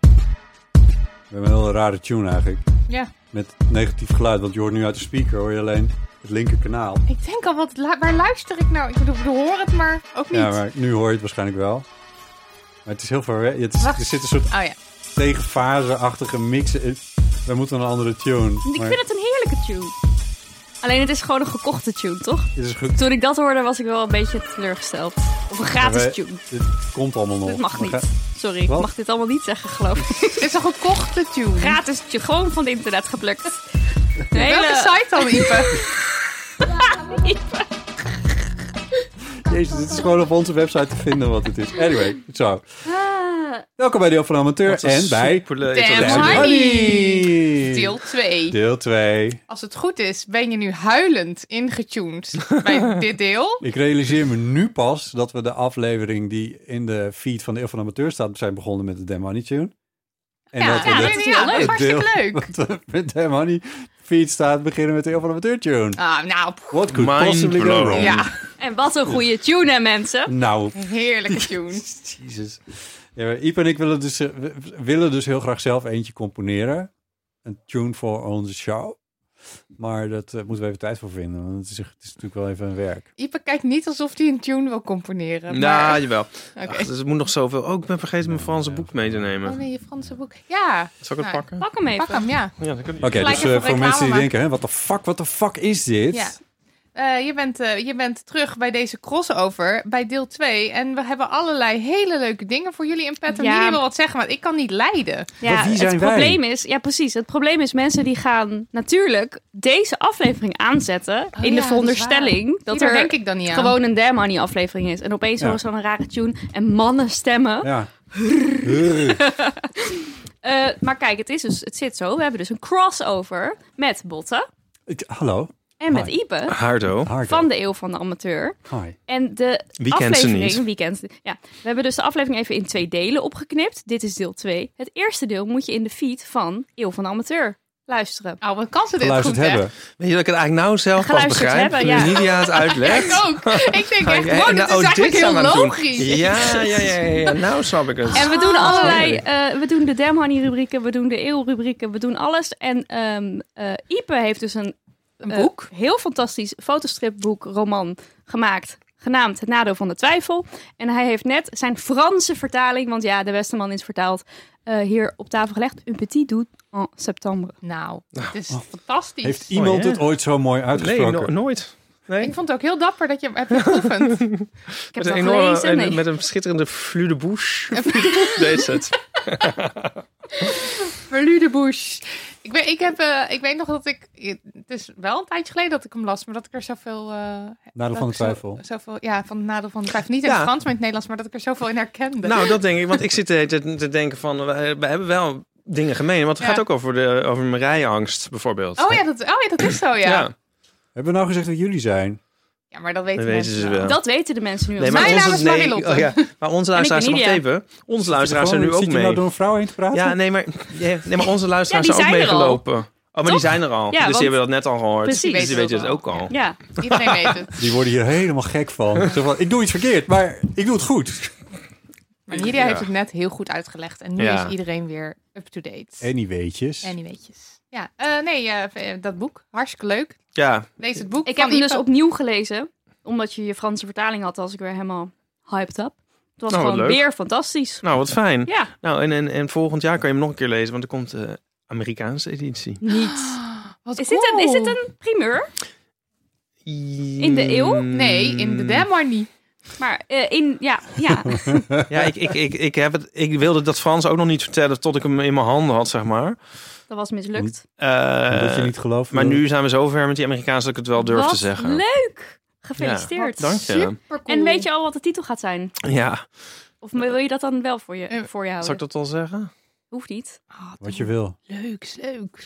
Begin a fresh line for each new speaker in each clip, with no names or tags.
We hebben een heel rare tune eigenlijk.
Ja,
Met negatief geluid, want je hoort nu uit de speaker hoor je alleen het linker kanaal.
ik denk al, wat, lu- waar luister ik nou? Ik bedoel, ik hoor het, maar ook niet.
Ja, maar nu hoor je het waarschijnlijk wel. Maar het is heel ver weg. Het is-
Wacht.
Er zit een soort
Oh ja.
tegenfase-achtige mix in. We moeten een andere tune.
Ik
maar
vind het een heerlijke tune. Alleen het is gewoon een gekochte tune, toch?
het is goed.
Toen ik dat hoorde was ik wel een beetje teleurgesteld. Of een gratis
Wij-
tune.
Dit komt allemaal
Oh,
nog.
Dit mag
We
niet.
gaan-
Sorry, ik
Wat?
mag dit allemaal niet zeggen, geloof ik.
Het is een gekochte tune.
Gratis tune, gewoon van het internet geplukt. Een
Welke
hele...
site dan, Ipe?
Jezus, dit is gewoon op onze website te vinden wat het is. Anyway, zo.
Ah.
Welkom bij Deel van de Amateur
Wat een
en bij...
soepele
Damn
Damn
introductie.
Honey.
Honey.
Deel 2.
Deel 2.
Als het goed is, ben je nu huilend ingetuned bij dit deel.
Ik realiseer me nu pas dat we de aflevering die in de feed van de Eeuw van de Amateur staat zijn begonnen met de Dem Honey tune. En
Ja, ja,
de-
dat is heel leuk.
het
Hartstikke leuk.
Dat we met Dem Honey feed staat beginnen met de Eeuw van de Amateur tune.
Ah, nou, pff,
What could
Mind
possibly go
blown.
wrong?
ja,
En wat een goede tune, hè, mensen?
Nou,
heerlijke tune.
jezus. Ja, maar Iep en ik willen dus, eh, w- willen dus heel graag zelf eentje componeren. Een tune voor onze show. Maar dat eh, moeten we even tijd voor vinden. Want het is, het is natuurlijk wel even een werk.
Ipe kijkt niet alsof hij een tune wil componeren.
Nou,
maar-
jawel.
Oké.
Ach, dus het moet nog zoveel. Oh, ik ben vergeten mijn Franse boek mee te
Oh
nemen.
nee, je Franse boek. Ja,
Zal ik het
Nou,
pakken?
Pak hem even.
pak hem, ja.
Ja, dat kan
Oké,
Gelijk
dus eh,
even
voor
reclame
mensen die
maken.
denken, hè, wat de fuck, wat de fuck is dit?
Ja. Eh, je, bent, eh, je bent terug bij deze crossover, bij deel 2. En we hebben allerlei hele leuke dingen voor jullie in pet. En
Ja.
jullie wil wat zeggen, want ik kan niet leiden.
Maar wie zijn
het
wij?
probleem is, ja precies, het probleem is mensen die gaan natuurlijk deze aflevering aanzetten
Oh
in
ja, dat
de
is
veronderstelling dat,
Dat Daar
er
denk ik dan niet aan.
gewoon een Damn Honey aflevering is. En opeens
Ja.
horen ze dan een rare tune en mannen
Oh.
stemmen.
Ja. Hurr.
Eh, maar kijk, het, is dus, het zit zo, we hebben dus een crossover met Botte
Ik- hallo.
en met
Hi.
Ipe
Ah,
Hardo.
Hardo.
van de Eeuw van de Amateur.
Hi.
En de
Wie kent ze
aflevering,
niet?
wie kent ze- ja, we hebben dus de aflevering even in twee delen opgeknipt. Dit is deel 2. Het eerste deel moet je in de feed van Eeuw van de Amateur luisteren.
Oh, wat kan ze dit
Geluisterd
goed, hè?
hebben.
Weet je dat ik het eigenlijk nou zelf pas
Geluisterd
begrijp?
hebben, ja.
Toen Nidia het uitlegt.
Ik ook. Ik denk
Ga ik-
echt, wow,
en
dit
nou,
is eigenlijk
gaan
heel
we doen.
logisch.
Ja, ja, ja, ja, ja. Nou snap ik het.
En we doen allerlei,
heerlijk.
eh, we doen de Damn Honey rubrieken, we doen de Eeuw rubrieken, we doen alles. En ehm eh, Ipe heeft dus een,
Een
eh,
boek.
heel fantastisch fotostripboek, roman gemaakt, genaamd Het Nadeel van de Twijfel. En hij heeft net zijn Franse vertaling, want ja, de Westerman is vertaald, eh, hier op tafel gelegd. Un petit doute en septembre.
Nou, het is
Oh.
fantastisch.
Heeft iemand
hè?
het ooit zo mooi
Nee,
uitgesproken?
no- nooit. Nee.
Ik vond het ook heel dapper dat je hem hebt geoefend.
Ik heb
Met
het
een,
al
enorme,
gelezen.
en-
Nee.
met een schitterende flux de bouche. Deze het.
Verludebush. Ik, weet- ik, heb, eh, ik weet nog dat ik... Het is wel een tijdje geleden dat ik hem las, maar dat ik er zoveel... eh
Nadeel van de
dat ik zo-
twijfel.
Zoveel, ja, van het nadeel van de twijfel. Niet in
Ja.
het Frans, maar in het Nederlands, maar dat ik er zoveel in herkende.
Nou, dat denk ik. Want ik zit te, te- te denken van, we, we hebben wel dingen gemeen. Want het
Ja.
gaat ook over, de, over mijn rijangst bijvoorbeeld.
oh, ja, dat, oh ja, dat is zo, ja. Ja,
Hebben we nou gezegd dat jullie zijn?
maar dat weten,
Dat weten
mensen
ze
wel.
wel.
Dat weten de mensen nu al.
Nee,
Mijn
onze-
naam is
nee,
Marilotte.
oh ja, maar onze luisteraars,
ben
wacht
Nidia.
even. Onze luisteraars zijn nu
Gewoon,
ook
Zit je nou
mee.
door een vrouw heen te praten?
Ja, nee, maar, ja, nee, maar onze luisteraars
Ja, die
zijn ook
zijn er al.
meegelopen. Oh, maar die
Toch?
zijn er al.
Ja,
dus
want-
die hebben dat net al gehoord.
Precies.
Dus die weten het ook al.
ja,
Iedereen weet het.
Die worden hier helemaal gek van. Zo van, ik doe iets verkeerd, maar ik doe het goed.
Maar Nidia
Ja.
heeft het net heel goed uitgelegd. En nu
Ja.
is iedereen weer up-to-date.
En die weetjes.
En die weetjes. Ja, eh, nee, eh, v- eh, dat boek. Hartstikke leuk.
Ja,
Lees het boek.
Ik
van
heb hem dus
Ipe.
opnieuw gelezen, omdat je je Franse vertaling had, als ik weer helemaal hyped up. Het was
Nou, wat
gewoon
leuk.
weer fantastisch.
nou wat fijn.
Ja,
Nou, en, en, en volgend jaar kan je hem nog een keer lezen, want er komt de Amerikaanse editie.
niet.
Wat
Is dit, een, is dit
cool.
een primeur? In de eeuw?
Nee, in
Hmm.
de Demar niet.
Maar eh, in, ja, ja.
Ja, ik, ik, ik, ik, heb het, ik wilde dat Frans ook nog niet vertellen tot ik hem in mijn handen had, zeg maar.
dat was mislukt.
Eh,
Omdat je niet gelooft.
maar
wil.
nu zijn we zover met die Amerikaanse dat ik het wel durf te
Wat
zeggen.
leuk! Gefeliciteerd.
Dank je.
Supercool.
En weet je al wat de titel gaat zijn?
Ja,
Of wil je dat dan wel voor je,
Eh,
voor je
zal
houden?
ik dat al zeggen?
Hoeft niet.
Wat je wil.
Leuk,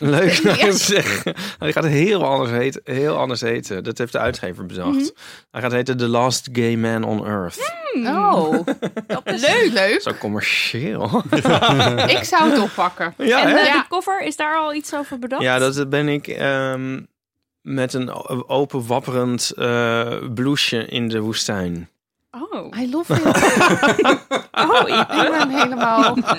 leuk.
Leuk.
Ja.
Nou, zeg. Hij gaat heel anders, heten, heel anders heten. Dat heeft de uitgever bedacht.
Mhm.
Hij gaat heten The Last Gay Man on Earth.
Oh, dat is leuk, leuk.
Zo commercieel.
Ik zou het oppakken.
ja,
en
hè?
eh,
Ja.
de cover, is daar al iets over bedacht?
Ja, dat ben ik ehm, met een o- open wapperend eh blouseje in de woestijn.
Oh,
I love it.
oh Iep.
Ik ben helemaal...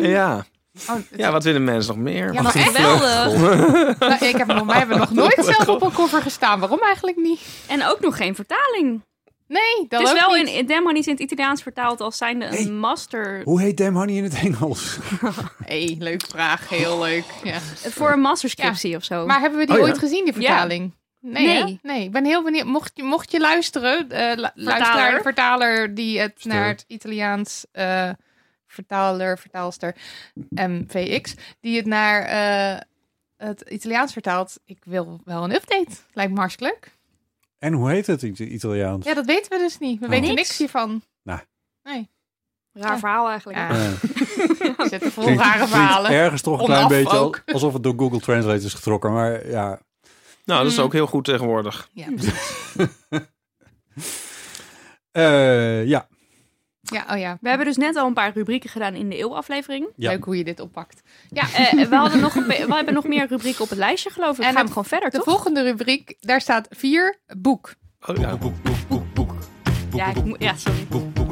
Ja.
Oh,
ja, wat willen mensen nog meer?
Ja,
Wat
maar echt?
geweldig.
Nou, ik heb, nog- wij hebben nog nooit zelf op een cover gestaan. Waarom eigenlijk niet?
En ook nog geen vertaling.
Nee, dat
het is
ook
wel
niet.
in Demo niet in het Italiaans vertaald als zijnde een master.
Hoe heet Damn Honey in het Engels?
Hey, leuk vraag. Heel leuk. Ja.
Voor een masterscriptie of zo.
Maar hebben we die
Oh ja.
ooit gezien, die vertaling? Nee,
Nee.
hè? nee. Ik ben heel benieuwd. Mocht je, mocht je luisteren, eh lu- luisteraar, vertaler die het
Stil.
naar het Italiaans eh, vertaler, vertaalster, MVX, die het naar eh, het Italiaans vertaalt. Ik wil wel een update. Lijkt me hartstikke leuk.
En hoe heet het in het Italiaans?
Ja, dat weten we dus niet. We
Oh.
weten
Niks.
niks hiervan.
Raar verhaal eigenlijk.
Ja.
Eh,
We zitten vol
klinkt-
rare
klinkt
verhalen.
Ergens toch een klein
Onaf
beetje al-
ook.
alsof het door Google Translate is getrokken. Maar ja,
Nou, dat is
Mm.
ook heel goed tegenwoordig.
Ja,
Eh, ja.
ja, oh ja.
We hebben dus net al een paar rubrieken gedaan in de eeuwaflevering.
Ja.
Leuk hoe je dit oppakt.
Eh, we, hadden nog een be- we hebben nog meer rubrieken op het lijstje, geloof ik.
En
En gaan we
het-
gewoon verder,
De
toch?
volgende rubriek, daar staat vier boek.
Oh, ja.
Ja, ik moet- ja, sorry.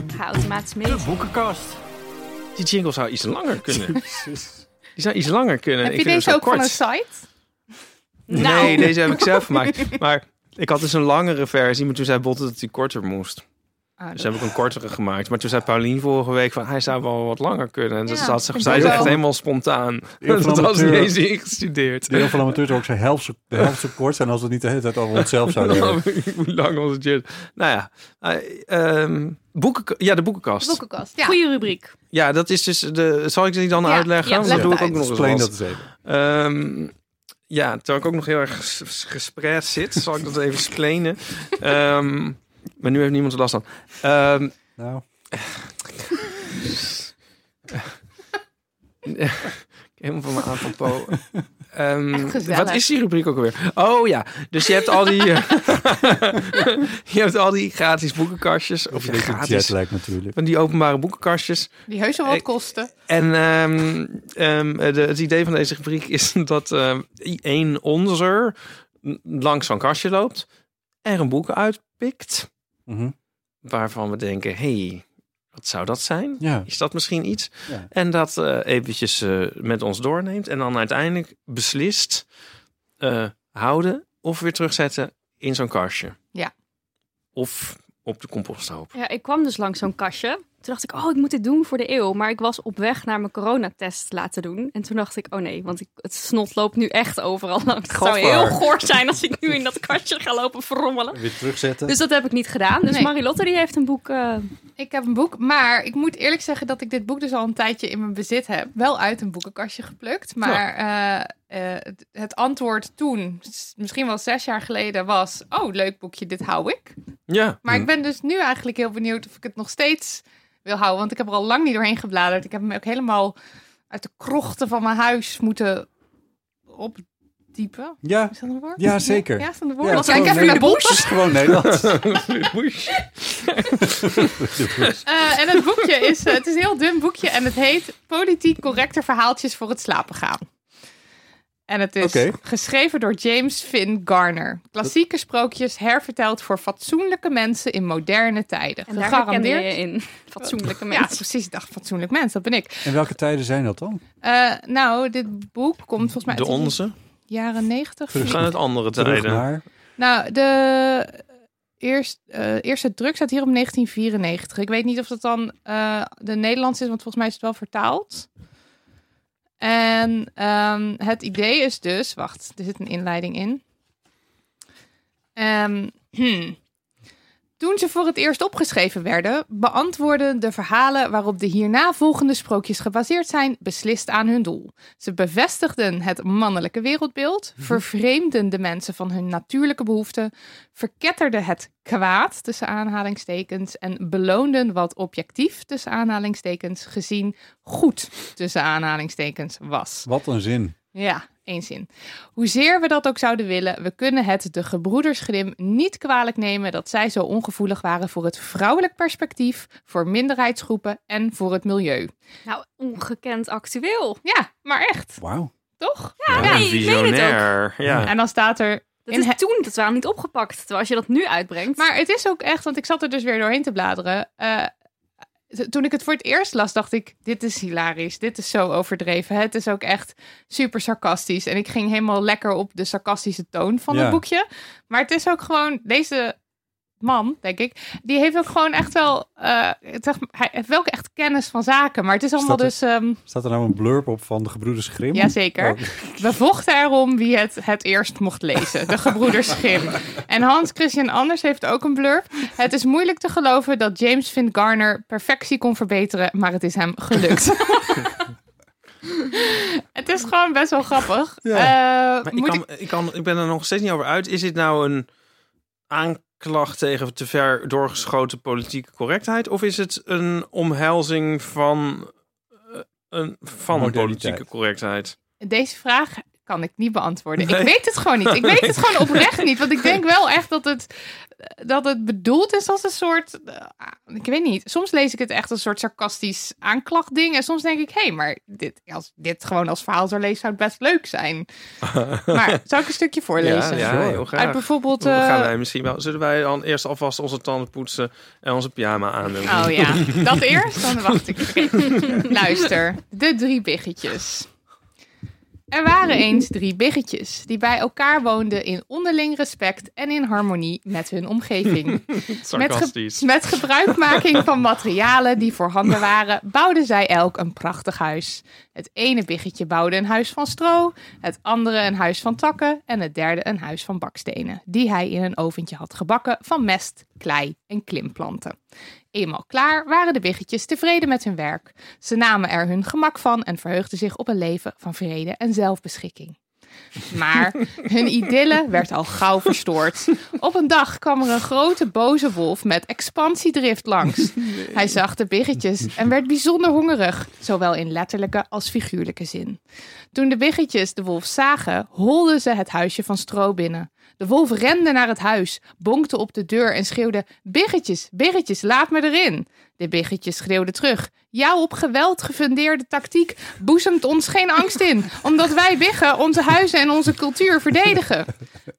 Ik ga automatisch mee.
boekenkast.
Die jingle zou iets langer kunnen. Die zou iets langer kunnen.
Heb
eh, ik
je
vind
deze
hem
ook
zo kort.
van een site?
Nou.
Nee, deze heb ik zelf gemaakt. Maar ik had dus een langere versie, maar toen zei Botte dat hij korter moest.
Ah,
Dus
dat-
heb ik een kortere gemaakt. Maar toen zei Paulien vorige week van, hij zou wel wat langer kunnen. En dat
Ja,
had ze,
ik
zij
denk
is
wel.
echt helemaal spontaan.
Heel veel
Dat had ze niet
amateur.
eens ingestudeerd.
De heel veel amateurs ook zijn helft zo, de helft zo kort zijn als we het niet de hele tijd over onszelf zouden hebben.
Hoe lang was het? je- Nou ja, eh, ehm, boeken, ja, de boekenkast.
boekenkast. Ja.
Goeie rubriek.
Ja, dat is dus de. Zal ik die dan
Ja,
uitleggen?
ja,
Want
leg
dat doe
het
ik ook
uit.
nog eens.
Explain
wel
dat
eens.
eens even.
Ehm, ja, terwijl ik ook nog heel erg ges- ges- gespreid zit, zal ik dat even splenen. Ehm, maar nu heeft niemand er last van. Ehm,
Nou,
helemaal van mijn apropos. Ehm,
Echt gezellig.
wat is die rubriek ook alweer? Oh ja, dus je hebt al die, eh, je hebt al die gratis boekenkastjes. Of
of
ja,
je denkt
gratis.
jetlag natuurlijk.
Van die openbare boekenkastjes.
Die heus wel wat
Ik-
kosten.
En ehm, ehm, de, het idee van deze rubriek is dat ehm één onzer langs zo'n kastje loopt, er een boek uitpikt,
Mhm.
waarvan we denken, hey, wat zou dat zijn?
Ja.
Is dat misschien iets?
Ja.
En dat eh, eventjes eh, met ons doorneemt en dan uiteindelijk beslist eh, houden of weer terugzetten in zo'n kastje.
Ja.
Of op de composthoop.
Ja, ik kwam dus langs zo'n kastje. Toen dacht ik, oh, ik moet dit doen voor de eeuw. Maar ik was op weg naar mijn coronatest laten doen. En toen dacht ik, oh nee, want ik, het snot loopt nu echt overal langs. Het zou
Gadver.
heel goor zijn als ik nu in dat kastje ga lopen verrommelen.
Weer terugzetten.
Dus dat heb ik niet gedaan. Dus
Nee.
Marilotte die heeft een boek. eh,
Ik heb een boek, maar ik moet eerlijk zeggen dat ik dit boek dus al een tijdje in mijn bezit heb. Wel uit een boekenkastje geplukt, maar eh, eh, het- het antwoord toen, s- misschien wel zes jaar geleden, was... Oh, leuk boekje, dit hou ik.
Ja.
Maar
Mhm.
ik ben dus nu eigenlijk heel benieuwd of ik het nog steeds wil houden. Want ik heb er al lang niet doorheen gebladerd. Ik heb hem ook helemaal uit de krochten van mijn huis moeten opdiepen.
Ja,
Is dat een woord?
ja zeker.
Ja, is dat een
Ja,
woord?
het
Want
is
ik heb
gewoon
in de
Nederlands.
boek.
Het is gewoon Nederlands.
Eh, en het boekje is, eh, het is een heel dun boekje en het heet Politiek correcte verhaaltjes voor het slapen gaan. En het is
Oké.
geschreven door James Finn Garner. Klassieke sprookjes herverteld voor fatsoenlijke mensen in moderne tijden.
en daar herkende
Gegarandeerd.
je in. Fatsoenlijke
Ja,
mensen.
precies. Ik dacht, fatsoenlijk mens, dat ben ik.
En welke tijden zijn dat dan?
Eh, nou, dit boek komt volgens mij...
De
het is-
onze.
jaren negentig.
Terug.
Gaan het andere
Terug
tijden?
naar...
Nou, de eerst, eh, eerste druk staat hier om 1994. Ik weet niet of dat dan eh, de Nederlands is, want volgens mij is het wel vertaald. En ehm, het idee is dus, wacht, er zit een inleiding in. Ehm, hmm. Toen ze voor het eerst opgeschreven werden, beantwoorden de verhalen waarop de hierna volgende sprookjes gebaseerd zijn, beslist aan hun doel. Ze bevestigden het mannelijke wereldbeeld, vervreemden de mensen van hun natuurlijke behoeften, verketterden het kwaad tussen aanhalingstekens en beloonden wat objectief tussen aanhalingstekens gezien goed tussen aanhalingstekens was.
Wat een zin.
Ja, één zin. Hoezeer we dat ook zouden willen, we kunnen het de gebroeders Grimm niet kwalijk nemen dat zij zo ongevoelig waren voor het vrouwelijk perspectief, voor minderheidsgroepen en voor het milieu.
Nou, ongekend actueel.
Ja, maar echt,
Wauw. Mhm.
toch?
Ja,
Ja,
een
ik meen het ook.
visionair. Ja.
En dan staat er
Dat
In
is
he-
toen dat waren niet opgepakt. Terwijl als je dat nu uitbrengt.
Maar het is ook echt, want ik zat er dus weer doorheen te bladeren. Eh, t- toen ik het voor het eerst las, dacht ik: dit is hilarisch. Dit is zo overdreven. Het is ook echt super sarcastisch. En ik ging helemaal lekker op de sarcastische toon van
Ja.
het boekje. Maar het is ook gewoon deze man, denk ik, die heeft ook gewoon echt wel, eh, het echt- hij heeft wel echt kennis van zaken. Maar het is allemaal
dat
dus. ehm,
Staat er nou een blurb op van de gebroeders Grimm?
Jazeker.
Oh.
We vochten erom wie het het eerst mocht lezen. De gebroeders Grimm. En Hans Christian Anders heeft ook een blurb. Het is moeilijk te geloven dat James Vint Garner perfectie kon verbeteren, maar het is hem gelukt. het is gewoon best wel grappig.
Ja.
Eh,
Maar ik,
moet
kan, ik... kan, ik ben er nog steeds niet over uit. Is dit nou een aanklacht tegen te ver doorgeschoten politieke correctheid? Of is het een omhelzing van, eh, een, van
Moderniteit.
politieke correctheid?
Deze vraag kan ik niet beantwoorden.
Nee.
Ik weet het gewoon niet. Ik weet het gewoon oprecht niet. Want ik denk wel echt dat het, dat het bedoeld is als een soort... eh, ik weet niet. Soms lees ik het echt als een soort sarcastisch aanklachtding. En soms denk ik, hé, hey, maar dit, als dit gewoon als verhaal zou lezen, zou het best leuk zijn. Maar zal ik een stukje
Ja,
voorlezen?
ja,
Sure.
heel
Uit
graag.
bijvoorbeeld...
Dan
eh,
gaan wij misschien wel. Zullen wij dan eerst alvast onze tanden poetsen en onze pyjama aandoen?
Oh ja, dat eerst? Dan wacht ik. Oké. Luister, de drie biggetjes. Er waren eens drie biggetjes die bij elkaar woonden in onderling respect en in harmonie met hun omgeving. Met, ge-
Sarcastisch.
met gebruikmaking van materialen die voorhanden waren, bouwden zij elk een prachtig huis. Het ene biggetje bouwde een huis van stro, het andere een huis van takken en het derde een huis van bakstenen, die hij in een oventje had gebakken van mest, klei en klimplanten. Eenmaal klaar waren de biggetjes tevreden met hun werk. Ze namen er hun gemak van en verheugden zich op een leven van vrede en zelfbeschikking. Maar hun idylle werd al gauw verstoord. Op een dag kwam er een grote boze wolf met expansiedrift langs. Hij zag de biggetjes en werd bijzonder hongerig, zowel in letterlijke als figuurlijke zin. Toen de biggetjes de wolf zagen, holden ze het huisje van stro binnen. De wolf rende naar het huis, bonkte op de deur en schreeuwde: Biggetjes, biggetjes, laat me erin. De biggetjes schreeuwden terug: Jouw op geweld gefundeerde tactiek boezemt ons geen angst in, omdat wij biggen onze huizen en onze cultuur verdedigen.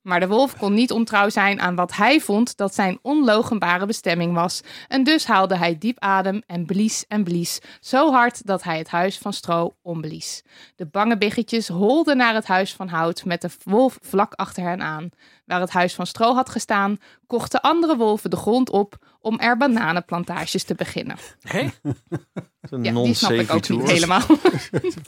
Maar de wolf kon niet ontrouw zijn aan wat hij vond dat zijn onlogenbare bestemming was. En dus haalde hij diep adem en blies en blies, zo hard dat hij het huis van stro omblies. De bange biggetjes holden naar het huis van hout met de wolf vlak achter hen aan. Waar het huis van stro had gestaan, kochten andere wolven de grond op om er bananenplantages te beginnen.
Hé? Een
Ja, die snap ik ook niet
non-savitours.
helemaal.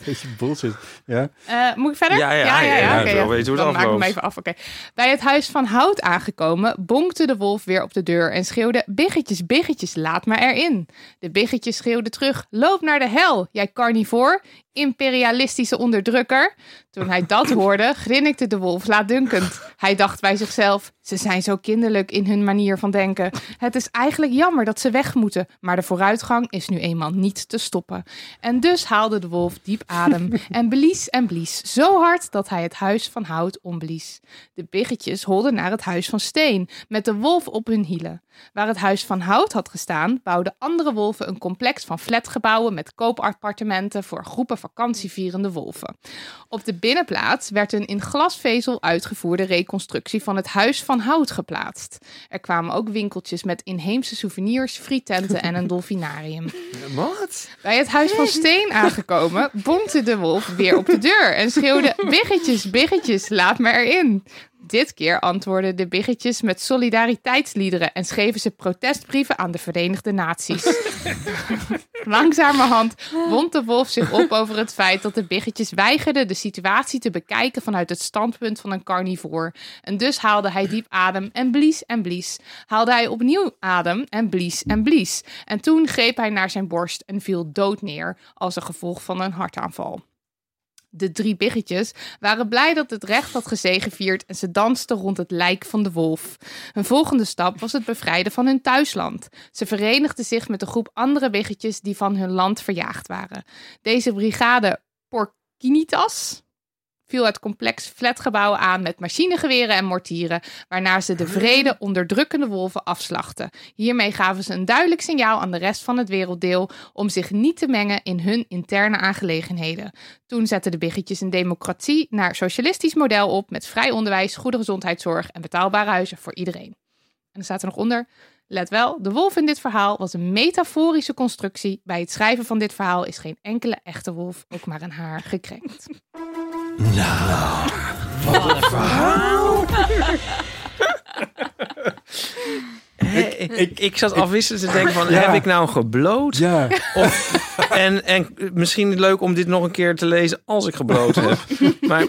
Beetje bullshit. Ja.
Eh, moet ik verder?
Ja, ja, ja, ja,
oké,
ik wil weten hoe het
Dan maak ik
afloopt.
hem even af. Oké. Bij het huis van hout aangekomen, bonkte de wolf weer op de deur en schreeuwde: Biggetjes, biggetjes, laat me erin. De biggetjes schreeuwden terug: Loop naar de hel, jij carnivoor, imperialistische onderdrukker. Toen hij dat hoorde, grinnikte de wolf laatdunkend. Hij dacht bij zichzelf: Ze zijn zo kinderlijk in hun manier van denken. Het is eigenlijk jammer dat ze weg moeten, maar de vooruitgang is nu eenmaal niet te stoppen. En dus haalde de wolf diep adem en blies en blies zo hard dat hij het huis van hout omblies. De biggetjes holden naar het huis van steen met de wolf op hun hielen. Waar het huis van hout had gestaan, bouwden andere wolven een complex van flatgebouwen met koopappartementen voor groepen vakantievierende wolven. Op de binnenplaats werd een in glasvezel uitgevoerde reconstructie van het huis van hout geplaatst. Er kwamen ook winkeltjes met inheemse souvenirs, frietenten en een dolfinarium.
Wat?
Wat?
Bij het huis van Steen aangekomen, bonte de wolf weer op de deur en schreeuwde: Biggetjes, biggetjes, laat me erin. Dit keer antwoordden de biggetjes met solidariteitsliederen en schreven ze protestbrieven aan de Verenigde Naties. Langzamerhand wond de wolf zich op over het feit dat de biggetjes weigerden de situatie te bekijken vanuit het standpunt van een carnivoor. En dus haalde hij diep adem en blies en blies. Haalde hij opnieuw adem en blies en blies. En toen greep hij naar zijn borst en viel dood neer als een gevolg van een hartaanval. De drie biggetjes waren blij dat het recht had gezegevierd en ze dansten rond het lijk van de wolf. Een volgende stap was het bevrijden van hun thuisland. Ze verenigden zich met een groep andere biggetjes die van hun land verjaagd waren. Deze brigade Porcinitas viel het complex flatgebouw aan met machinegeweren en mortieren, waarna ze de vrede onderdrukkende wolven afslachten. Hiermee gaven ze een duidelijk signaal aan de rest van het werelddeel om zich niet te mengen in hun interne aangelegenheden. Toen zetten de biggetjes een democratie naar socialistisch model op met vrij onderwijs, goede gezondheidszorg en betaalbare huizen voor iedereen. En er staat er nog onder. Let wel, de wolf in dit verhaal was een metaforische constructie. Bij het schrijven van dit verhaal is geen enkele echte wolf ook maar een haar gekrenkt.
Ik, ik, ik zat afwisselend te denken van,
Ja.
heb ik nou gebloot?
Ja,
Of, en, en misschien leuk om dit nog een keer te lezen als ik gebloot heb. Maar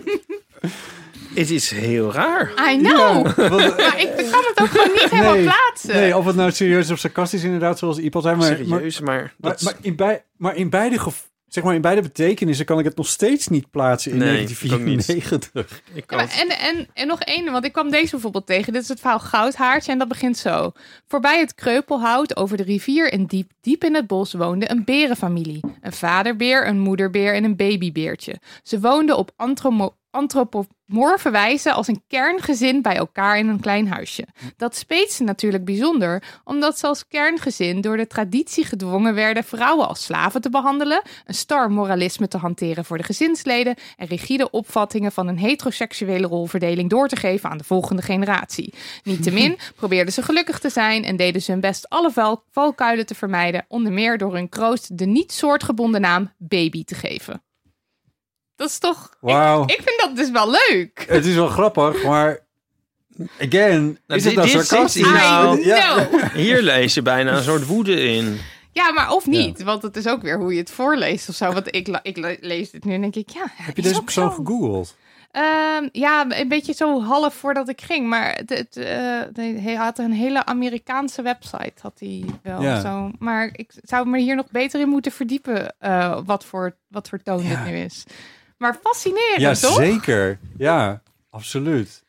het is heel raar.
I know!
want, eh,
Maar ik kan het ook gewoon niet helemaal
Nee,
plaatsen.
nee, of het nou serieus of sarcastisch inderdaad, zoals Iep al zei. Maar, maar,
Serieus, maar...
maar,
dat-
maar in, bij, maar, in beide gev- zeg maar in beide betekenissen kan ik het nog steeds niet plaatsen in
Nee,
1994.
ik
Ja,
kan
maar en, en, en nog één, want ik kwam deze bijvoorbeeld tegen. Dit is het verhaal Goudhaartje en dat begint zo. Voorbij het kreupelhout over de rivier en diep, diep in het bos woonde een berenfamilie. Een vaderbeer, een moederbeer en een babybeertje. Ze woonden op antromo- antropomorfe wijze als een kerngezin bij elkaar in een klein huisje. Dat speet ze natuurlijk bijzonder, omdat ze als kerngezin door de traditie gedwongen werden vrouwen als slaven te behandelen, een star moralisme te hanteren voor de gezinsleden en rigide opvattingen van een heteroseksuele rolverdeling door te geven aan de volgende generatie. Niettemin probeerden ze gelukkig te zijn en deden ze hun best alle val- valkuilen te vermijden, onder meer door hun kroost de niet soortgebonden naam baby te geven. Dat is toch.
Wauw.
Ik vind dat dus wel leuk.
Het is wel grappig, maar again, is
dit-
het nou
dit zit
sarcastisch?
hier
I
Nou,
know.
Hier lees je bijna een soort woede in.
Ja, maar of niet. Want het is ook weer hoe je het voorleest of zo. Want ik, la- ik le- lees dit nu en denk ik, ja.
Heb je deze persoon gegoogeld?
Ehm, ja, een beetje zo half voordat ik ging. Maar het, het, eh, nee, hij had een hele Amerikaanse website, had hij wel.
Ja.
Zo. Maar ik zou me hier nog beter in moeten verdiepen eh, wat, voor, wat voor toon dit nu is. Maar fascinerend,
Ja,
toch?
zeker. Ja, absoluut.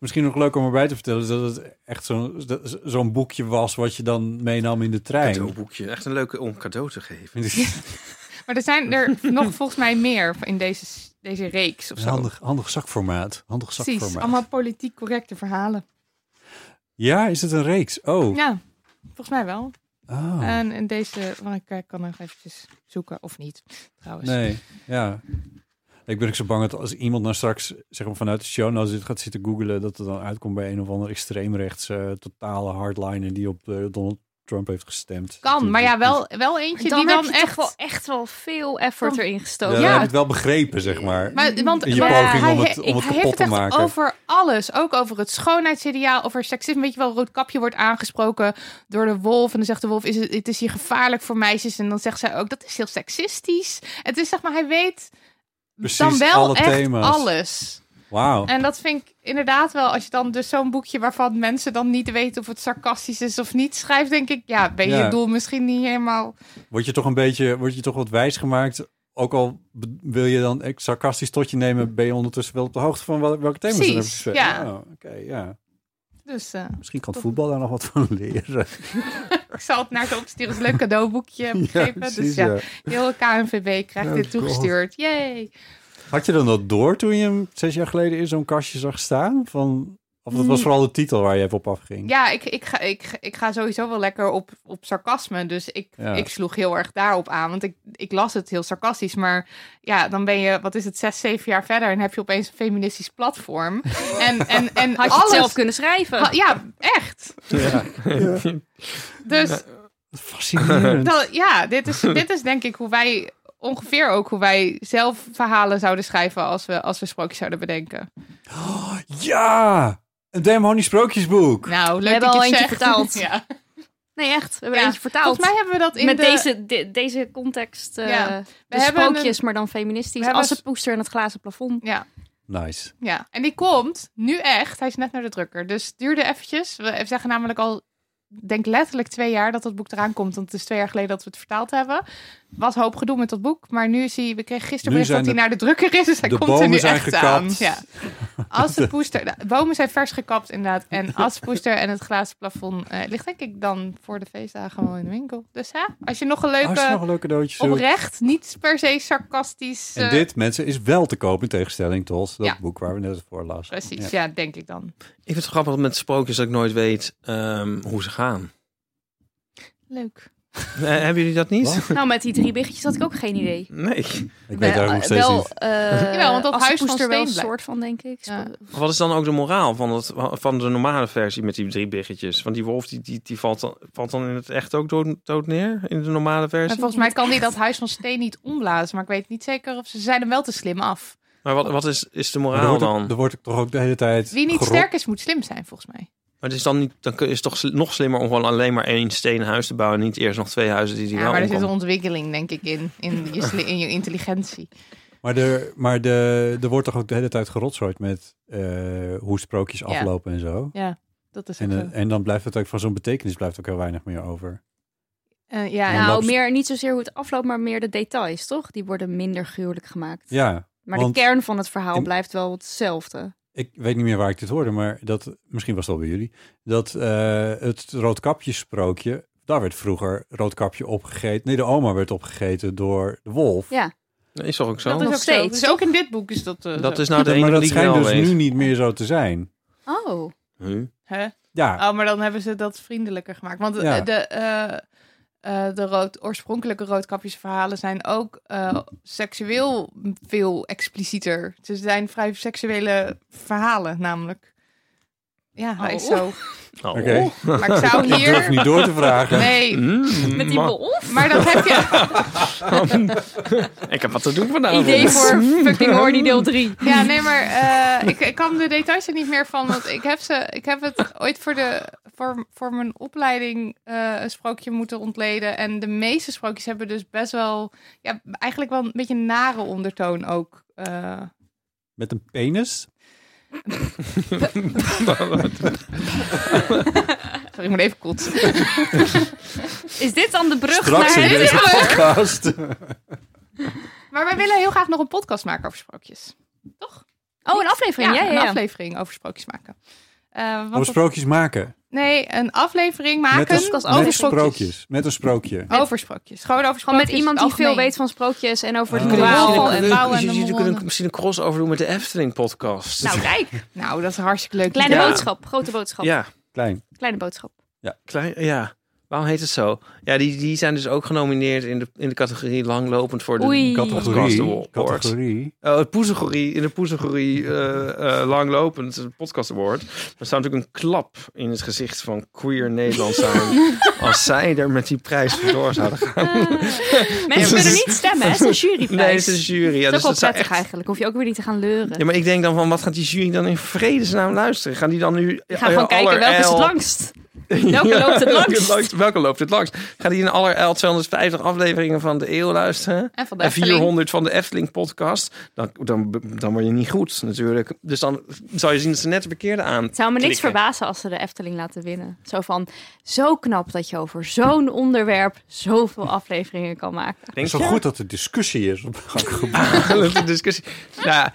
Misschien nog leuk om erbij te vertellen dat het echt zo'n dat- zo'n boekje was wat je dan meenam in de trein.
Cadeauboekje. Echt een leuke om cadeau te geven.
Maar er zijn er nog volgens mij meer in deze, deze reeks of
Een
zo.
handig, handig zakformaat. Handig zakformaat.
Precies, allemaal politiek correcte verhalen.
Ja, is het een reeks? Oh.
Ja, volgens mij wel.
Oh.
En, en deze, want ik eh, kan nog eventjes zoeken of niet, trouwens.
Nee, ja. Ik ben ook zo bang dat als iemand nou straks zeg maar, vanuit de show nou dit gaat zitten googelen, dat het dan uitkomt bij een of ander extreemrechts eh, totale hardliner die op eh, Donald Trump heeft gestemd.
Kan,
Die-
maar ja,
die-
wel, wel eentje
Dan,
die
heb
dan
je
echt...
echt... toch wel echt wel veel effort erin
Ja,
gestoken.
we hebben
Ja.
het wel begrepen, zeg maar.
Maar, want,
In je
maar
poging
hij,
om het- om het
ik- hij
kapot
heeft
te
het echt
maken.
over alles. Ook over het schoonheidsideaal, over seksisme. Weet je wel, Roodkapje wordt aangesproken door de wolf. En dan zegt de wolf, is het, het is hier gevaarlijk voor meisjes. En dan zegt zij ook, dat is heel seksistisch. Het is zeg maar, hij weet
Precies,
dan wel
alle
echt
thema's.
alles.
Wauw.
En dat vind ik inderdaad wel, als je dan dus zo'n boekje waarvan mensen dan niet weten of het sarcastisch is of niet schrijft, denk ik, ja, ben je
Ja.
doel misschien niet helemaal.
Word je toch een beetje, word je toch wat wijs gemaakt? Ook al be- wil je dan echt sarcastisch tot je nemen, ben je ondertussen wel op de hoogte van wel- welke thema's er
Precies,
hebben
ja.
Oh, Oké, ja.
Dus eh,
Misschien kan het voetbal daar nog wat van leren.
ik zal het naar ze opsturen. Het is een leuk cadeauboekje, heb ik begrepen. dus
precies,
ja,
ja.
heel KNVB krijgt
Oh,
dit toegestuurd. Yay!
Had je dan dat door toen je hem zes jaar geleden in zo'n kastje zag staan? Van, of dat was vooral de titel waar je even op afging?
Mm. Ja, ik, ik, ga, ik, ga- ik ga sowieso wel lekker op, op sarcasme. Dus ik,
Ja.
ik sloeg heel erg daarop aan. Want ik, ik las het heel sarcastisch. Maar ja, dan ben je, wat is het, zes, zeven jaar verder... en heb je opeens een feministisch platform. En, en, en
Had je
alles,
het zelf kunnen schrijven.
Ha- ja, echt. Dus
Fascinerend.
Nou, ja, dit is, dit is denk ik hoe wij ongeveer ook hoe wij zelf verhalen zouden schrijven als we, als we sprookjes zouden bedenken.
ja! Een demonisch sprookjesboek.
Nou, leuk
hebben
dat
al
je het
eentje
zegt.
vertaald.
Ja.
Nee, echt. We hebben
Ja,
eentje vertaald.
Volgens mij hebben we dat in
Met
de...
deze, de- deze context. eh
Ja.
de
hebben
sprookjes, maar dan feministisch.
we hebben
Als het poester en het glazen plafond.
Ja,
Nice.
ja. En die komt nu echt. Hij is net naar de drukker. Dus het duurde eventjes. We zeggen namelijk al, ik denk letterlijk twee jaar dat dat boek eraan komt. Want het is twee jaar geleden dat we het vertaald hebben. Was hoop gedoe met dat boek. Maar nu zie je, we kregen gisteren
Nu
bericht dat
zijn
hij
de-
naar de drukker is. Dus hij
de
komt er
bomen
nu
zijn
echt
gekapt.
aan. Ja. Als de poester... De bomen zijn vers gekapt inderdaad. En als de poester en het glazen plafond eh, ligt denk ik dan voor de feestdagen wel in de winkel. Dus hè, als je nog een
Als je Oh, nog
leuke...
een leuk cadeautje zoekt.
Oprecht, niet per se sarcastisch.
En
eh,
dit, mensen, is wel te koop in tegenstelling tot dat
Ja.
boek waar we net het voor lazen.
Precies,
Ja.
ja, denk ik dan.
Ik vind het grappig met sprookjes dat ik nooit weet ehm, hoe ze gaan.
Leuk.
Eh, hebben jullie dat niet?
Wat?
Nou, met die drie biggetjes had ik ook geen idee.
Nee.
Ik weet daar nog steeds
wel,
niet.
eh,
Jawel, want dat
als de
huis van
poester wel een
Steenblijk.
soort van, denk ik.
Ja.
Wat is dan ook de moraal van, het, van de normale versie met die drie biggetjes? Want die wolf die, die, die valt, dan, valt dan in het echt ook dood, dood neer in de normale
En
versie?
volgens mij kan die dat huis van steen niet omblazen, maar ik weet niet zeker of ze zijn hem wel te slim af.
Maar wat, wat is, is de
Maar er
moraal
wordt ook-
dan?
Er wordt ook toch ook de hele tijd...
Wie niet
gero-
sterk is, moet slim zijn, volgens mij.
Maar het is dan, niet, dan kun- is het toch sl- nog slimmer om gewoon alleen maar één stenen huis te bouwen en niet eerst nog twee huizen die die
Ja,
wel
maar er zit een
omkomen.
ontwikkeling, denk ik, in, in, je, sli- in je intelligentie.
Maar, er, maar de, er wordt toch ook de hele tijd gerotzooid met eh, hoe sprookjes
Ja.
aflopen en zo.
Ja, dat is ook
En,
zo.
eh, en dan blijft het ook van zo'n betekenis blijft ook heel weinig meer over.
Eh, ja,
Nou,
en-
loopt-
Nou, meer, niet zozeer hoe het afloopt, maar meer de details, toch? Die worden minder gruwelijk gemaakt.
Ja,
maar
want-
de kern van het verhaal
in-
blijft wel hetzelfde.
ik weet niet meer waar ik dit hoorde, maar dat, misschien was het al bij jullie. Dat eh, het roodkapje sprookje, daar werd vroeger roodkapje opgegeten. Nee, de oma werd opgegeten door de wolf.
Ja.
Nee, Is toch ook zo?
dat is ook
nog
zo.
steeds,
Dus ook in dit boek is dat. eh,
Dat
zo.
is nou de
maar
enige
dat
die ik wel
schijnt dus
weet.
nu niet meer zo te zijn.
Oh,
Huh?
Hè?
Ja,
Oh, maar dan hebben ze dat vriendelijker gemaakt. Want eh,
Ja.
de, eh, eh, de rood, oorspronkelijke roodkapjesverhalen zijn ook eh, seksueel veel explicieter. Ze zijn vrij seksuele verhalen, namelijk. Ja, hij is
Oh.
zo.
Oh.
oké.
Maar ik zou
Ik durf
Oh, hier...
niet door te Hmm? vragen.
Nee,
Mm,
met die
ma-
wolf?
maar dat heb je...
Ik heb wat te doen
nou,
vanavond.
Idee voor fucking horny deel 3.
Ja, nee, maar eh, ik, ik kan de details er niet meer van. Want ik heb, ze, ik heb het ooit voor, de, voor, voor mijn opleiding eh, een sprookje moeten ontleden. En de meeste sprookjes hebben dus best wel... Ja, eigenlijk wel een beetje een nare ondertoon ook. eh.
Met een penis?
sorry, ik moet even kotsen.
Is dit dan de brug
Straks in
naar...
deze podcast.
Maar wij willen heel graag nog een podcast maken over sprookjes. Toch?
Oh, een aflevering. Ja, ja,
een
ja.
aflevering over sprookjes maken. Eh, want
Over
dat-
sprookjes maken.
Nee, een aflevering maken
met een,
over
met
sprookjes. Oh.
sprookjes. Met een sprookje.
Over sprookjes. Gewoon over
Gewoon
sprookjes.
met iemand
in
die
het
veel
algemeen.
weet van sprookjes en over het
Ah.
verhaal.
Kunnen we-
En...
bouwen en de
Jullie kunnen
mollen.
misschien een crossover doen met de Efteling podcast.
Nou, kijk.
Nou, dat is hartstikke leuk.
Kleine
Ja.
boodschap, grote boodschap.
ja,
Klein.
Kleine boodschap.
klein, ja. Waarom heet het zo? Ja, die, die zijn dus ook genomineerd in de, in de categorie langlopend voor de
Oei.
Podcast
Categorie.
Award.
Categorie.
Eh, het poesegorie, in de poesegorie eh, eh, langlopend het podcast award. Er staat natuurlijk een klap in het gezicht van queer Nederland zijn. als zij er met die prijs vandoor zouden gaan.
Ah. Mensen kunnen niet stemmen, hè? Het is een juryprijs.
Nee, het is een jury. Ja,
dat
dus
is ook
dat
wel
zou
prettig
echt-
eigenlijk. Hoef je ook weer niet te gaan leuren.
Ja, maar ik denk dan van, wat gaat die jury dan in vredesnaam luisteren? Gaan die dan nu... eh,
Je gaat gewoon kijken, welke is het langst? Welke loopt het langst?
welke loopt het langst? Gaan die in aller 250 afleveringen van de eeuw luisteren?
En van de
En
Efteling.
400 van de Efteling podcast? Dan, dan, dan word je niet goed natuurlijk. Dus dan zou je zien dat ze net de verkeerde aan.
Het zou me niks
Klikken.
verbazen als ze de Efteling laten winnen. Zo van, zo knap dat je over zo'n onderwerp zoveel afleveringen kan maken.
Het
Denk
is wel goed dat er discussie is op gang gebracht.
de discussie. Nou, ja,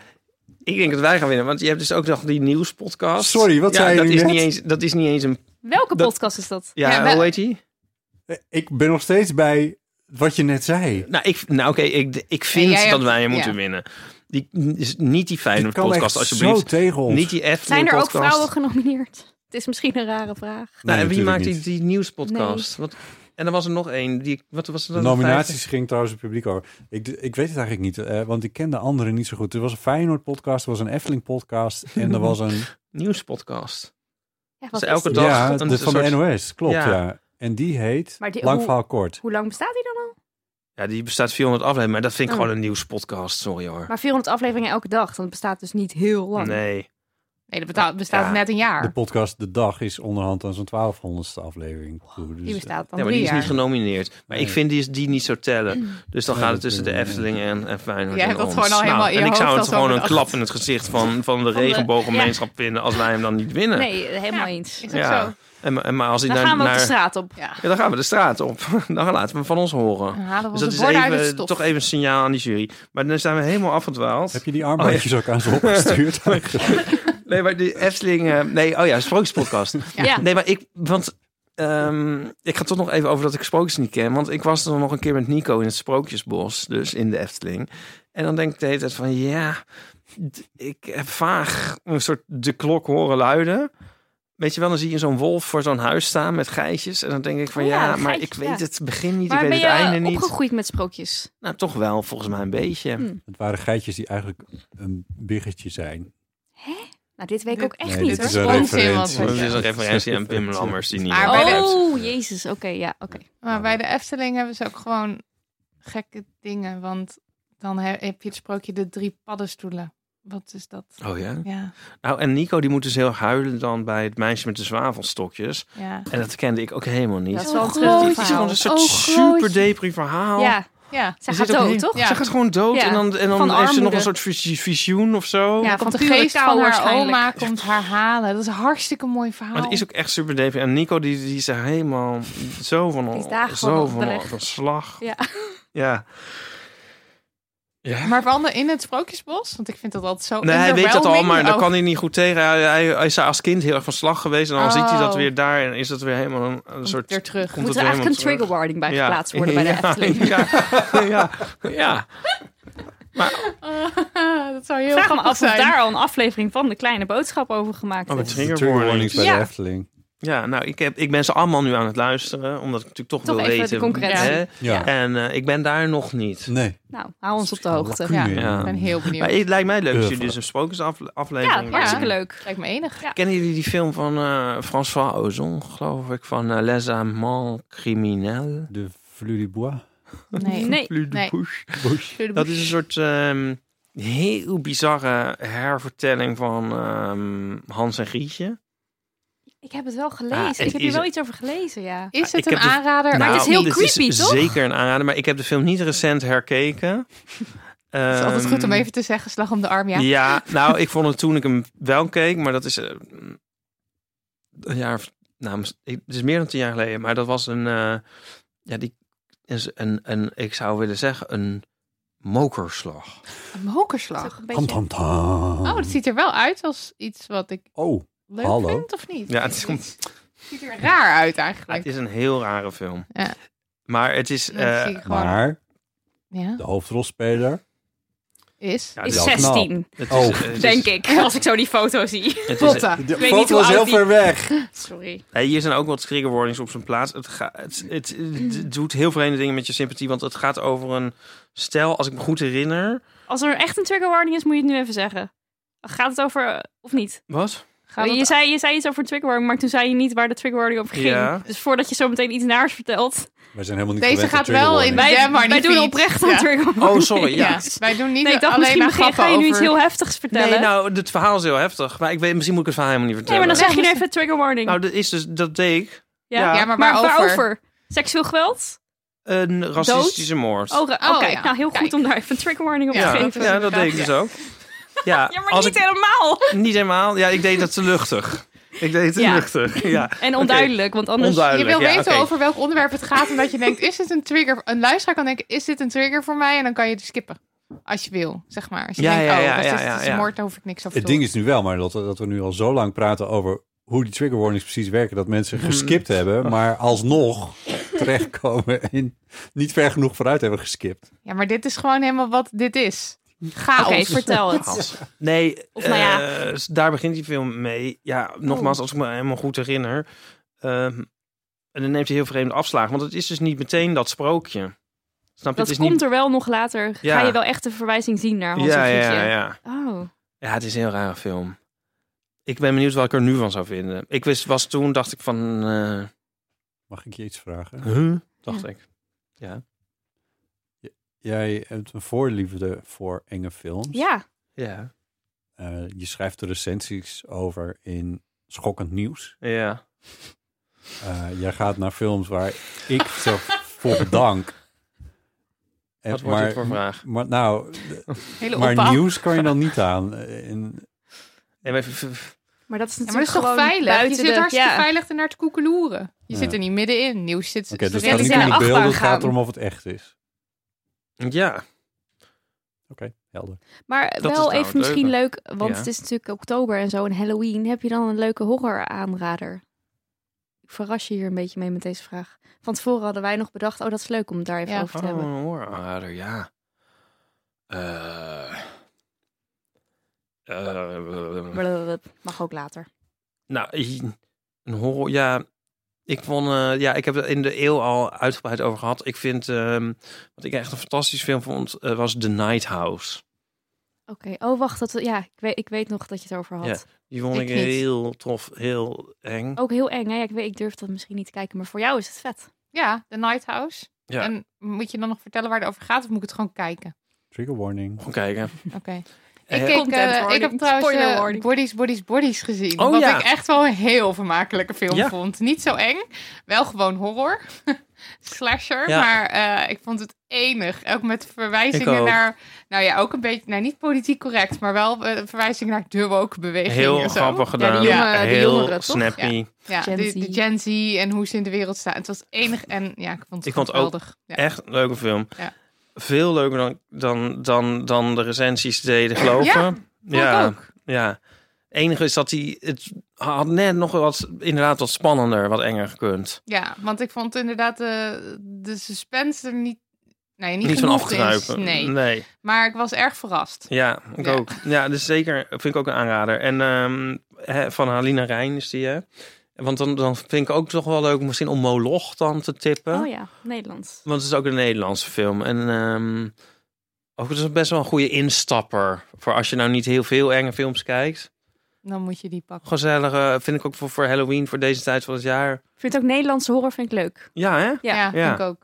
ik denk dat wij gaan winnen. Want je hebt dus ook nog die nieuwspodcast.
Sorry, wat
ja,
zei je
dat
nu
is
net?
niet eens, Dat is niet eens een...
Welke
Dat-
podcast is dat?
Ja,
Ja, we-
hoe heet die?
Ik ben nog steeds bij wat je net zei.
Nou, ik, nou oké, ik, ik vind
Ja, jij
dat
hebt-
wij moeten
ja.
winnen. Die, is niet die
Ik
Feyenoord
kan
podcast,
echt zo
alsjeblieft.
tegen ons.
Niet die Efteling
Zijn er ook
podcast.
vrouwen genomineerd? Het is misschien een rare vraag.
Nou,
Nee,
en wie
natuurlijk
maakt die,
niet.
die nieuwspodcast? Wat, en er was er nog één. Die, wat was er
De
dan?
nominaties ging trouwens het publiek over. Ik, ik weet het eigenlijk niet, eh, want ik ken de anderen niet zo goed. Er was een Feyenoord-podcast, er was een Efteling-podcast en er was een...
Nieuwspodcast. Dus
Ja, wat is
elke
dit?
dag
ja,
een
de- van de
soort-
NOS, klopt,
Ja.
ja. En die heet,
Maar die-
lang
hoe-
verhaal kort.
Hoe lang bestaat die dan al?
Ja, die bestaat 400 afleveringen, maar dat vind ik
Oh.
gewoon een nieuwspodcast, sorry hoor.
Maar 400 afleveringen elke dag. Dat bestaat dus niet heel lang.
Nee.
Nee, dat betaalt- bestaat
Ja.
net een
De
jaar.
podcast De Dag is onderhand aan zo'n 1200ste aflevering. toe. Dus,
Die bestaat
Ja,
dan
maar
drie
die is niet
jaar. Mm.
genomineerd. Maar ik
Nee.
vind die, die niet zo tellen. Dus dan
Nee,
gaat het
dat
tussen de
kunnen we niet.
Efteling en, en Feyenoord
Jij
en
hebt dat
ons.
gewoon al helemaal in je
Nou, En ik zou
hoofd
het
al zo
gewoon een
bedacht.
klap in het gezicht van, van de regenbooggemeenschap vinden als wij hem dan niet winnen.
Nee,
Ja.
helemaal eens.
Is ook
Ja.
zo.
En, maar- en maar als hij
Dan
naar,
gaan we op de
naar-
straat op.
Ja.
Ja, dan gaan we de straat op. Dan laten we hem van ons horen.
Dan halen we
Dus
onze
dat is
borden uit het
even,
stof.
toch even een signaal aan die jury. Maar dan zijn we helemaal afgedwaald.
Heb je die armbandjes ook aan ze opgestuurd?
Nee, Oh, maar die Efteling... eh, nee, oh ja, Sprookjespodcast.
Ja.
Nee, maar ik... Want ehm, ik ga toch nog even over dat ik sprookjes niet ken. Want ik was er nog een keer met Nico in het Sprookjesbos. Dus in de Efteling. En dan denk ik de hele tijd van... Ja, d- ik heb vaag een soort de klok horen luiden. Weet je wel, dan zie je zo'n wolf voor zo'n huis staan met geitjes. En dan denk ik van
Oh
ja,
ja,
maar
geitjes,
ik weet
ja.
het begin niet,
Maar
ik
ben
weet
je
het einde
eh,
niet.
opgegroeid met sprookjes?
Nou, toch wel, volgens mij een beetje.
Hm.
Het waren geitjes die eigenlijk een biggetje zijn.
Nou, dit weet ik ook echt
Nee,
niet
dit is
hoor.
een
Onzin
referentie.
wat
Dat
we
is een referentie aan Pim Lammers die niet.
Maar
hoort.
bij de-
Oh, jezus. Oké, ja, oké.
Maar bij de Efteling hebben ze ook gewoon gekke dingen. Want dan he- heb je het sprookje de drie paddenstoelen. Wat is dat?
Oh ja.
Ja,
Nou, en Nico die moet dus heel huilen dan bij het meisje met de zwavelstokjes.
ja.
En dat kende ik ook helemaal niet.
Dat
Het
is wel een
Oh,
terug
grootje.
is gewoon
verhaal.
een soort
Oh, grootje.
super depri verhaal.
Ja,
Ja,
zij
Er
gaat
zit ook
dood,
heel-
toch?
Ja.
Ze gaat gewoon dood
Ja,
en dan, en dan
van
heeft ze nog
armoede.
een soort visie- visioen of zo.
ja,
van
komt de
pure
geest
kou
van haar
waarschijnlijk.
oma komt haar halen. Dat is een hartstikke mooi verhaal.
Maar het is ook echt super depri. En Nico die, die is er helemaal zo van,
Die is daar
zo
gewoon
van,
weg.
van slag.
Ja.
Ja. Ja.
Maar veranderen in het Sprookjesbos? Want ik vind dat altijd zo
Nee, hij weet dat al,
underwhelming.
maar daar
Oh,
kan hij niet goed tegen. Hij, hij, hij is daar als kind heel erg van slag geweest. En dan ziet hij dat
Oh.
weer daar en is dat weer helemaal een, een
komt
soort...
Weer terug.
komt
Moet
het
er
weer
eigenlijk een
helemaal
trigger
terug.
warning bij
Ja.
geplaatst worden bij de
Ja,
Efteling?
Ja, ja, ja.
dat zou heel
Vraag me
grappig
af of
zijn.
daar al een aflevering van de kleine boodschap over gemaakt
Oh,
is.
het
De
trigger
trigger
warnings.
warnings bij
Ja.
de Efteling.
Ja, nou, ik, heb, ik ben ze allemaal nu aan het luisteren. Omdat ik natuurlijk toch,
Toch
wil
even de
weten.
concurrentie.
hè.
Ja.
En eh, ik ben daar nog niet.
Nee.
Nou, hou ons op de hoogte.
Lacune.
Ja.
Ik ben heel benieuwd.
Maar het lijkt mij leuk als jullie
Uffel.
dus een
Ja,
sprookjesaflevering
hartstikke leuk.
Lijkt me enig.
Kennen jullie die film van eh, François Ozon, geloof ik? Van eh, Les Amants Criminels?
De Flulibois.
Nee.
Nee.
Nee.
Dat is een soort ehm, heel bizarre hervertelling van ehm, Hans en Grietje.
Ik heb het wel gelezen.
Ah, het
ik heb
is-
hier wel iets over gelezen, ja.
Is het
Ah, Ik
een
heb de- Nou,
aanrader?
maar het is heel
dit
creepy, toch?
Zeker een aanrader, maar ik heb de film niet recent herkeken.
Het is altijd goed om
Ehm,
even te zeggen, slag om de arm, ja.
Ja. nou, ik vond het toen ik hem wel keek, maar dat is eh, een jaar of, nou, mis- ik- het is meer dan tien jaar geleden, maar dat was een, eh, ja, die is een, een, ik zou willen zeggen, een mokerslag.
Een mokerslag.
Een
Tam,
beetje-
tam, tam.
Oh, dat ziet er wel uit als iets wat ik
Oh,
leuk
Hallo.
vind, of niet?
Ja, het is-
Iets- ziet er raar uit
Ja, het
eigenlijk.
is een heel rare film.
Ja.
Maar het is,
Dat
eh,
zie ik gewoon.
maar
Ja,
de hoofdrolspeler.
is.
ja, het
Is
Is
wel knap.
16,
het eh,
Oh.
het
denk ik, als ik zo die foto zie.
het is-
Potta.
De
weet niet
foto
hoe
is heel
oud die-
ver weg.
Sorry.
Hey, hier zijn ook wat trigger warnings op zijn plaats. Het, ga- het, het,
Mm.
het doet heel vreemde dingen met je sympathie, want het gaat over een stel, als ik me goed herinner.
Als er echt een trigger warning is, moet je het nu even zeggen. Gaat het over, eh, of niet?
Wat?
Gaat
je,
het-
zei, je zei iets over een trigger warning, maar toen zei je niet waar de trigger warning over ging.
Ja.
Dus voordat je zo meteen iets naars vertelt.
Wij zijn helemaal niet
Deze
gewend aan
gaat
trigger
wel in-
warnings.
Wij,
Jam, maar
wij
niet
doen
fiets.
oprecht een
Ja.
trigger warning.
Oh, sorry, ja.
Ja, wij doen niet
Nee, ik dacht
alleen
misschien
maar
begin,
grappen
ga je nu
over...
iets heel heftigs vertellen.
Nee, nou, het verhaal is heel heftig. Maar ik weet, misschien moet ik het verhaal helemaal niet
nee
vertellen.
maar dan zeg je nu
maar-
even trigger warning.
Nou, dat is dus, dat deed ik.
ja.
Ja, maar
maar
waarover?
waarover? Seksueel geweld?
Een racistische moord.
Oh, ra-
Oh,
oké.
ja.
Nou, heel goed
Kijk.
om daar even een trigger warning op
ja,
te
ja, dat,
geven.
is inderdaad,
deed ik dus ook. Ja,
Ja, maar
als
niet
ik,
helemaal.
niet helemaal. Ja, ik deed dat te luchtig. Ik deed het te
Ja.
luchtig. Ja,
En onduidelijk, want anders...
Je
onduidelijk.
wil
ja,
weten
oké.
over welk onderwerp het gaat, omdat je denkt, is dit een trigger? Een luisteraar kan denken, is dit een trigger voor mij? En dan kan je het skippen, als je wil, zeg maar. Als je
Ja,
denkt,
ja,
oh,
ja,
als
ja,
dit
ja,
is
ja.
een moord, daar hoef ik niks over
Het
te doen.
ding is nu wel, maar dat, dat we nu al zo lang praten over hoe die trigger warnings precies werken, dat mensen geskipt hebben, maar alsnog terechtkomen en niet ver genoeg vooruit hebben geskipt.
Ja, maar dit is gewoon helemaal wat dit is. Chaos.
Oké, vertel het.
Nee,
Of nou ja. Oh.
eh, daar begint die film mee. Ja, nogmaals, als ik me helemaal goed herinner. Ehm, en dan neemt hij heel vreemde afslagen. Want het is dus niet meteen dat sprookje. Snap je?
Dat
het is
komt
niet...
er wel nog later.
Ja.
Ga je wel echt de verwijzing zien naar Hans
ja,
en
ja,
Grietje.
ja.
Oh.
Ja, het is een heel rare film. Ik ben benieuwd wat ik er nu van zou vinden. Ik wist, was toen, dacht ik van... eh,
Mag ik je iets vragen?
Huh? Dacht ik. Ja.
Jij hebt een voorliefde voor enge films.
Ja,
Ja.
Eh, je schrijft er recensies over in schokkend nieuws.
Ja.
Eh, jij gaat naar films waar ik zo voor bedank. En-
Wat wordt dit voor vraag?
Maar nou,
Hele
maar
opbouw.
nieuws kan je dan niet aan. Eh, En,
Nee, maar v- v-
maar dat is
Ja, maar dat
natuurlijk
is toch
gewoon
veilig? Je
buiten
zit
de-
hartstikke
ja.
veilig ernaar te koekeloeren. Je
Ja.
zit er niet middenin. Nieuws zit...
Oké, dus
de
het gaat
rellen
niet
zijn
om de
achtbaan
beelden, het
gaan.
gaat erom of het echt is.
ja.
Oké, helder.
Maar
is
wel
nou
even
het
misschien leuk, want
Ja.
het is natuurlijk oktober en zo en Halloween. Heb je dan een leuke horror aanrader? Ik verras je hier een beetje mee met deze vraag. Van tevoren hadden wij nog bedacht, oh dat is leuk om het daar even
Ja.
over te
Oh,
hebben.
een horror, ja. Eh. Eh,
Blablabla. Mag ook later.
Nou, i- een horror, ja. Ik vond, eh, ja, ik heb het in de eeuw al uitgebreid over gehad. Ik vind, ehm, wat ik echt een fantastische film vond, eh, was The Night House.
Oké, oh wacht, dat, ja, ik weet, ik weet nog dat je het over had.
Die vond ik,
Ik niet.
heel tof, heel eng.
Ook heel eng, hè? Ja, ik, weet, ik durf dat misschien niet te kijken, maar voor jou is het vet.
Ja, The Night House.
ja,
En moet je dan nog vertellen waar het over gaat of moet ik het gewoon kijken?
Trigger warning.
gewoon kijken.
Oké.
Eh,
Ik, keek,
Content
eh, ik
warning.
heb trouwens
Spoiler
eh,
warning.
Bodies, Bodies, Bodies gezien.
Oh,
wat
ja.
ik echt wel een heel vermakelijke film
Ja.
vond. Niet zo eng, wel gewoon horror. Slasher,
Ja.
maar eh, ik vond het enig. Ook met verwijzingen
Ik ook.
naar... Nou ja, ook een beetje... Nou, niet politiek correct, maar wel eh, verwijzingen naar de woke beweging.
Heel
en zo.
grappig gedaan.
die jongen- die
heel
Eh, jongeren, toch?
snappy.
Ja,
Gen
de,
Z.
de Gen Z en hoe ze in de wereld staan. Het was enig en ja, ik vond het
Ik vond het ook
geweldig. Ja.
Echt een leuke film.
Ja.
Veel leuker dan, dan, dan, dan de recensies deden geloven.
ik
ja.
ook.
Ja. Enige is dat hij het had net nog wat inderdaad wat spannender, wat enger gekund.
Ja, want ik vond inderdaad de, de suspense er niet... Nee, niet,
Niet, van
genoeg in-
afgruipen.
Nee. maar ik was erg verrast.
Ja, ik
Ja.
ook. Ja, dus zeker vind ik ook een aanrader. En ehm, hè, van Halina Rijn is die, hè? Want dan, dan vind ik ook toch wel leuk om misschien om Moloch dan te tippen.
Oh ja, Nederlands.
Want het is ook een Nederlandse film. En ehm, ook het is best wel een goede instapper. Voor als je nou niet heel veel enge films kijkt.
Dan moet je die pakken.
Gezellige, vind ik ook voor, voor Halloween, voor deze tijd van het jaar.
Ik vind ook Nederlandse horror vind ik leuk.
Ja, hè?
Ja.
Ja,
Ja.
vind ik ook.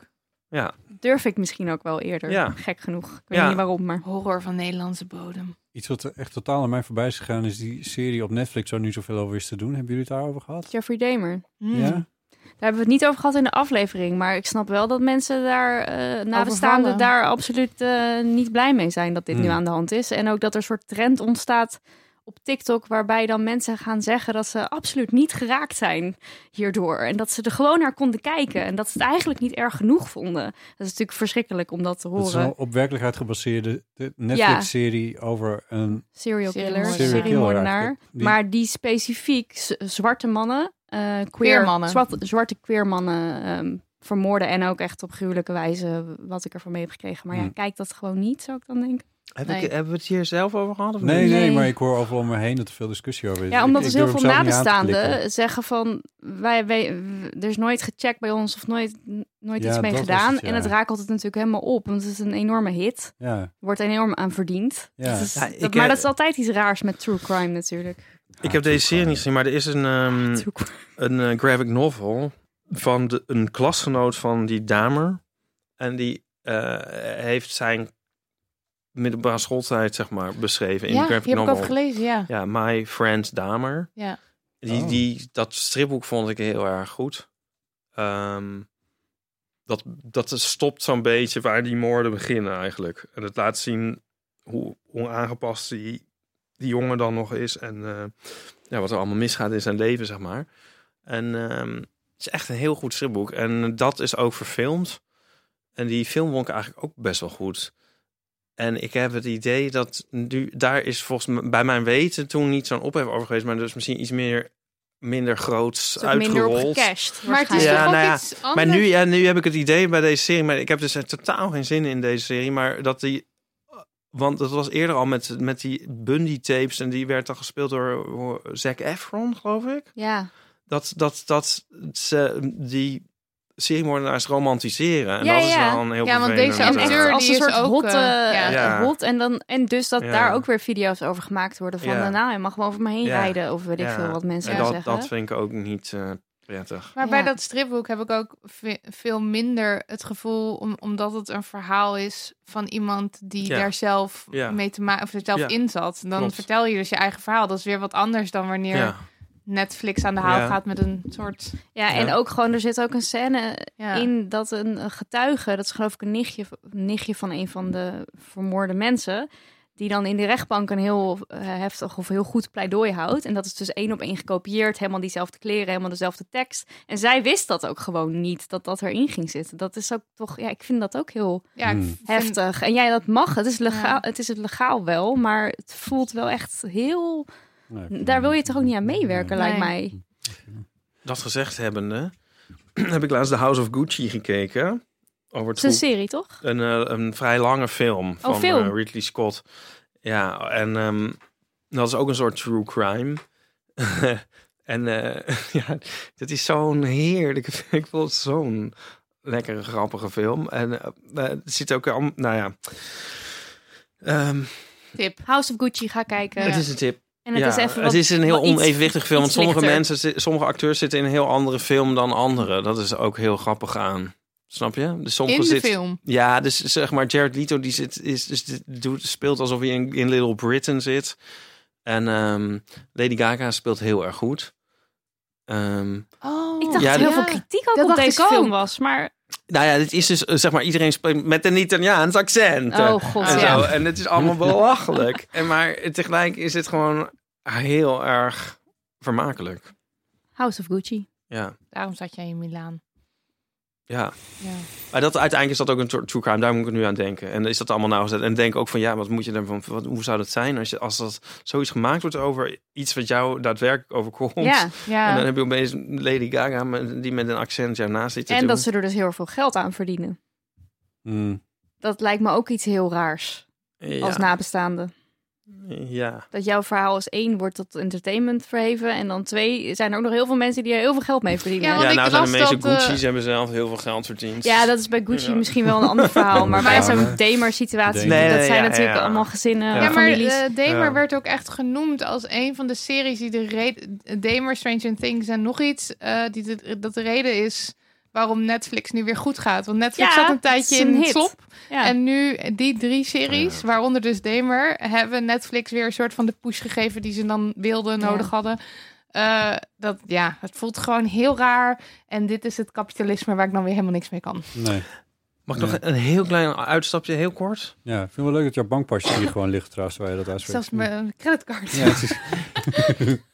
Durf ik misschien ook wel eerder.
Ja.
Gek genoeg. Ik weet
Ja.
niet waarom, maar...
Horror van Nederlandse bodem.
Iets wat echt totaal aan mij voorbij is gegaan is die serie op Netflix waar nu zoveel over is te doen. Hebben jullie het daarover gehad?
Jeffrey Dahmer.
Hmm.
Ja?
Daar hebben we het niet over gehad in de aflevering. Maar ik snap wel dat mensen daar, eh nabestaanden,
Overvallen.
daar absoluut eh, niet blij mee zijn dat dit nu
Hmm.
aan de hand is. En ook dat er een soort trend ontstaat op TikTok waarbij dan mensen gaan zeggen dat ze absoluut niet geraakt zijn hierdoor. En dat ze er gewoon naar konden kijken. En dat ze het eigenlijk niet erg genoeg vonden. Dat is natuurlijk verschrikkelijk om dat te
Dat is
horen.
een op werkelijkheid gebaseerde de Netflix-serie over een
Serial
Serial
killer,
killer.
serie moordenaar.
eigenlijk. Die-
Maar die specifiek z- zwarte mannen, eh, queer,
Queer mannen.
zwart- zwarte queer mannen ehm, vermoorden. En ook echt op gruwelijke wijze wat ik ervan mee heb gekregen. Maar ja,
Hmm.
kijk dat gewoon niet, zou ik dan denken.
Heb
Nee.
ik, hebben we het hier zelf over gehad? Of
Nee,
niet?
nee,
Nee.
maar ik hoor overal om me heen dat er veel discussie over is.
Ja,
Ik-
omdat
ik
dus
durf
heel veel
hem zelf niet aan te klikken.
nabestaanden zeggen van... Wij, wij, w- er is nooit gecheckt bij ons of nooit, n- nooit
Ja,
iets mee
dat was
gedaan.
het, ja.
En het raakt altijd natuurlijk helemaal op. Want het is een enorme hit.
Ja,
Er wordt enorm aan verdiend.
Ja.
Dat is-
Ja, ik,
dat- maar
eh,
dat is altijd iets raars met true crime natuurlijk.
Ik
Ah,
heb deze serie niet gezien, maar er is een, ehm,
True crime.
een eh, graphic novel van de, een klasgenoot van die Damer. En die eh, heeft zijn middelbare schooltijd, zeg maar, beschreven in
ja,
een graphic
die heb ik ook
novel.
gelezen, ja.
ja, My Friend Damer.
Ja.
Die,
Oh.
die, dat stripboek vond ik heel erg goed. Ehm, dat, dat stopt zo'n beetje waar die moorden beginnen eigenlijk. En het laat zien hoe, hoe aangepast die, die jongen dan nog is. En eh, ja, wat er allemaal misgaat in zijn leven, zeg maar. En ehm, het is echt een heel goed stripboek. En dat is ook verfilmd. En die film vond ik eigenlijk ook best wel goed. En ik heb het idee dat nu, daar is volgens mij bij mijn weten toen niet zo'n ophef over geweest, maar dus misschien iets meer minder groots
Het is ook minder op
uitgerold.
gecashed.
Maar het is
Ja,
toch ook
nou ja,
iets anders?
Maar nu, ja, nu heb ik het idee bij deze serie, maar ik heb dus eh, totaal geen zin in deze serie, maar dat die. Want dat was eerder al met, met die Bundy-tapes en die werd dan gespeeld door, door Zac Efron, geloof ik
Ja,
dat, dat, dat ze die seriemoordenaars romantiseren. En
Ja,
dat is
ja.
wel een heel
Ja, want deze
vervelend,
acteur-
eh,
die
als een
is
soort
ook,
hot,
eh,
eh,
ja.
Ja.
hot. En, dan, en dus dat
Ja.
daar ook weer video's over gemaakt worden van...
Ja.
nou, hij mag wel over me heen
Ja.
rijden of weet ik
Ja.
veel wat mensen
en
zou
dat,
zeggen.
dat vind ik ook niet... eh, prettig.
Maar bij
Ja.
dat stripboek heb ik ook ve- veel minder het gevoel, om, omdat het een verhaal is van iemand die
Ja.
daar zelf
Ja.
mee te maken of er zelf
Ja.
in zat. Dan
Klopt.
vertel je dus je eigen verhaal. Dat is weer wat anders dan wanneer
Ja.
Netflix aan de haal
Ja.
gaat met een soort.
Ja, en
Ja.
ook gewoon, er zit ook een scène
Ja.
in dat een eh, getuige, dat is geloof ik een nichtje, nichtje van een van de vermoorde mensen, die dan in de rechtbank een heel eh, heftig of heel goed pleidooi houdt. En dat is dus één op één gekopieerd, helemaal diezelfde kleren, helemaal dezelfde tekst. En zij wist dat ook gewoon niet, dat dat erin ging zitten. Dat is ook toch, ja, ik vind dat ook heel
Ja, ik
Hmm.
vind-
heftig. En jij, dat mag, het is legaal,
Ja.
het is het legaal wel, maar het voelt wel echt heel,
Nou, ik vind-
daar wil je toch ook niet aan meewerken, lijkt
Nee.
mij.
Dat gezegd hebbende, heb ik laatst de House of Gucci gekeken. Over
Het is een
het
serie, toch? Oh,
een, eh, een vrij lange film van
film.
eh, Ridley Scott. Ja, en ehm, dat is ook een soort true crime. en eh, ja, dat is zo'n heerlijke film. Ik vond het zo'n lekkere, grappige film. En eh, eh, er zit ook, al, nou ja... Ehm,
tip.
House of Gucci, ga kijken.
Het is een tip.
En het
ja,
is even wat...
het is een heel
wat iets-
onevenwichtig film. Want
iets
sommige
lichter.
mensen, zi- sommige acteurs zitten in een heel andere film dan anderen. Dat is ook heel grappig aan. Snap je? Dus sommige
In de
zit-
film.
ja, dus zeg maar, Jared Leto die zit, is, is, doet, speelt alsof hij in, in Little Britain zit. En ehm, Lady Gaga speelt heel erg goed. Ehm,
Oh,
Ik dacht
Ja,
dat
dat-
heel veel kritiek ook
Dat
op
dacht
deze
ik ook.
film was, maar...
nou ja, dit is dus, eh, zeg maar, iedereen spreekt met een Italiaans accent. eh,
Oh god,
en,
ja.
zo. en het is allemaal belachelijk. En maar tegelijk is het gewoon heel erg vermakelijk.
House of Gucci.
Ja,
Daarom zat jij in Milaan.
ja.
Ja.
Maar dat, uiteindelijk is dat ook een soort true crime. Daar moet ik nu aan denken. En is dat allemaal nauwgezet. En denk ook van, ja, wat moet je daarvan... Wat, hoe zou dat zijn als, je, als dat zoiets gemaakt wordt over iets wat jou daadwerkelijk overkomt?
Ja,
Ja.
En dan heb je opeens Lady Gaga met- die met een accent daarnaast zit te
en
doen.
dat ze er dus heel veel geld aan verdienen.
Mm.
Dat lijkt me ook iets heel raars
ja.
als nabestaande.
ja.
Dat jouw verhaal als één wordt tot entertainment verheven. En dan twee zijn er ook nog heel veel mensen die er heel veel geld mee verdienen.
Ja,
Ja,
want
ja,
ik
nou zijn de
las
meeste
dat, eh,
Gucci's hebben zelf heel veel geld verdiend.
dat is bij Gucci
Ja.
misschien wel een ander verhaal. Maar bij
Ja.
zo'n Damer-situatie,
Nee,
dat
nee,
zijn
ja,
natuurlijk
ja.
allemaal gezinnen,
Ja.
Ja, maar
families.
eh, Damer
Ja.
werd ook echt genoemd als een van de series die de reden... Damer, Stranger Things en nog iets, eh, die de, dat de reden is waarom Netflix nu weer goed gaat. Want Netflix
Ja,
zat een
het
tijdje
is een
in
hit.
het slop.
ja.
En nu eh, die drie series, waaronder dus Damer, hebben Netflix weer een soort van de push gegeven die ze dan wilden,
Ja.
nodig hadden. Eh, dat, ja, het voelt gewoon heel raar. En dit is het kapitalisme waar ik dan weer helemaal niks mee kan.
Nee.
Mag ik nog een heel klein uitstapje, heel kort?
Ja, ik vind het wel leuk dat jouw bankpasje hier gewoon ligt trouwens, waar je dat uitspreekt.
Zelfs mijn creditcard.
Ja, het is-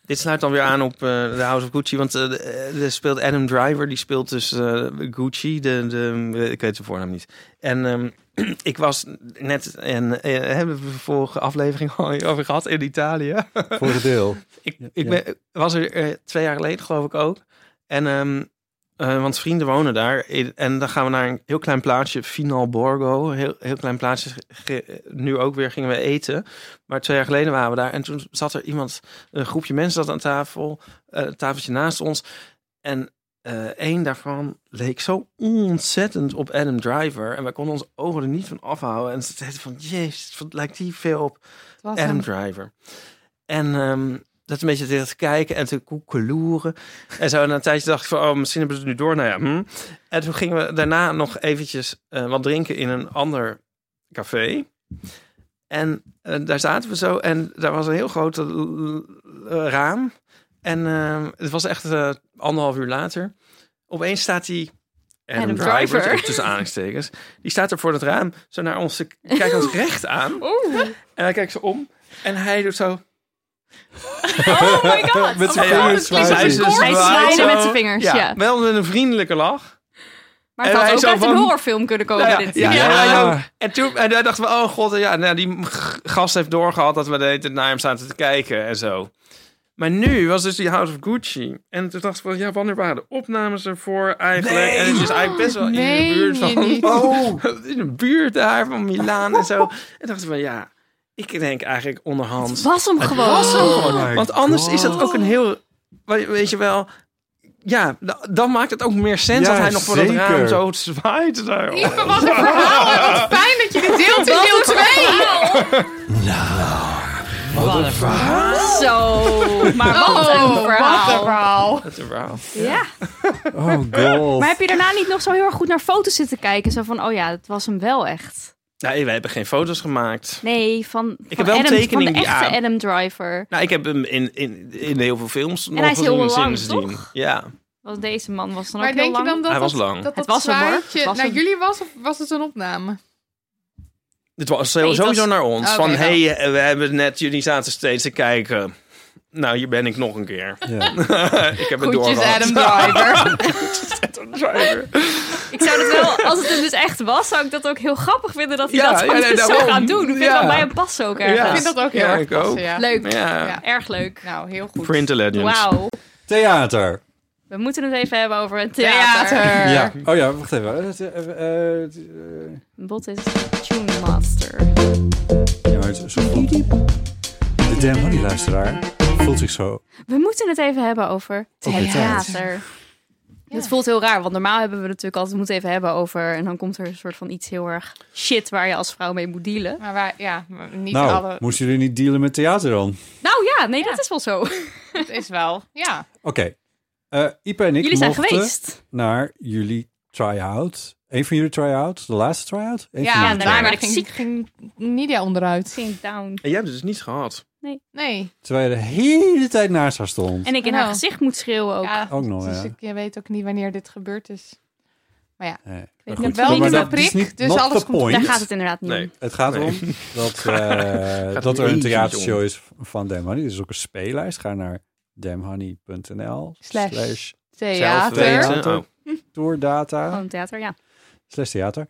Dit sluit dan weer aan op eh, de House of Gucci, want eh, de- er speelt Adam Driver, die speelt dus eh, Gucci, de, de, ik weet zijn voornaam niet. En ehm, ik was net, en eh, hebben we de vorige aflevering al over gehad, in Italië.
voor het deel.
Ik,
Ja,
ik
ja.
ben, was er eh, twee jaar geleden, geloof ik ook. En, ehm, eh, want vrienden wonen daar. In- En dan gaan we naar een heel klein plaatsje, Final Borgo. Heel, heel klein plaatsje. Ge- Nu ook weer gingen we eten. Maar twee jaar geleden waren we daar. En toen zat er iemand, een groepje mensen zat aan tafel. eh, een tafeltje naast ons. En eh één daarvan leek zo ontzettend op Adam Driver. En wij konden onze ogen er niet van afhouden. En ze zeiden van, jezus, wat lijkt die veel op
Het was
Adam
hem.
Driver. En ehm, dat een beetje tegen te kijken en te koekeloeren. En zo na een tijdje dacht ik van, oh, misschien hebben ze het nu door. Nou ja, hm. En toen gingen we daarna nog eventjes eh, wat drinken in een ander café. En eh, daar zaten we zo en daar was een heel groot eh, eh, raam. En ehm, het was echt eh, anderhalf uur later. Opeens staat die Adam,
Adam
Driver,
Driver.
tussen aanhalingstekens. Die staat er voor het raam, zo naar ons, te- kijkt dus- ons recht aan. En hij kijkt ze om en hij doet zo.
Oh my god!
Met zijn
Oh my god,
vingers
het klinkt
zwaaien.
als een
Hij dus
koor. Hij
zwaait
zwaaide
zo.
met zijn vingers, ja.
Wel met een vriendelijke lach.
Maar het
En
had
hij
ook
zo
uit een
van-
horrorfilm kunnen komen,
Nou ja,
dit.
ja,
Ja.
ja, ja. En toen en daar dachten we, oh god, ja, nou, die g- gast heeft doorgehad dat we de hele tijd naar hem zaten te kijken en zo. Maar nu was dus die House of Gucci. En toen dachten we, ja, wanneer waren de opnames ervoor eigenlijk? En het is eigenlijk best wel in
Meen
de buurt
je niet?
van... Oh, in de buurt daar van Milaan en zo. En dachten we, ja, ik denk eigenlijk onderhand...
Was hem gewoon.
was hem gewoon.
Oh my
Want anders
God.
is dat ook een heel. we- Weet je wel. Ja, da- dan maakt het ook meer sens
Ja,
dat hij nog voor dat
zeker.
raam zo zwaait. daar.
Ipe, wat een verhaal. en Wat fijn dat je dit deelt in
Wat
deel
een
2.
verhaal.
Wat een verhaal.
Zo, maar Oh, wat een
Wat een
verhaal.
verhaal.
Dat is een verhaal.
Ja.
Oh god.
Maar heb je daarna niet nog zo heel erg goed naar foto's zitten kijken? Zo van, oh ja, dat was hem wel echt.
Nee, wij hebben geen foto's gemaakt.
Nee, van, van,
heb wel een
Adam,
tekening
van de
die
echte
aan-
Adam Driver.
Nou, ik heb hem in, in, in heel veel films nog
hij is heel
gezien
lang,
sindsdien.
toch?
Ja,
Want deze man was dan
Maar
ook heel
denk je
lang.
dan dat
Hij was
dat,
lang.
dat,
Het
dat
was hem, hoor. Het
zwaardje
was
naar
hem.
jullie was? Of was het een opname?
dit was zo-
Nee, het
sowieso
was- Oh, nou.
naar ons.
Oké,
van,
wel.
hé, hey, eh, we hebben net, jullie zaten steeds te kijken. Nou, hier ben ik nog een keer.
Ja.
ik heb het
Groetjes
doorgehad.
Adam Driver.
Ik zou het wel, als het hem dus echt was, zou ik dat ook heel grappig vinden dat hij
Ja,
dat
ja,
dan
nee,
dus zo
daarom.
gaat doen. Ik vind
Ja.
dat bij hem passen ook erg.
Ja.
Ik vind dat ook heel
Ja,
erg
ik ook.
passen, ja.
Leuk,
Ja,
Ja.
erg leuk.
Nou, heel goed.
Print the Legends.
Wauw.
Theater.
We moeten het even hebben over het theater.
Theater.
Ja. Oh ja, wacht even. Eh, eh, eh, eh,
Bot is Tune Master.
Ja, maar het is zo goed. De Damn Honey luisteraar voelt zich zo.
We moeten het even hebben over
Over
theater. Het voelt heel raar, want normaal hebben we natuurlijk altijd moeten even hebben over... en dan komt er een soort van iets heel erg shit waar je als vrouw mee moet dealen.
Maar wij, ja, maar niet
nou,
alle.
moesten jullie niet dealen met theater dan? Oké.
Nou ja, nee, dat is wel zo.
Het is wel, ja.
Eh, Ipe en ik
Jullie zijn
mochten
geweest.
naar jullie try-out. Eén van jullie try-out? De laatste try-out? Eén van jullie
Ja, daarna
daarna
try-out.
werd ik
ging,
ziek.
ging Nidia onderuit.
Ging down.
En jij hebt het dus niet gehad.
Nee.
Terwijl je de hele tijd naast haar stond.
En ik in
Oh.
haar gezicht moet schreeuwen ook.
Oh,
Ja,
Ook nog,
dus
ja.
ik- je weet ook niet wanneer dit gebeurd is.
Nee, maar
heb
goed.
wel
Maar
niet
dat
de
is
prik,
niet-
dus
not
alles
the
komt-
point.
Daar gaat het inderdaad niet
Nee.
om.
Het gaat
Nee.
erom dat, eh, dat
om
er een
eentje
theatershow
om.
is van Dam Honey. Dus Er is ook een speellijst. Ga naar damhoney.nl
Slash.
slash
Zelf
Theater.
weten.
Theater.
Oh,
tourdata
Gewoon theater, ja.
slash theater.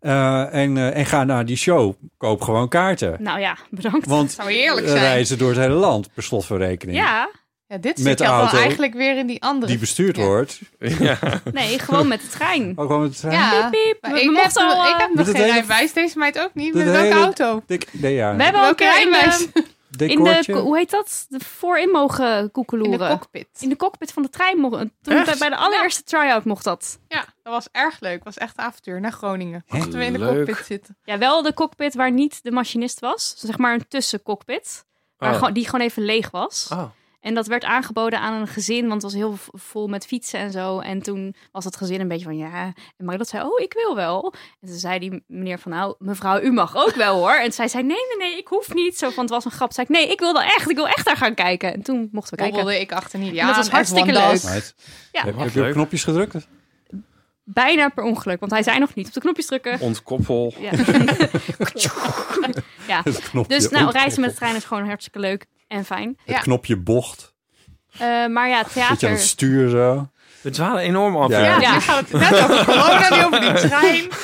Eh, en, eh, en ga naar die show. Koop gewoon kaarten.
Nou ja, bedankt.
Want
Zou eerlijk
eh,
zijn.
reizen door het hele land, per slot van rekening.
Ja,
Ja, dit
Met
zit
de
je al
auto.
eigenlijk weer in die andere.
Die bestuurd
Ja.
wordt.
ja.
nee, gewoon met de trein.
Ook wel met de trein.
Ja,
Piep,
maar
we
ik, heb,
mochten al,
nog- ik
eh,
heb
Met
nog
het
geen
hele-
rijbewijs. Deze meid ook niet.
Dit
Met welke
hele-
auto?
Dik, nee, ja.
eh, We hebben al een
Welke
keer in
rijbewijs?
de, in
Decoortje.
de, hoe heet dat? De voorin mogen
In de
koekeloeren.
cockpit.
In de cockpit van de trein mocht toen
Echt?
bij de allereerste try-out mocht dat.
Ja, dat was erg leuk. was echt een avontuur naar Groningen.
Hè?
Mochten we in de
Leuk.
cockpit zitten.
Ja, wel de cockpit waar niet de machinist was. Dus zeg maar een tussencockpit. Waar
Oh.
gewoon- die gewoon even leeg was.
Oh.
En dat werd aangeboden aan een gezin, want het was heel v- vol met fietsen en zo. En toen was dat gezin een beetje van ja. En Marilot zei: Oh, ik wil wel. En toen zei die meneer van nou, mevrouw, u mag ook wel hoor. En zij zei: Nee, nee, nee, ik hoef niet. Zo van het was een grap. Zei ik: Nee, ik wil dan echt. Ik wil echt daar gaan kijken. En toen mochten we kijken.
Bobbelde ik achter Nidia
En dat was
aan,
hartstikke
F1
leuk.
das.
Meid,
Ja.
heb,
Wat
heb je op
leuk.
knopjes gedrukt?
Bijna per ongeluk, want hij zei nog niet op de knopjes drukken.
Ontkoppel.
Ja.
Het knopje
Dus nou,
op-
reizen met de trein is gewoon hartstikke leuk en fijn.
Het
Ja.
knopje bocht.
Eh, maar ja,
Zit je aan het
theater.
stuur zo.
We dwalen enorm af.
Ja.
Ja,
Ja.
nu gaat het net over corona, nu over die trein.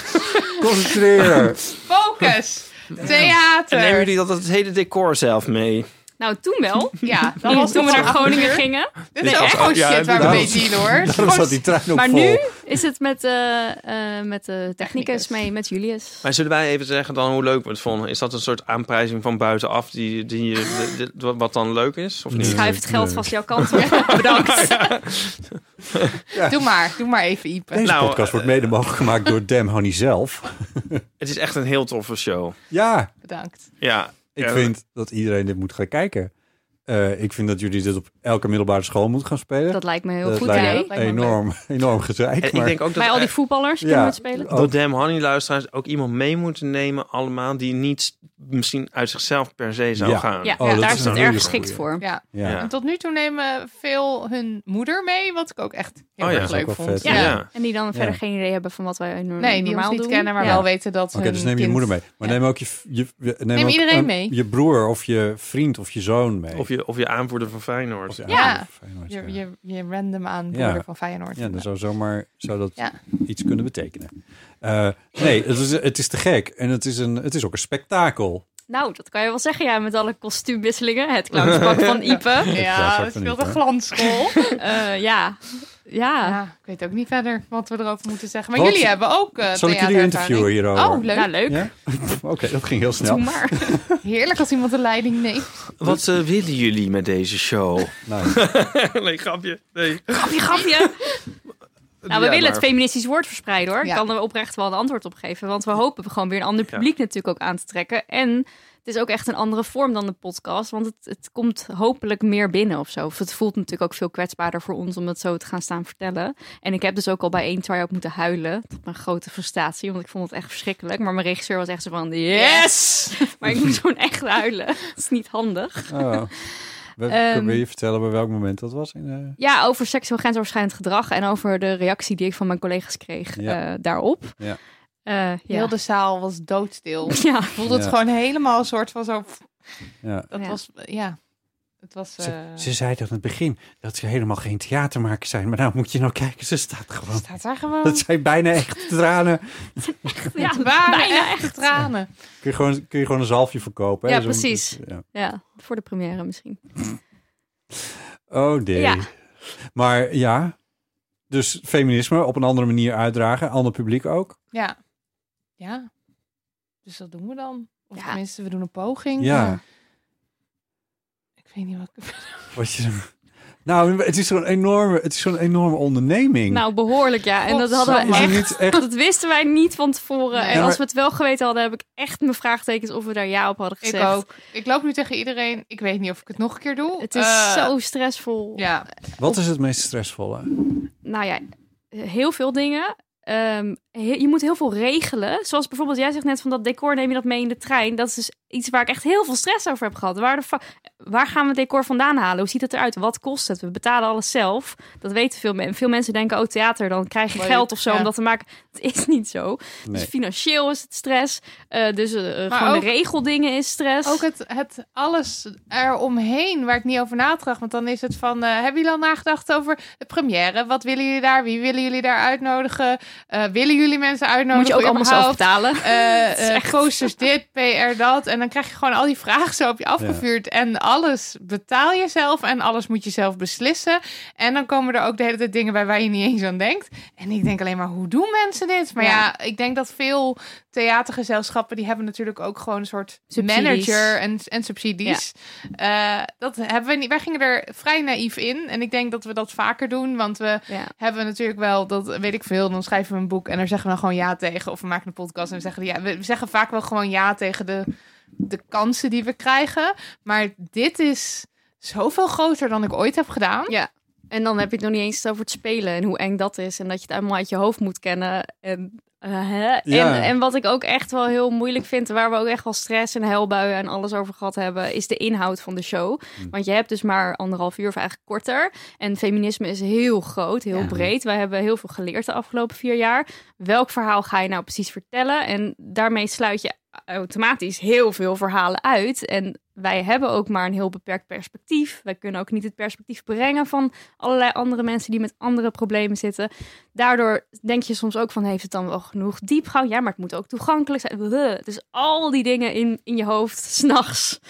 Concentreer.
Focus.
En nemen
Theater.
jullie dat het hele decor zelf mee?
Nou, toen wel.
Ja, dat
Toen-
was
toen we
nog
naar
een
Groningen
avontuur.
gingen.
Dit is
Ja,
ook gewoon
ja,
shit waar we
daarom-
mee dealen hoor.
Daarom
Gewoon
zat die trein ook
Maar
vol.
nu is het met, eh, eh, met de technicus
Technicus.
mee, met Julius.
Maar zullen wij even zeggen dan hoe leuk we het vonden? Is dat een soort aanprijzing van buitenaf die, die, je- de- de- wat dan leuk is? Of
Nee.
niet?
Schuif het geld
Nee.
vast jouw kant op. Bedankt.
Doe maar, doe maar even Ipe.
Deze
Nou,
podcast wordt mede mogelijk gemaakt door Dam Honey zelf.
Het is echt een heel toffe show.
Ja,
Bedankt.
Ja.
ik
Ja.
vind dat iedereen dit moet gaan kijken. Eh, ik vind dat jullie dit op elke middelbare school moeten gaan spelen.
Dat lijkt me heel
Dat
goed,
lijkt
hè?
me- lijkt me
enorm, enorm
En
gezeik.
ik
Maar
denk ook dat,
Bij al
eh,
die voetballers die
Ja. Oh,
kunnen het spelen.
dat Damn Honey luisteraars ook iemand mee moeten nemen allemaal die niet misschien uit zichzelf per se zou
Ja.
gaan.
Ja,
Oh, dat
daar
is
is
een
het
hele
erg geschikt
goeie.
voor.
Ja.
ja.
Ja.
En tot nu toe nemen veel hun moeder mee, wat ik ook echt heel
Oh ja.
Dat
erg
is
leuk
ook wel
vond.
vet,
Ja.
Ja.
En die dan verder
Ja.
geen idee hebben van wat wij Mm, normaal doen.
Nee, die ons niet kennen, maar
Ja.
wel weten dat
Oké,
hun
dus neem je
kind-
moeder mee. Maar
Ja.
neem ook je, je, je- neem
Neem
ook,
iedereen
eh,
mee.
Je broer of je vriend of je zoon mee.
Of, je, of je aanvoerder van Feyenoord.
Of je
Ja.
ouders, of Feyenoord, ja.
Je, je, je random aan
Ja.
broeder van Feyenoord.
Ja, dan zou zomaar zou dat
Ja.
iets kunnen betekenen. Eh, nee, het is, het is te gek. En het is, een, het is ook een spektakel.
Nou, dat kan je wel zeggen, ja, met alle kostuumwisselingen. Het clownspak van Ipe.
Ja,
Ja,
dat
dat
niet,
speelt een
hoor.
glansrol.
Eh, ja. Ja.
Ja, ik weet ook niet verder wat we erover moeten zeggen. Maar
Wat-
jullie hebben ook eh
Zal ik jullie interviewen
theaterervaring.
hierover?
Oh, leuk.
Nou, leuk.
Ja? Oké, dat ging heel snel.
Doe maar.
Heerlijk als iemand de leiding neemt.
Wat eh, willen jullie met deze show?
Nou,
nee, grapje. Nee.
Grapje, grapje. Nou, we
Ja,
willen
maar-
het feministisch woord verspreiden hoor.
Ja.
Ik kan er oprecht wel een antwoord op geven. Want we hopen gewoon weer een ander publiek natuurlijk ook aan te trekken. En het is ook echt een andere vorm dan de podcast. Want het, het komt hopelijk meer binnen of zo. Of het voelt natuurlijk ook veel kwetsbaarder voor ons om dat zo te gaan staan vertellen. En ik heb dus ook al bij één try-out moeten huilen. Tot mijn grote frustratie. Want ik vond het echt verschrikkelijk. Maar mijn regisseur was echt zo van yes! maar ik moest gewoon echt huilen. Dat is niet handig.
Oh. We,
Ehm.
kun je vertellen bij welk moment dat was? In, eh,
Ja, over seksueel grensoverschrijdend gedrag en over de reactie die ik van mijn collega's kreeg
Ja.
eh, daarop.
Ja.
Eh, ja.
Heel de zaal was doodstil.
ja.
voelde het
Ja.
gewoon helemaal een soort van zo...
eh, ja.
Dat
Ja.
was... Ja. Het was... eh,
zei toch in het begin dat ze helemaal geen theatermakers zijn. Maar nou moet je nou kijken, ze staat gewoon.
staat daar gewoon...
zijn bijna echt tranen.
Ja,
Het waren
bijna
echt, tranen.
Kun je gewoon, kun je gewoon een zalfje verkopen. hè?
Ja,
Zo'n-
precies.
ja.
ja, voor de première misschien.
Oh nee.
Ja.
Maar ja, dus feminisme op een andere manier uitdragen. Ander publiek ook.
Ja. Ja. Dus dat doen we dan. Of
Ja.
tenminste, we doen een poging.
Ja.
Ik weet niet wat ik...
Wat je, nou, het is zo'n enorme, het is zo'n enorme onderneming.
Nou, behoorlijk ja. En dat hadden we
Is het
echt.
niet echt
Dat wisten wij niet van tevoren.
Nee.
En
Ja,
maar-
als we het wel geweten hadden, heb ik echt mijn vraagtekens of we daar ja op hadden gezegd.
Ik ook. Ik loop nu tegen iedereen. Ik weet niet of ik het nog een keer doe.
Het is
Eh,
zo stressvol.
Ja.
Wat is het meest stressvolle?
nou ja, heel veel dingen. Ehm, he- je moet heel veel regelen. Zoals bijvoorbeeld, jij zegt net van dat decor neem je dat mee in de trein. Dat is dus iets waar ik echt heel veel stress over heb gehad. Waar, de fa- waar gaan we het decor vandaan halen? Hoe ziet het eruit? Wat kost het? We betalen alles zelf. Dat weten veel mensen. Veel mensen denken, oh theater, dan krijg je
Leuk,
geld of zo
ja.
om dat te maken. Dat is niet zo. Dus
Nee.
financieel is het stress. Eh, dus eh,
Maar
gewoon de
ook-
regeldingen is stress.
Ook het, het alles eromheen waar ik niet over nadacht. Want dan is het van, eh, hebben jullie al nagedacht over de première? Wat willen jullie daar? Wie willen jullie daar uitnodigen? Eh, willen jullie mensen uitnodigen?
moet je ook allemaal zelf
nou überhaupt?
betalen.
Eh,
Het is
eh,
echt-
posters dit, PR dat. En dan krijg je gewoon al die vragen zo op je afgevuurd. En alles betaal je zelf en alles moet je zelf beslissen. En dan komen er ook de hele tijd dingen bij waar je niet eens aan denkt. En ik denk alleen maar, hoe doen mensen dit? Maar ja,
Ja.
ik denk dat veel theatergezelschappen... die hebben natuurlijk ook gewoon een soort
Subsidies.
manager en, en subsidies. Eh, dat hebben we niet. Wij gingen er vrij naïef in. En ik denk dat we dat vaker doen, want we
Ja.
hebben we natuurlijk wel, dat weet ik veel. Dan schrijven we een boek en daar zeggen we dan gewoon ja tegen. Of we maken een podcast en we zeggen ja. We zeggen vaak wel gewoon ja tegen de, de kansen die we krijgen. Maar dit is zoveel groter dan ik ooit heb gedaan.
Ja. En dan heb je het nog niet eens over het spelen en hoe eng dat is. En dat je het allemaal uit je hoofd moet kennen. En, eh, hè?
Ja.
en, en wat ik ook echt wel heel moeilijk vind, waar we ook echt wel stress en huilbuien en alles over gehad hebben, is de inhoud van de show. Want je hebt dus maar anderhalf uur of eigenlijk korter. En feminisme is heel groot, heel breed. Wij hebben heel veel geleerd de afgelopen vier jaar. Welk verhaal ga je nou precies vertellen? En daarmee sluit je automatisch heel veel verhalen uit. En wij hebben ook maar een heel beperkt perspectief. Wij kunnen ook niet het perspectief brengen van allerlei andere mensen die met andere problemen zitten. Daardoor denk je soms ook van, heeft het dan wel genoeg diepgang? Ja, maar het moet ook toegankelijk zijn. Bleh. Dus al die dingen in, in je hoofd, s'nachts.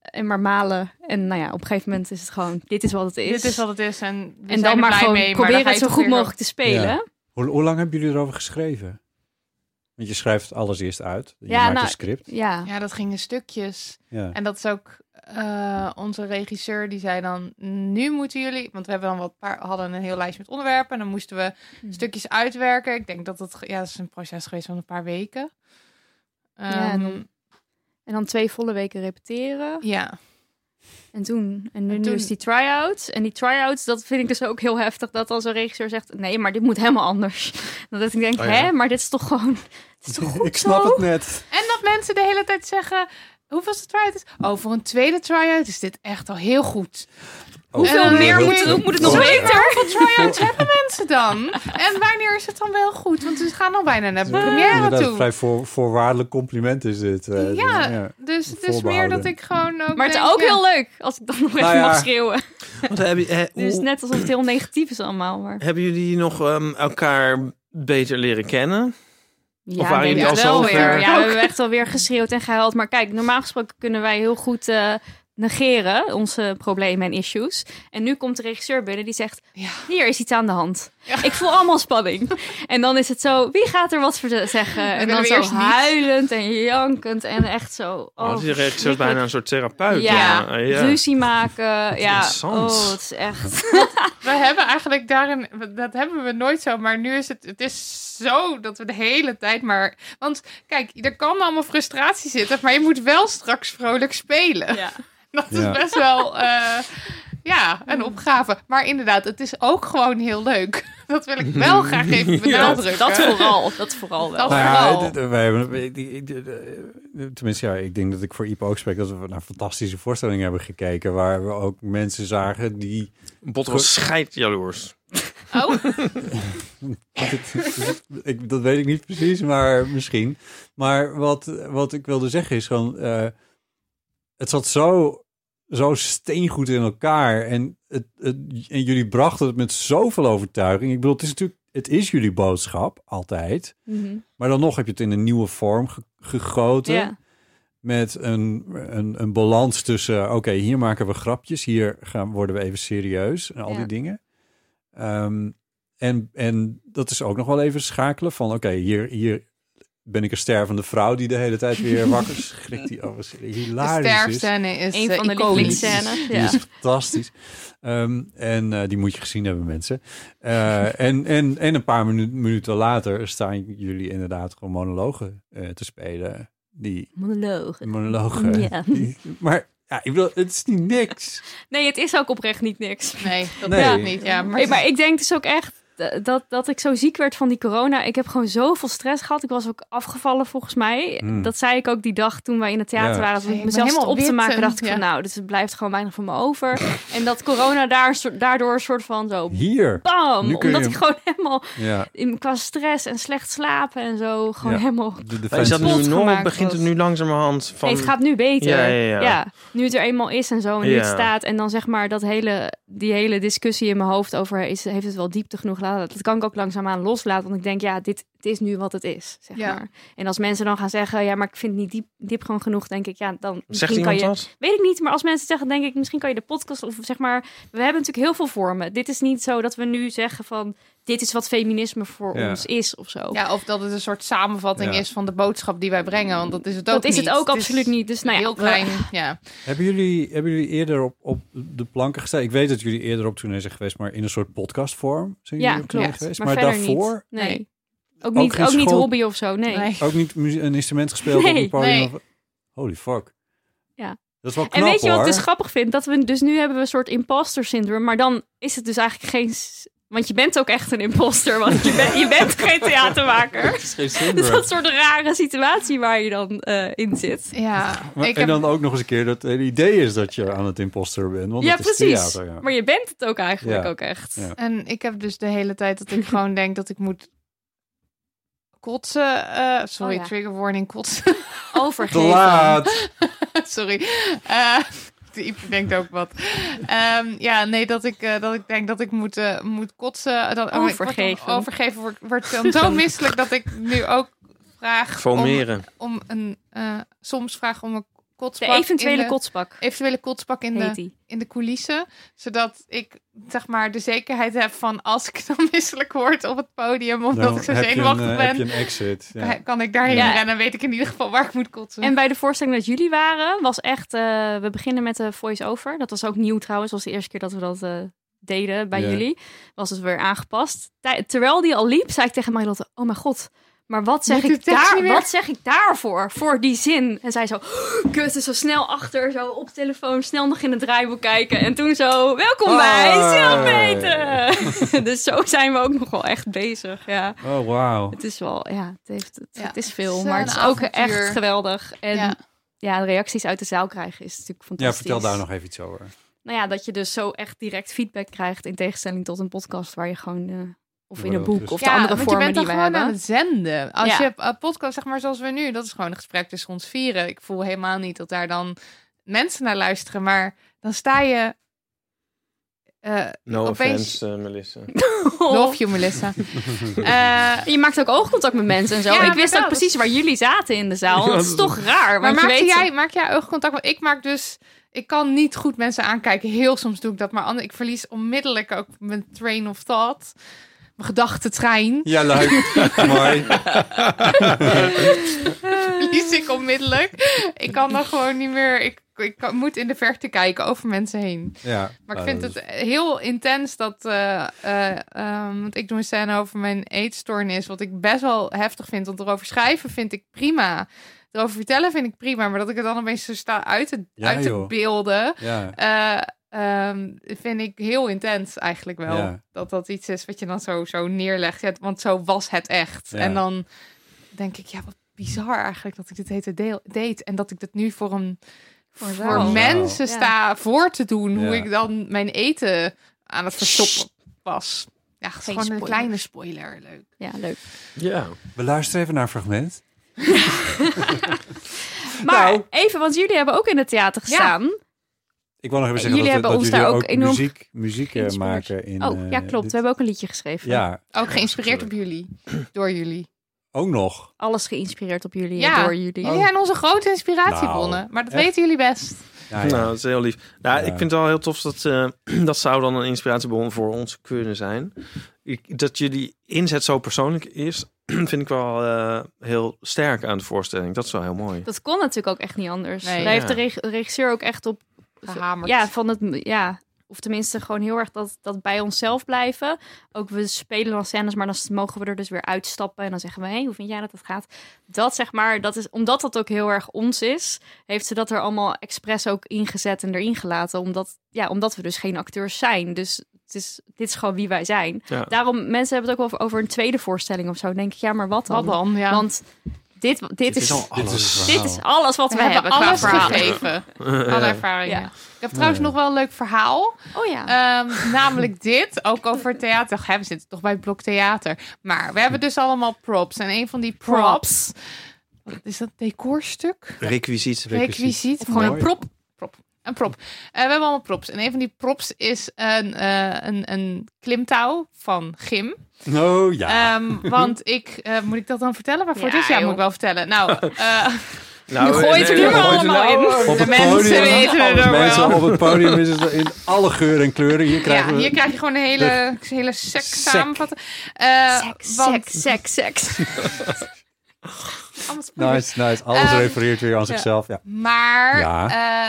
En maar malen. En nou ja, op een gegeven moment is het gewoon, dit is wat het is.
Dit is wat het is en we
en
zijn
dan
er
maar
blij
gewoon
mee. maar dan
proberen
ga je
het zo
toch
goed
weer-
mogelijk te spelen.
Ja. Hoe, hoe lang hebben jullie erover geschreven? Want je schrijft alles eerst uit. Je
Ja,
maakt
nou,
een script.
Ja.
Ja, dat ging in stukjes.
Ja.
En dat is ook eh, onze regisseur die zei dan: nu moeten jullie, want we hebben dan wat paar, hadden een heel lijst met onderwerpen en dan moesten we stukjes uitwerken. Ik denk dat dat ge- ja, dat is een proces geweest van een paar weken.
Ja,
Ehm,
en dan- En dan twee volle weken repeteren.
ja.
En toen, en nu,
En
nu
toen-
is die try-outs. En die try-outs, dat vind ik dus ook heel heftig. Dat als een regisseur zegt, nee, maar dit moet helemaal anders. Dat ik denk,
Oh ja.
hè, maar dit is toch gewoon... Het is toch goed
Ik snap
zo?
het net.
En dat mensen de hele tijd zeggen. Hoeveelste try-out is? Oh, voor een tweede try-out is dit echt al heel goed.
Hoeveel
Eh,
meer
heel
moet,
goed.
er- moet het nog
Oh, ja.
beter?
Hoeveel try-outs hebben mensen dan? En wanneer is het dan wel goed? Want ze gaan al bijna naar de première
Inderdaad, een
toe.
vrij voor, voorwaardelijk compliment is dit. eh,
Ja,
ja.
Dus het is meer
Voorbehouden.
dat ik gewoon ook
Maar het is
denk,
ook
ja.
heel leuk, als ik dan nog even
Nou ja.
mag schreeuwen.
Want heb je, eh,
Dus
hoe-
net alsof het heel negatief is allemaal. Maar...
Hebben jullie nog ehm, elkaar beter leren kennen?
Ja,
waren
denk
jullie
ik
al zo
wel
ver?
weer. Ja, we hebben echt alweer geschreeuwd en gehuild. Maar kijk, normaal gesproken kunnen wij heel goed eh, negeren, onze problemen en issues. En nu komt de regisseur binnen die zegt,
Ja.
hier is iets aan de hand. Ik voel allemaal spanning. en dan is het zo, wie gaat er wat voor te- zeggen? En
willen
dan
we
zo
eerst niet.
huilend en jankend en echt zo...
Oh,
Oh,
die regisseur is bijna een soort therapeut.
Ja,
dan. ja.
ruzie maken. Ja,
interessant.
oh, het is echt...
We hebben eigenlijk daarin, dat hebben we nooit zo, maar nu is het, het is zo dat we de hele tijd maar. Want kijk, er kan allemaal frustratie zitten, maar je moet wel straks vrolijk spelen.
Ja.
Dat
Ja.
is best wel, eh, ja, een opgave. Maar inderdaad, het is ook gewoon heel leuk. Dat wil ik wel graag even benadrukken.
Dat vooral, dat vooral wel.
Dat
Nou ja,
vooral.
d- d- wij hebben- ik- ik- ik- eh, Tenminste, ja, ik denk dat ik voor Iep ook spreek dat we naar fantastische voorstellingen hebben gekeken. Waar we ook mensen zagen die.
Bot was scheidjaloers.
Oh,
ik, dat weet ik niet precies, maar misschien. Maar wat, wat ik wilde zeggen is gewoon. eh, het zat zo, zo steengoed in elkaar. En, het, het, en jullie brachten het met zoveel overtuiging. Ik bedoel, het is natuurlijk. Het is jullie boodschap, altijd.
Mhm.
Maar dan nog heb je het in een nieuwe vorm ge-
eh?
gegoten.
Ja.
met een, een, een balans tussen, oké, hier maken we grapjes, hier gaan, worden we even serieus en al
Ja.
die dingen. Ehm, en, en dat is ook nog wel even schakelen van, oké, hier, hier ben ik een stervende vrouw die de hele tijd weer wakker schrikt. Die overigens
De
hilarisch is. dus.
sterfscène is
Een
eh,
van de
iconisch.
lievelingsscènes.
Die
Ja.
is fantastisch. Ehm, en eh, die moet je gezien hebben, mensen. Eh, en, en, en een paar minu- minuten later staan jullie inderdaad gewoon monologen eh, te spelen. Die
Monologen.
monologen.
Ja.
Die- maar ja, ik bedoel, het is niet niks.
Nee, het is ook oprecht niet niks.
Nee, dat
Nee.
weet ik niet. Ja, maar,
Maar, maar ik denk dus ook echt eh, dat, dat ik zo ziek werd van die corona. Ik heb gewoon zoveel stress gehad. Ik was ook afgevallen volgens mij.
Hmm.
Dat zei ik ook die dag toen wij in het theater
Ja.
waren. Toen
Ja, je bent
ik mezelf zat
helemaal
op te
wit
maken
en-
dacht ik
ja.
van nou, dit blijft gewoon weinig van me over. en dat corona daar, een soort- daardoor een soort van zo
Hier.
bam.
Nu kun je
Omdat ik
hem-
gewoon helemaal
Ja,
in, qua stress en slecht slapen en zo gewoon
Ja.
helemaal...
de
Is dat
defensie.
nu
Kapot
nog?
gemaakt
Begint
was.
het nu langzamerhand van...
Nee, het gaat nu beter.
Ja, ja, ja.
nu het er eenmaal is en zo en nu het
Ja.
staat. En dan zeg maar dat hele, die hele discussie in mijn hoofd over is, heeft het wel diepte genoeg laten. Dat kan ik ook langzaamaan loslaten. Want ik denk, ja, dit het is nu wat het is. Zeg
Ja.
maar. En als mensen dan gaan zeggen, ja, maar ik vind het niet diep, diep gewoon genoeg, denk ik, ja, dan
Zegt
kan
iemand
je.
dat?
Weet ik niet, maar als mensen zeggen, denk ik, misschien kan je de podcast of zeg maar. We hebben natuurlijk heel veel vormen. Dit is niet zo dat we nu zeggen van dit is wat feminisme voor
Ja.
ons is of zo.
ja, of dat het een soort samenvatting
Ja.
is van de boodschap die wij brengen. Want dat is het ook
dat is het
niet.
ook
is
absoluut niet. Dus nou ja,
heel
we-
klein, ja.
Hebben, jullie, hebben jullie eerder op, op de planken gestaan? Ik weet dat jullie eerder op tournee zijn geweest, maar in een soort podcastvorm zijn
Ja,
jullie op tournee
klopt.
geweest.
Maar,
Maar,
verder
daarvoor
niet. Nee.
Nee.
Ook
Ook
niet,
geen
ook niet
school-
hobby of zo. Nee.
Nee.
ook niet muzie- een instrument gespeeld op
Nee,
een podium.
nee.
Of, holy fuck.
Ja.
Dat is wel knap
En weet je wat
hoor.
ik dus grappig vind? Dat we dus nu hebben we een soort imposter syndroom, maar dan is het dus eigenlijk geen. s- Want je bent ook echt een imposter, want je, bent- je bent geen theatermaker. Dus dat is een soort rare situatie waar je dan eh, in zit.
Ja,
Maar-
ik
en
heb
dan ook nog eens een keer dat het idee is dat je aan het imposter bent. Want
Ja,
dat is
precies.
theater, ja.
Maar je bent het ook eigenlijk
Ja.
ook echt.
Ja.
En ik heb dus de hele tijd dat ik gewoon denk dat ik moet kotsen. eh, sorry,
Oh ja.
trigger warning, kotsen.
Te
Overgeven.
laat.
sorry. Eh de Iep denkt ook wat. Ehm, ja, nee, dat ik, eh, dat ik denk dat ik moet, eh, moet kotsen. Dat, oh, ik word dan
Overgeven.
overgeven wordt wordt dan zo misselijk dat ik nu ook vraag om,
Formeren.
om een... eh, soms vraag om een
De
kotspak. in
eventuele
de-
kotsbak
Eventuele kotspak in de,
heet die.
in de coulissen. Zodat ik zeg maar de zekerheid heb van als ik dan misselijk word op het podium. Omdat
Dan
ik zo
heb je een,
zenuwachtig
eh,
ben.
Heb je een exit. Ja.
ka- Kan ik daarheen
Ja.
rennen en weet ik in ieder geval waar ik moet kotsen.
En bij de voorstelling dat jullie waren, was echt... eh, we beginnen met de voice-over. Dat was ook nieuw trouwens. was de eerste keer dat we dat eh, deden bij
Ja.
jullie. Was het weer aangepast. Tij- terwijl die al liep, zei ik tegen Marilotte... Oh mijn god, maar wat zeg,
Weet u
ik,
de tekst
daar,
niet meer?
wat zeg ik daarvoor? Voor die zin. En zij zo... Kut, dus zo snel achter, zo op de telefoon. Snel nog in het draaiboek kijken. En toen zo... Welkom bij
Hoi.
Zelfmeten! dus zo zijn we ook nog wel echt bezig, ja.
Oh, wauw.
Het is wel, ja, het, heeft, het,
Ja,
het is veel,
het is
maar
een
het is ook
avontuur.
echt geweldig. En
Ja.
ja. eh, de reacties uit de zaal krijgen is natuurlijk
Ja,
fantastisch.
vertel daar nog even iets over.
Nou ja, dat je dus zo echt direct feedback krijgt in tegenstelling tot een podcast waar je gewoon, eh, of in
Ja,
een boek
dus-
of de andere
want je
vormen
bent dan
die we
gewoon aan
hebben.
het zenden. Als
Ja.
je een podcast, zeg maar zoals we nu, dat is gewoon een gesprek tussen ons vieren. Ik voel helemaal niet dat daar dan mensen naar luisteren. Maar dan sta je eh,
No
opeens...
offense, eh, Melissa.
Love you, Melissa. Eh,
Je maakt ook oogcontact met mensen en zo.
Ja,
ik wist
vertel.
ook precies waar jullie zaten in de zaal.
Ja,
Dat is
dat-
toch raar.
maar
want je
maak
weet-
jij, maak jij oogcontact? Want ik maak dus... Ik kan niet goed mensen aankijken. Heel soms doe ik dat. Maar ander- ik verlies onmiddellijk ook mijn train of thought. Mijn gedachtentrein.
Ja, leuk. Mooi.
verlies ik onmiddellijk. Ik kan dan gewoon niet meer... Ik, ik kan- moet in de verte kijken over mensen heen.
Ja.
Maar ik
Nou,
vind
dat is-
het heel intens dat. eh, eh, ehm, want ik doe een scène over mijn eetstoornis. Wat ik best wel heftig vind. Want erover schrijven vind ik prima. Erover vertellen vind ik prima. Maar dat ik het dan opeens zo sta uit te,
Ja,
uit te
joh.
beelden.
Ja.
eh, ehm, vind ik heel intens eigenlijk wel.
Ja.
Dat dat iets is wat je dan zo, zo neerlegt. Ja, want zo was het echt.
Ja.
En dan denk ik, ja, wat bizar eigenlijk dat ik dit hete deel deed. En dat ik dat nu voor een voor
een zaal.
mensen
Ja.
sta voor te doen hoe
Ja.
ik dan mijn eten aan het verstoppen was. Ja, gewoon een
spoiler.
kleine spoiler. Leuk.
Ja, leuk.
Ja.
We luisteren even naar een fragment.
Maar
Nou.
even, want jullie hebben ook in het theater
Ja.
gestaan.
Ik wil nog even zeggen
Jullie
dat,
hebben
dat
ons
jullie
daar
ook
ook enorm
muziek, muziek eh,
geïnspireerd.
maken. In,
Oh, ja,
eh,
klopt.
dit-
We hebben ook een liedje geschreven.
Ja,
Ook geïnspireerd op jullie. Door jullie.
ook nog.
Alles geïnspireerd op jullie
Ja.
en door jullie.
Jullie zijn onze grote inspiratiebronnen.
Oh. Nou,
maar dat
echt?
weten jullie best.
Ja, ja.
Nou, dat is heel lief. Nou,
Ja.
Ik vind het wel heel tof dat eh, dat zou dan een inspiratiebron voor ons kunnen zijn. Ik, dat jullie inzet zo persoonlijk is, vind ik wel eh, heel sterk aan de voorstelling. Dat is wel heel mooi.
Dat kon natuurlijk ook echt niet anders.
Nee.
Daar
Ja.
heeft de reg- regisseur ook echt op
Gehamerd.
Ja, van het, ja, of tenminste gewoon heel erg dat, dat bij onszelf blijven. Ook we spelen dan scènes, maar dan s- mogen we er dus weer uitstappen. En dan zeggen we, hé, hoe vind jij dat dat gaat? Dat zeg maar, dat is, omdat dat ook heel erg ons is, heeft ze dat er allemaal expres ook ingezet en erin gelaten. Omdat, ja, omdat we dus geen acteurs zijn. Dus het is, dit is gewoon wie wij zijn.
Ja.
Daarom, mensen hebben het ook over, over een tweede voorstelling of zo. Dan denk ik, ja, maar wat dan?
Wat dan? Ja.
Want dit, dit, is,
al
Dit is het
dit
verhaal.
is alles wat
we
we,
hebben
qua
alles
verhaal.
gegeven. Alle ervaringen.
Ja.
Ik heb trouwens nog wel een leuk verhaal.
Oh ja.
Ehm, namelijk dit, ook over theater. Ach, hè, we zitten toch bij het blok theater. Maar we hebben dus allemaal props. En een van die props... Wat is dat decorstuk?
Requisiet.
Requisiet. Of
Mooi.
gewoon een prop. prop. Een prop. Eh, we hebben allemaal props. En een van die props is een, eh, een, een klimtouw van Gim.
Oh ja.
Ehm, want ik... eh, moet ik dat dan vertellen? Waarvoor
Ja,
het is? Ja,
joh.
moet ik wel vertellen. Nou, eh,
Nou,
Gooi het er nu maar
gooi het er
allemaal in.
op
de
het
mensen
podium.
weten het
Als
nog
mensen
wel.
op het podium is het in alle geuren en kleuren. Hier krijgen
ja,
we...
hier krijg je gewoon een hele, hele sec
Sec.
samenvatting. Eh,
seks,
want-
seks, seks, seks.
Allemaal spoilers.
Nice, nice. Alles
Ehm,
refereert weer aan
ja.
zichzelf. Ja.
Maar
Ja,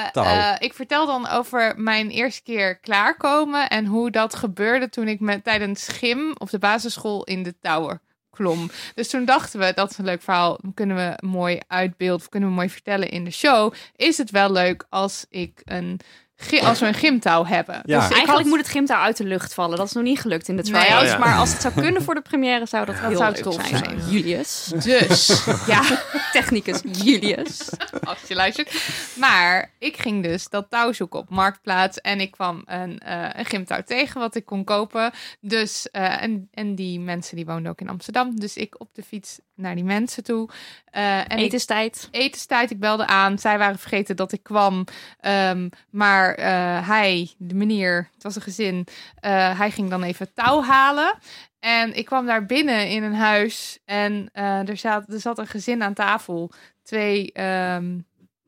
eh,
taal.
eh, ik vertel dan over mijn eerste keer klaarkomen en hoe dat gebeurde toen ik met, tijdens gym op de basisschool in de tower klom. Dus toen dachten we, dat is een leuk verhaal, kunnen we mooi uitbeelden of kunnen we mooi vertellen in de show. Is het wel leuk als ik een gy- als we een gymtouw hebben?
Ja.
Dus ik
Eigenlijk
had-
moet het gym daar uit de lucht vallen. Dat is nog niet gelukt in de
Nee.
try-outs.
Oh ja.
Maar als het zou kunnen voor de première, zou dat, heel
zou
leuk
tof
zijn.
zijn.
Julius.
dus ja,
Technicus Julius.
als je luistert. Maar ik ging dus dat touw zoeken op Marktplaats. En ik kwam een, eh, een gymtouw tegen wat ik kon kopen. Dus, eh, en, en die mensen die woonden ook in Amsterdam. Dus ik op de fiets naar die mensen toe. Eh, en ik-
Etenstijd.
etenstijd. Ik belde aan. Zij waren vergeten dat ik kwam. Ehm, maar eh, hij, de meneer, het was een gezin, eh, hij ging dan even touw halen. En ik kwam daar binnen in een huis. En eh, er, zat, er zat een gezin aan tafel. Twee ehm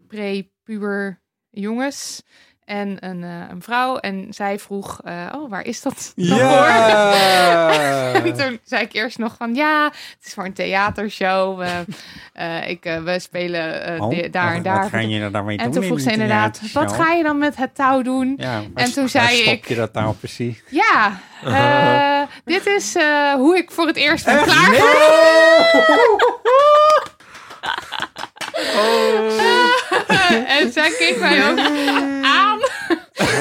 pre-puber jongens en een, eh, een vrouw. En zij vroeg, eh, oh, waar is dat dan voor? En
Ja!
toen zei ik eerst nog van ja, het is voor een theatershow. We, eh, ik, eh, we spelen eh,
Oh,
di- daar en daar.
Wat ga je er dan mee doen?
en toen vroeg ze inderdaad, wat ga je dan met het touw doen?
Ja, waar
En
s-
toen
waar
zei
stop
ik-
je dat nou precies?
Ja, eh, dit is eh, hoe ik voor het eerst ben klaar. en zij keek mij ook aan.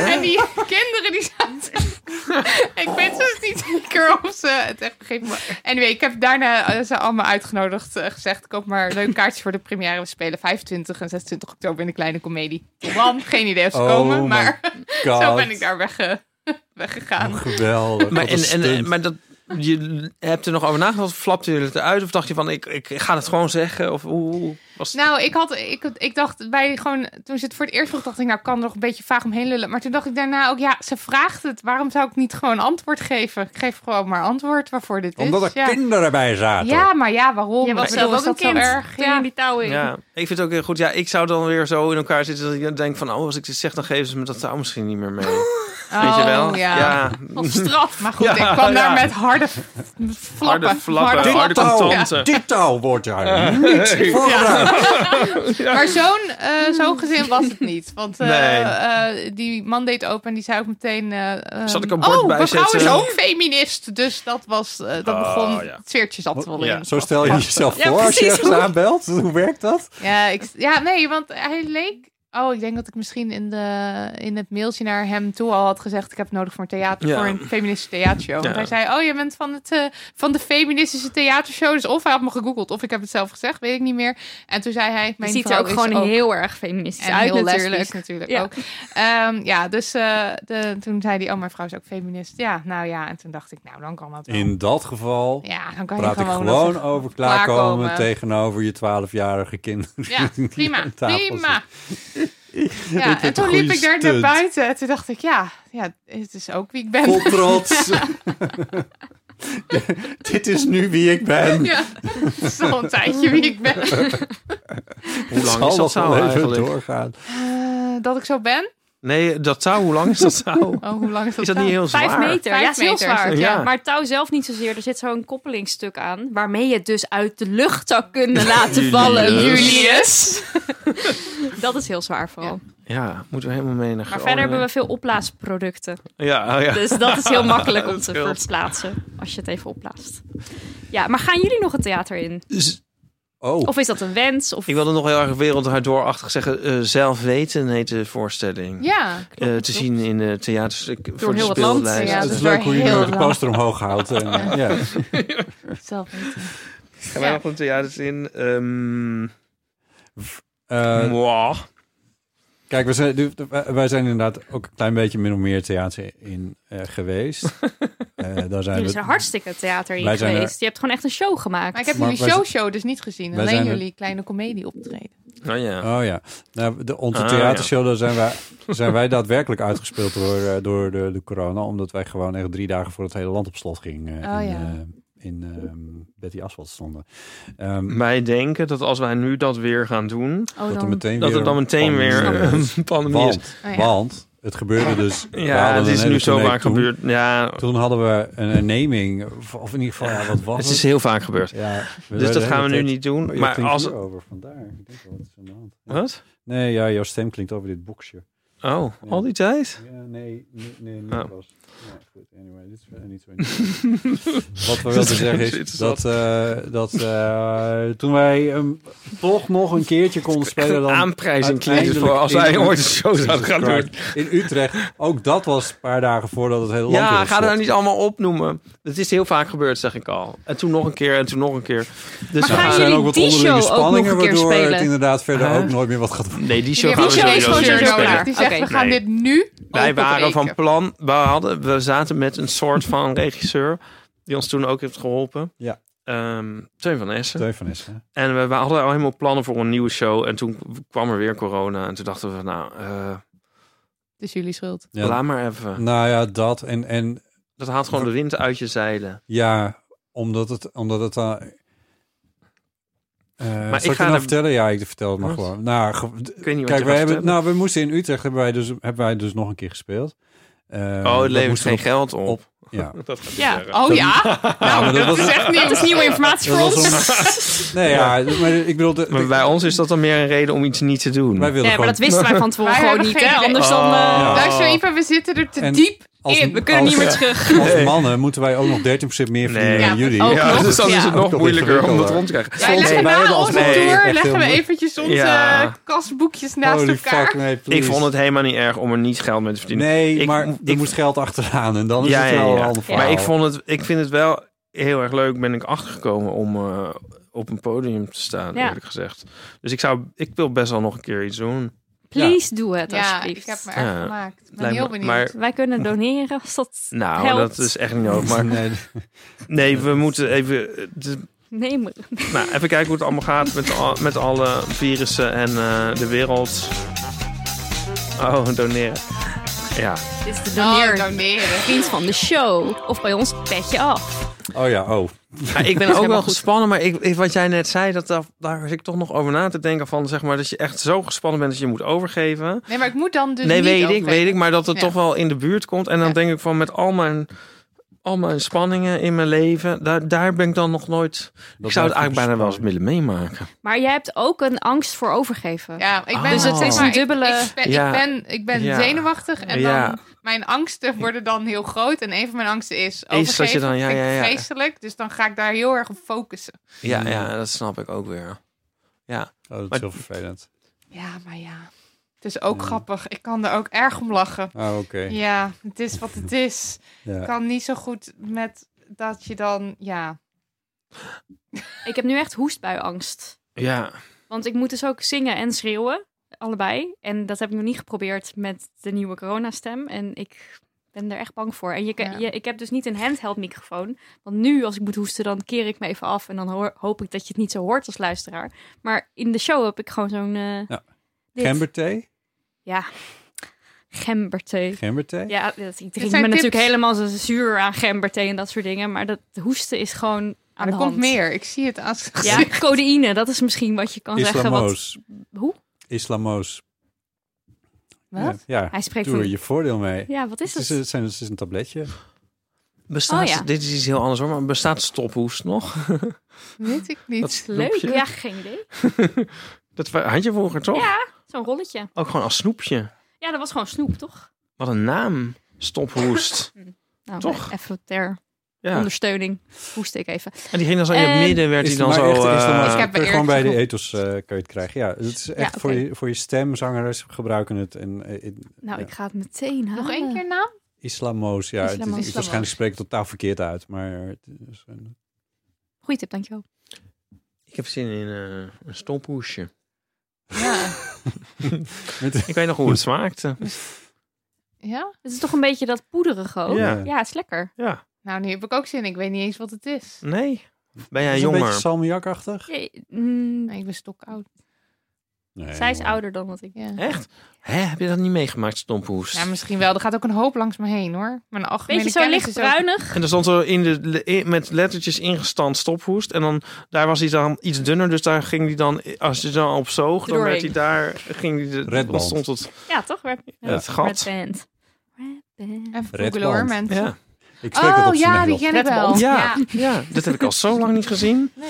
en die kinderen die zaten... ik weet dus niet zeker of ze het echt begrepen. Maar Anyway, ik heb daarna eh, ze allemaal uitgenodigd. eh, gezegd, koop maar leuke kaartjes voor de première. We spelen 25 en 26 oktober in de Kleine Comedie. Man, geen idee of ze
Oh
komen.
my
Maar
God.
zo ben ik daar wegge- weggegaan.
Geweldig.
Oh,
Maar,
wat een
en, en,
stunt.
maar dat, je hebt er nog over nagedacht? Flapte je het eruit? Of dacht je van, ik, ik ga het gewoon zeggen? Of hoe hoe was het?
Nou, ik, had, ik, ik dacht bij gewoon, toen ze het voor het eerst vroeg, dacht ik, nou ik kan er nog een beetje vaag omheen lullen. Maar toen dacht ik daarna ook, ja, ze vraagt het. Waarom zou ik niet gewoon antwoord geven? Ik geef gewoon maar antwoord waarvoor dit
Omdat
is.
er
ja.
kinderen bij zaten.
ja, maar ja, waarom?
Je was
Ik
zelf
bedoel,
ook een
is dat
kind.
zo erg?
Ging in
Ja.
die touw in.
Ja, ik vind het ook heel goed. Ja, ik zou dan weer zo in elkaar zitten dat ik dan denk van... Oh, als ik dit zeg, dan geven ze me dat touw misschien niet meer mee. Weet je wel?
Oh, ja.
ja.
Als straf. Maar goed,
Ja,
ik kwam daar
ja.
met harde f- flappen.
Harde flappen, harde
touw.
contanten.
Dit touw wordt daar niet voor gebruikt.
Maar zo'n eh, zo'n gezin was het niet. Want eh,
Nee.
eh, die man deed open en die zei ook meteen... eh,
Zal ik een
ehm,
bord
oh,
bijzetten?"
mevrouw is ook feminist. Dus dat, was, eh, dat
Oh,
begon...
ja.
Het zweertje zat er wel
Ja.
in.
Zo stel je jezelf
Ja,
voor als je
precies.
ergens aanbelt. Hoe werkt dat?
Ja, ik, ja, nee, want hij leek... Oh, ik denk dat ik misschien in, de, in het mailtje naar hem toe al had gezegd... ik heb nodig voor een, theater,
Ja.
voor een feministische theatershow.
Ja.
Want hij zei, oh, je bent van, het, eh, van de feministische theatershow. Dus of hij had me gegoogeld of ik heb het zelf gezegd, weet ik niet meer. En toen zei hij...
Je
Mijn
ziet er
vrouw
ook
is
gewoon
ook
heel erg feministisch
En
uit
heel
natuurlijk.
lesbisch natuurlijk
Ja.
ook. Ehm, ja, dus eh, de, toen zei hij, oh, mijn vrouw is ook feminist. Ja, nou ja, en toen dacht ik, nou, dan kan dat wel.
In dat geval
ja, dan kan
praat
je
ik
gewoon...
gewoon
dat-
over klaarkomen,
klaarkomen.
tegenover je 12-jarige kinderen.
Ja, prima,
aan tafel zitten.
prima. Ja, en
een
toen
goede
liep ik daar naar
stunt.
buiten. En toen dacht ik, ja, ja, het is ook wie ik ben.
Vol trots. Dit is nu wie ik ben.
Ja, het is al een tijdje wie ik ben.
Hoe
Het
lang
zal
is dat
nog wel
touw
even
eigenlijk?
doorgaan.
Eh, dat ik zo ben?
Nee, dat touw, hoe lang is dat touw?
Oh, hoe lang is dat
Is dat
dan?
niet heel zwaar?
Vijf meter.
Vijf
ja, het is heel
meter.
zwaar.
Ja.
Maar het touw zelf niet zozeer. Er zit zo'n koppelingstuk aan. Waarmee je het dus uit de lucht zou kunnen laten vallen.
Julius.
Julius. dat is heel zwaar vooral.
Ja, moeten we helemaal mee naar
Maar verder
Groningen.
hebben we veel oplaasproducten.
Ja, oh ja.
Dus dat is heel makkelijk om
Dat
te
scheelt.
verplaatsen. Als je het even oplaast. Ja, maar gaan jullie nog het theater in?
Oh,
Of is dat een wens? Of...
Ik wilde nog heel erg werelddoorachtig zeggen. eh zelf weten heet de voorstelling.
Ja,
Eh, te zien in de theaters. ik- voor de
heel wat landen,
speellijst.
ja,
het
dat
is
is
leuk
waar
hoe je
heel
nu de
lang.
poster omhoog houdt. En, eh, ja.
zelf weten.
Gaan wij nog een theaters in? Ehm
Eh,
moi.
Kijk, we zijn, wij zijn inderdaad ook een klein beetje min of meer theater in eh, geweest. Eh, daar zijn
Jullie
we,
zijn hartstikke het theater in
Wij zijn er-
geweest. Je hebt gewoon echt een show gemaakt.
Maar ik heb
Maar
jullie
wij-
show-show dus niet gezien.
wij zijn
Alleen
er-
jullie kleine komedie optreden.
Nou ja.
Oh ja, nou, de, onze
Ah,
theatershow, daar zijn wij, zijn wij daadwerkelijk uitgespeeld door, eh, door de, de corona. Omdat wij gewoon echt drie dagen voor het hele land op slot gingen. eh,
Oh
in
ja.
eh, in ehm, Betty Asphalt stonden. Ehm,
Wij denken dat als wij nu dat weer gaan doen,
Oh,
dat er
dan-
meteen
dat
weer
er dan meteen
pandemie
weer
is.
een eh, pandemie is.
Want,
Oh ja.
want het gebeurde dus. we
Ja,
hadden
het
een
is
hele
nu zo
tournee
vaak
toen.
gebeurd. Ja,
Toen hadden we een herneming, of of in ieder geval, ja, wat was
het
het?
is heel vaak gebeurd.
Ja, we
Dus
werden
dat
de
gaan we
hele
nu
tijd- Oh,
niet doen.
je
Maar
klinkt
als...
hierover vandaar. Ik denk wel, wat is aan de hand? Ja.
Wat?
Nee, ja, jouw stem klinkt over dit boxje.
Oh,
Ja.
al die tijd?
Ja, nee, nee, nee, niet
Ah.
was. Ja, goed, anyway, dit is verder niet zo interessant. Wat we wilden zeggen is
Zit
dat, eh, dat eh, toen wij hem toch nog een keertje konden spelen...
Een
Dan
aanprijzing klinkt het voor
uiteindelijk
als wij
in-
ooit een show zouden
Jesus
gaan doen.
Christ, in Utrecht, ook dat was een paar dagen voordat het hele land weer
Ja,
op
ga
slot
dat niet allemaal opnoemen. Het is heel vaak gebeurd, zeg ik al. En toen nog een keer, en toen nog een keer. Dus
Maar
we
gaan
er
gaan-
zijn
jullie
ook wat
die
onderlinge
show ook
spanningen,
nog een keer
waardoor het
spelen?
inderdaad verder
Huh?
ook nooit meer wat gaat gebeuren.
Nee, die show
Ja,
gaan we
die show is
sowieso
gewoon
niet
sowieso
spelen.
klaar.
Die zegt,
Oké.
we gaan
Nee.
dit nu
Wij waren
openbreken.
van plan, we, hadden, we zaten met een soort van regisseur die ons toen ook heeft geholpen.
Ja.
Ehm, Teun van Essen.
Steun van Essen.
En we, we hadden al helemaal plannen voor een nieuwe show. En toen kwam er weer corona. En toen dachten we, nou, eh,
Het is jullie schuld.
Ja.
laat maar even.
Nou ja, dat en, en
Dat haalt gewoon de wind uit je zeilen.
ja, omdat het, omdat het dan. maar
ik
ik
ga
ga
er-
vertellen. Ja, ik vertel het maar
Wat?
gewoon. Nou, ge- d-
Ik weet niet wat
kijk,
je
wij
gaat
hebben,
vertellen.
nou, we moesten in Utrecht hebben wij dus, hebben wij dus nog een keer gespeeld. Eh,
oh,
dat
het levert
moesten
geen
we-
geld op.
op. Ja.
Dat gaat
Ja.
niet
Oh ja?
Ja, maar dat was,
Dat is echt
Dat is
nieuws.
nieuwe informatie voor
dat was
ons.
om- nee, ja, maar ik bedoel, de-
Maar bij ons is dat dan meer een reden om iets niet te doen.
wij wilden
Nee, maar
gewoon
dat wisten wij van tevoren
Wij
gewoon
hebben
niet.
geen
Hè?
idee.
Anders dan... eh,
Oh. Ja.
Luister even, we zitten er te
En-
diep
als-
in.
We kunnen
als-
niet meer terug.
als mannen moeten wij ook nog 13% meer verdienen
Nee.
dan
Ja,
jullie.
ook
ja,
nog.
dus dan is het
Ja.
nog
Ook
moeilijker om dat
ingewikkelder.
rond te krijgen.
Wij leggen
Nee,
wij
na
hebben
onze
allemaal- Nee,
tour
echt
leggen we
heel-
eventjes onze
Ja.
eh, kastboekjes naast
Holy
elkaar.
fuck, nee, please.
Ik vond het helemaal niet erg om er niet geld mee te verdienen.
Nee,
Ik-
maar er
ik-
moest geld achteraan en dan is het wel een ander verhaal.
Maar ik, vond het, ik vind het wel heel erg leuk, ben ik achtergekomen om eh, op een podium te staan,
Ja.
eerlijk gezegd. Dus ik, zou, ik wil best wel nog een keer iets doen.
Please doe het
Ja,
alsjeblieft.
ik heb me erg
Ja,
gemaakt. Ik ben
lijkt
heel
me-
benieuwd.
maar-
Wij kunnen doneren als dat
Nou,
helpt.
dat is echt niet nodig. Maar
Nee,
nee, we moeten even... eh, de-
Nee, maar-
nou, even kijken hoe het allemaal gaat met, al- met alle virussen en eh, de wereld. Oh, doneren. Ja.
Dit is de
Oh,
doneer.
doneren.
Vriend van de show. Of bij ons petje af.
oh ja, oh.
Ja, ik ben ook wel
helemaal goed.
gespannen, maar ik, ik- wat jij net zei, dat, daar, daar zit ik toch nog over na te denken van, zeg maar, dat je echt zo gespannen bent dat je moet overgeven.
Nee, maar ik moet dan dus
nee,
niet
weet ik,
overgeven.
weet ik, maar dat het
Ja.
toch wel in de buurt komt. En dan
Ja.
denk ik van, met al mijn, al mijn spanningen in mijn leven, daar, daar ben ik dan nog nooit... ik zou het eigenlijk bijna wel eens willen meemaken.
Maar jij hebt ook een angst voor overgeven.
Ja, ik ben
Dus het
zeg
is
maar,
een
ik-
dubbele-
Ik, ben,
Ja.
ik ben, ik ben
Ja.
zenuwachtig en
Ja.
dan mijn angsten worden dan heel groot. En een van mijn angsten is overgeven.
dat je dan- ja,
Dat vind ik
ja, ja.
Vreselijk. Dus dan ga ik daar heel erg op focussen.
Ja, ja, dat snap ik ook weer. Ja,
Oh, dat
Maar-
is heel vervelend.
Ja, maar ja. Het is ook
Ja.
grappig. Ik kan er ook erg om lachen.
Ah, oké.
Ja, het is wat het is. Ik
Ja.
kan niet zo goed met dat je dan... Ja,
Ik heb nu echt hoestbuiangst.
ja.
Want ik moet dus ook zingen en schreeuwen. Allebei. En dat heb ik nog niet geprobeerd met de nieuwe coronastem. En ik ben er echt bang voor. En je, kan-
Ja.
je- ik heb dus niet een handheld microfoon. Want nu, als ik moet hoesten, dan keer ik me even af. En dan hoor- hoop ik dat je het niet zo hoort als luisteraar. Maar in de show heb ik gewoon zo'n... eh
Ja.
dit.
Gemberthee?
Ja. Gemberthee.
Gemberthee?
Ja, dat, ik
zijn
drink me natuurlijk
tips.
helemaal zo zuur aan gemberthee en dat soort dingen. Maar dat hoesten is gewoon aan
maar er
de hand.
komt meer. Ik zie het aan zijn gezicht.
Ja, codeïne, dat is misschien wat je kan zeggen. Wat,
Islamoos.
hoe?
Islamoos.
Wat?
Ja, ja.
Hij spreekt
doe er
van...
je voordeel mee.
Ja, wat is
Het is,
het?
het, zijn, het is een tabletje.
Bestaat,
Oh ja.
Dit is iets heel anders hoor, maar bestaat stophoest nog?
Weet ik
Dat
niet.
Leuk.
snoepje?
Ja, geen idee.
Dat had je vroeger toch?
Ja, zo'n rolletje.
Ook gewoon als snoepje.
Ja, dat was gewoon snoep, toch?
Wat een naam. Stophoest.
Nou,
Toch?
Even ter
Ja.
ondersteuning. Hoest ik even. Ehm,
En die ging dan zo in het
En-
midden, werd
Is
hij dan
maar
zo...
echt
eh,
Islamoos.
Ik heb
Kun je
er
gewoon bij
eerlijk
de ethos eh, kun je het krijgen. Ja, het is echt
oké.
voor, je, voor je stem, zangeres gebruiken het. En, eh, in-
Nou,
Ja.
ik ga het meteen halen.
Nog één
Ah.
keer naam?
Islamoos, ja. het-
Islamoos.
Het, is waarschijnlijk spreek ik het totaal verkeerd uit. Maar het is een-
Goeie tip, dankjewel.
Ik heb zin in eh, een stophoestje.
Ja.
met,
Ik weet nog hoe het smaakte.
ja?
Het is toch een beetje dat poederige ook?
Ja.
ja het is lekker.
Ja.
Nou, nu heb ik ook zin. Ik weet niet eens wat het is.
Nee. Ben jij
is een beetje
jonger?
salmiakachtig.
Je- mm,
Nee, ik ben stokoud.
Nee,
Zij is
maar-
ouder dan wat ik.
Ja.
Echt? Hè, heb je dat niet meegemaakt, stompoest?
Ja, misschien wel. Er gaat ook een hoop langs me heen, hoor. Mijn algemene
Beetje zo
kennis is ook-
lichtbruinig.
En er stond zo in de, le- in- met lettertjes ingestant stophoest. En dan, daar was hij dan iets dunner. Dus daar ging hij dan, als je dan op zoog, dan werd
Doorheen.
hij daar, ging hij de,
Red Band.
ontstond het,
Ja, toch? Red,
het
Red
gat.
Band. Red Band.
Even
Red
googlen, hoor,
band.
mensen.
Ja.
Ik spreek dat
Oh
op z'n
ja, die
Nederlands.
ken ik wel.
Redband.
Ja, ja, dat heb ik al zo lang niet gezien.
Nee.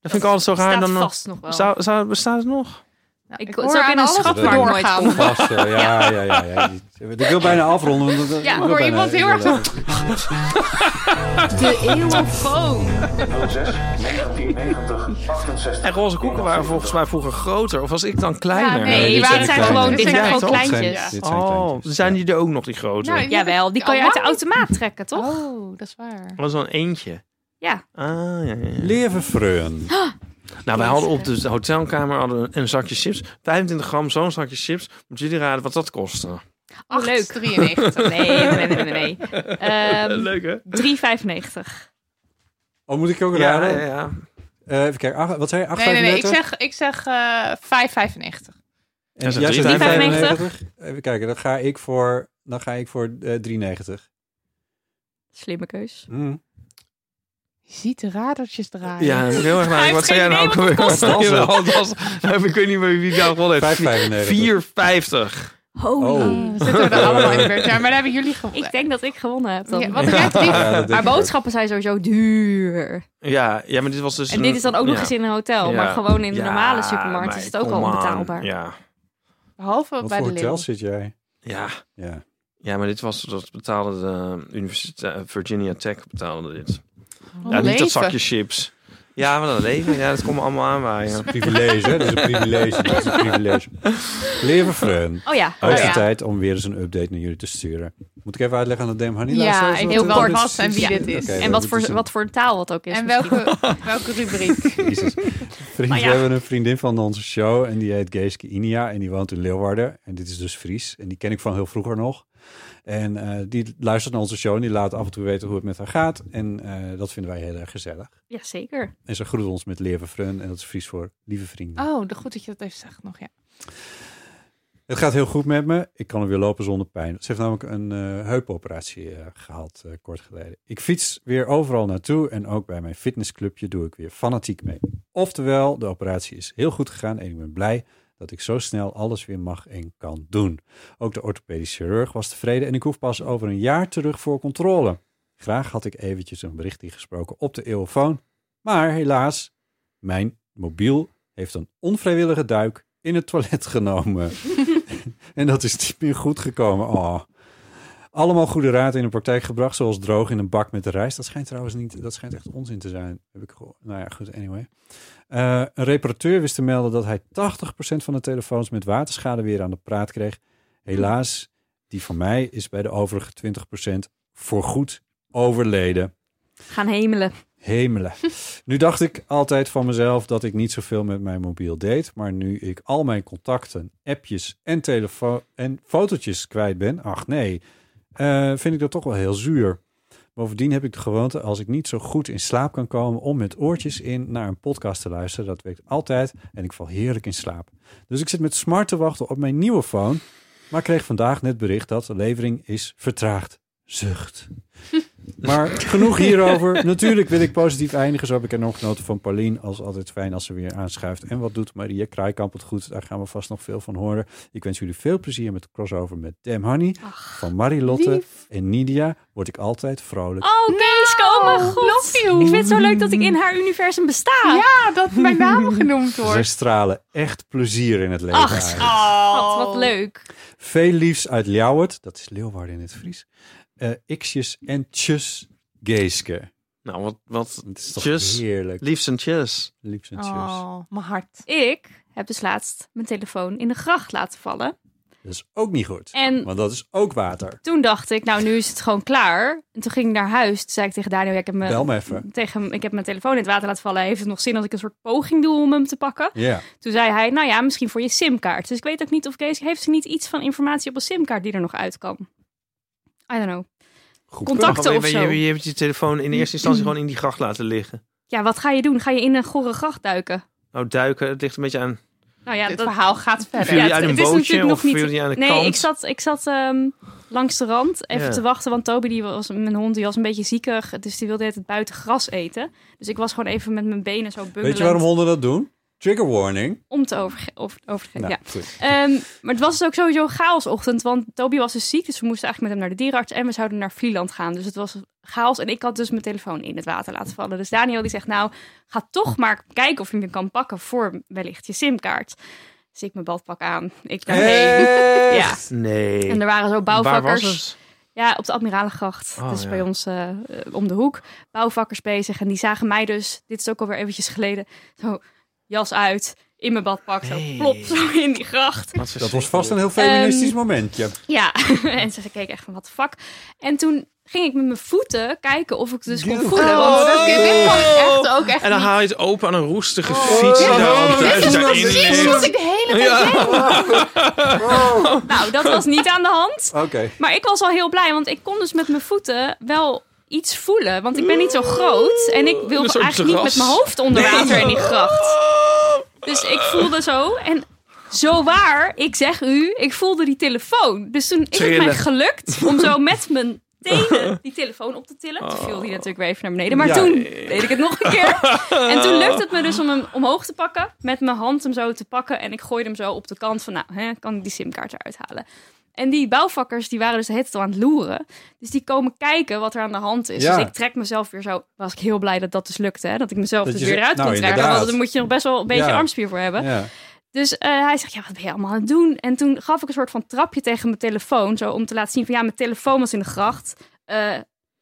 Dat vind ik altijd zo raar.
Staat
dan nog-
vast nog wel.
Zou, zou, bestaat het nog?
Nou,
Ik-
ik
het
hoor
is ook
aan
in een
alles
schat
wat
waar
we
nooit
doorgaan.
komt.
Vast, eh, ja, ja, ja, ja. Die- Ik wil bijna afronden. want dat-
Ja,
ik wil
hoor
bijna-
iemand heel
ik wil
erg zo-
even-
De eeuwofoon.
06 1990 68.
En roze koeken waren volgens mij vroeger groter. Of was ik dan kleiner?
Ja, nee, die
dit
waren-
echt
zijn
kleiner.
gewoon- dit
Nou,
Ja,
zijn gewoon
toch?
Dit zijn-
kleintjes.
dit zijn
Oh,
kleintjes,
zijn
ja.
die er ook nog, die grote?
Nou,
Jawel, die kan je uit de automaat trekken, toch?
Oh, dat is waar.
Dat was wel een eentje.
Ja.
Ah, ja, ja, ja.
Leven freun.
Nou, wij hadden op de hotelkamer hadden we een zakje chips. 25 gram, zo'n zakje chips. Moeten jullie raden wat dat kostte?
Oh, leuk.
93.
Nee, nee, nee, nee. nee. Ehm,
Leuk, hè?
3,95.
Oh, moet ik ook
Ja,
raden?
ja, ja.
Eh, even kijken, ach- wat zei je? 8,35?
Nee, nee, nee. Ik zeg, ik zeg eh 5,95.
En
En
zo
jij zegt
3,95.
3,95. Even kijken, dan ga ik voor, dan ga ik voor eh, 3,90.
Slimme keus.
Hmm.
Je ziet de radertjes draaien.
Ja, dat moet ik heel erg
Hij
nadenken. Wat zei
heeft
jij nou
geen
ook weer? Wat
kostte.
Jawel, het was, ik weet niet meer wie daar gewonnen heeft.
5,95.
4,50.
Holy.
Oh.
Dan zitten we er allemaal in de beurt. Ja, maar daar hebben jullie gewonnen.
Ik denk dat ik gewonnen heb dan.
Ja, want ik heb drie...
Ja, dat denk
maar
ik ook.
boodschappen zijn sowieso duur.
Ja, ja, maar dit was dus...
En dit is dan ook nog
ja.
eens in een hotel.
Ja.
Maar gewoon in de
Ja,
normale supermarkt
maar
is het ook
kom
al
aan.
onbetaalbaar.
Ja.
Behalve
Wat
bij
voor
de Lidl.
hotel zit jij?
Ja.
Ja.
ja, maar dit was... Dat betaalde de universiteit... Virginia Tech betaalde dit.
Wat
Ja,
een
niet dat
leven.
zakje chips. Ja, wat een leven. Ja, dat komt me allemaal aanwaaien.
Dat is een privilege, hè? Dat is een privilege. Dat is een privilege. Lieve Fran,
Oh ja.
hoogste
ja.
tijd om weer eens een update naar jullie te sturen. Moet ik even uitleggen aan de Dame Honey
Ja,
luisteraars
ik
wat
wil
dit-
wel
dit
wat
is?
en wie
Ja.
dit is.
Oké,
En
nou,
wat
dit
voor,
is een-
wat voor taal het ook is.
En welke, welke rubriek?
Jezus. Vriend,
Nou
Maar ja.
We hebben een vriendin van onze show en die heet Geeske Inia en die woont in Leeuwarden. En dit is dus Fries en die ken ik van heel vroeger nog. En eh, die luistert naar onze show en die laat af en toe weten hoe het met haar gaat. En eh, dat vinden wij heel erg gezellig.
Jazeker.
En ze groet ons met Leven Frun en dat is Fries voor lieve vrienden.
Oh, de- goed dat je dat even zegt nog, ja.
Het gaat heel goed met me. Ik kan er weer lopen zonder pijn. Ze heeft namelijk een eh, heupoperatie eh, gehad eh, kort geleden. Ik fiets weer overal naartoe en ook bij mijn fitnessclubje doe ik weer fanatiek mee. Oftewel, de operatie is heel goed gegaan en ik ben blij dat ik zo snel alles weer mag en kan doen. Ook de orthopedisch chirurg was tevreden en ik hoef pas over een jaar terug voor controle. Graag had ik eventjes een bericht ingesproken op de eeuwfoon, maar helaas, mijn mobiel heeft een onvrijwillige duik in het toilet genomen. En dat is niet meer goed gekomen. Oh. Allemaal goede raad in de praktijk gebracht, zoals droog in een bak met de rijst. Dat schijnt trouwens niet, dat schijnt echt onzin te zijn. Heb ik gehoord. Nou ja, goed, anyway. Eh, een reparateur wist te melden dat hij 80% van de telefoons met waterschade weer aan de praat kreeg. Helaas, die van mij is bij de overige 20% voorgoed overleden.
Gaan hemelen.
Hemelen. nu dacht ik altijd van mezelf dat ik niet zoveel met mijn mobiel deed. Maar nu ik al mijn contacten, appjes en, telefo- en fotootjes kwijt ben, ach nee, eh, vind ik dat toch wel heel zuur. Bovendien heb ik de gewoonte, als ik niet zo goed in slaap kan komen, om met oortjes in naar een podcast te luisteren. Dat werkt altijd en ik val heerlijk in slaap. Dus ik zit met smart te wachten op mijn nieuwe phone. Maar kreeg vandaag net bericht dat de levering is vertraagd. Zucht. Maar genoeg hierover. Natuurlijk wil ik positief eindigen. Zo heb ik er nog genoten van Paulien. Als altijd fijn als ze weer aanschuift. En wat doet Maria Kraaikamp het goed? Daar gaan we vast nog veel van horen. Ik wens jullie veel plezier met de crossover met Dem Honey. van Marilotte en Nidia word ik altijd vrolijk.
Oh, Geeske, oh mijn god.
Love you.
Ik vind het zo leuk dat ik in haar universum besta.
Ja, dat mijn naam genoemd
Zij
wordt.
stralen echt plezier in het leven
Ach,
uit.
Wat, wat leuk.
Veel liefs uit Ljouwert. Dat is Leeuwarden in het Fries. Eh X'jes en tjus Geeske.
Nou, wat, wat
Het is toch
Tjus.
heerlijk.
liefst en cheers.
Liefs en tjus.
Oh, mijn hart.
Ik heb dus laatst mijn telefoon in de gracht laten vallen.
Dat is ook niet goed.
En
Want dat is ook water.
toen dacht ik, nou nu is het gewoon klaar. En toen ging ik naar huis. Toen zei ik tegen Daniel, ja, ik heb mijn,
Bel me even.
tegen, hem- ik heb mijn telefoon in het water laten vallen. Heeft het nog zin dat ik een soort poging doe om hem te pakken?
Ja.
Toen zei hij, nou ja, misschien voor je simkaart. Dus ik weet ook niet of Kees, heeft ze niet iets van informatie op een simkaart die er nog uit kan? I don't know.
Goed
Contact. Contacten
Maar
of
je,
zo.
Je, je hebt je telefoon in eerste instantie gewoon in die gracht laten liggen.
Ja, wat ga je doen? Ga je in een gore gracht duiken?
Nou, duiken, het ligt een beetje aan.
Nou ja,
Dit
dat...
verhaal gaat verder.
Viel je
het-
uit een
het is
bootje
natuurlijk
of
nog niet-
viel je aan de
nee,
kant?
ik zat, ik zat ehm, langs de rand even
Ja.
te wachten. Want Toby, die was, mijn hond, die was een beetje ziekig. Dus die wilde het buiten gras eten. Dus ik was gewoon even met mijn benen zo bungelend
Weet je waarom honden dat doen? Trigger warning.
om te overge over overgeven.
Nou,
ja.
goed.
Ehm, maar het was dus ook sowieso een chaosochtend, want Toby was dus ziek, dus we moesten eigenlijk met hem naar de dierenarts en we zouden naar Vlieland gaan. Dus het was chaos en ik had dus mijn telefoon in het water laten vallen. Dus Daniel die zegt, nou, ga toch maar kijken of je hem kan pakken voor wellicht je simkaart. Dus ik mijn badpak aan, ik naar heen. Ja.
Nee.
En er waren zo
Waar
bouwvakkers.
was het?
Ja, op de Admiralengracht.
Oh,
dat is
ja.
bij ons eh, eh, om de hoek. Bouwvakkers bezig. En die zagen mij dus, dit is ook alweer eventjes geleden, zo jas uit, in mijn badpak,
Nee.
zo plop, zo in die gracht.
Wat
Dat was
verschrikkelijk.
vast een heel feministisch
Ehm,
momentje.
Ja, en ze keek echt van, wat fuck. En toen ging ik met mijn voeten kijken of ik het dus kon voelen.
Oh,
want-
dat- dit kan ik echt ook echt
En dan
niet.
haal je het open aan een roestige fiets.
Ja,
en dan
dit
thuis
is
daarin
precies
ligt.
Wat ik de hele tijd
Ja.
nou, dat was niet aan de hand.
Oké.
Maar ik was al heel blij, want ik kon dus met mijn voeten wel iets voelen. Want ik ben niet zo groot en ik
Een
wilde
soort
eigenlijk niet
terras.
met mijn hoofd onder water in die gracht. Dus ik voelde zo en zo waar, ik zeg u, ik voelde die telefoon. Dus toen is het mij
Trillen.
gelukt om zo met mijn tenen die telefoon op te tillen. Toen viel die natuurlijk weer even naar beneden, maar
Ja.
toen deed ik het nog een keer. En toen lukte het me dus om hem omhoog te pakken, met mijn hand hem zo te pakken. En ik gooide hem zo op de kant van, nou, hè, kan ik die simkaart eruit halen? En die bouwvakkers, die waren dus de hele tijd al aan het loeren. Dus die komen kijken wat er aan de hand is.
Ja.
Dus ik trek mezelf weer zo. Was ik heel blij dat dat dus lukte. Hè? Dat ik mezelf
Dat
dus
je
weer
zegt,
eruit
nou,
kon trekken.
inderdaad.
Want dan moet je nog best wel een beetje
Ja.
armspier voor hebben.
Ja.
Dus eh, hij zegt, ja, wat ben je allemaal aan het doen? En toen gaf ik een soort van trapje tegen mijn telefoon. Zo om te laten zien van, ja, mijn telefoon
Mm.
was in de gracht. Eh,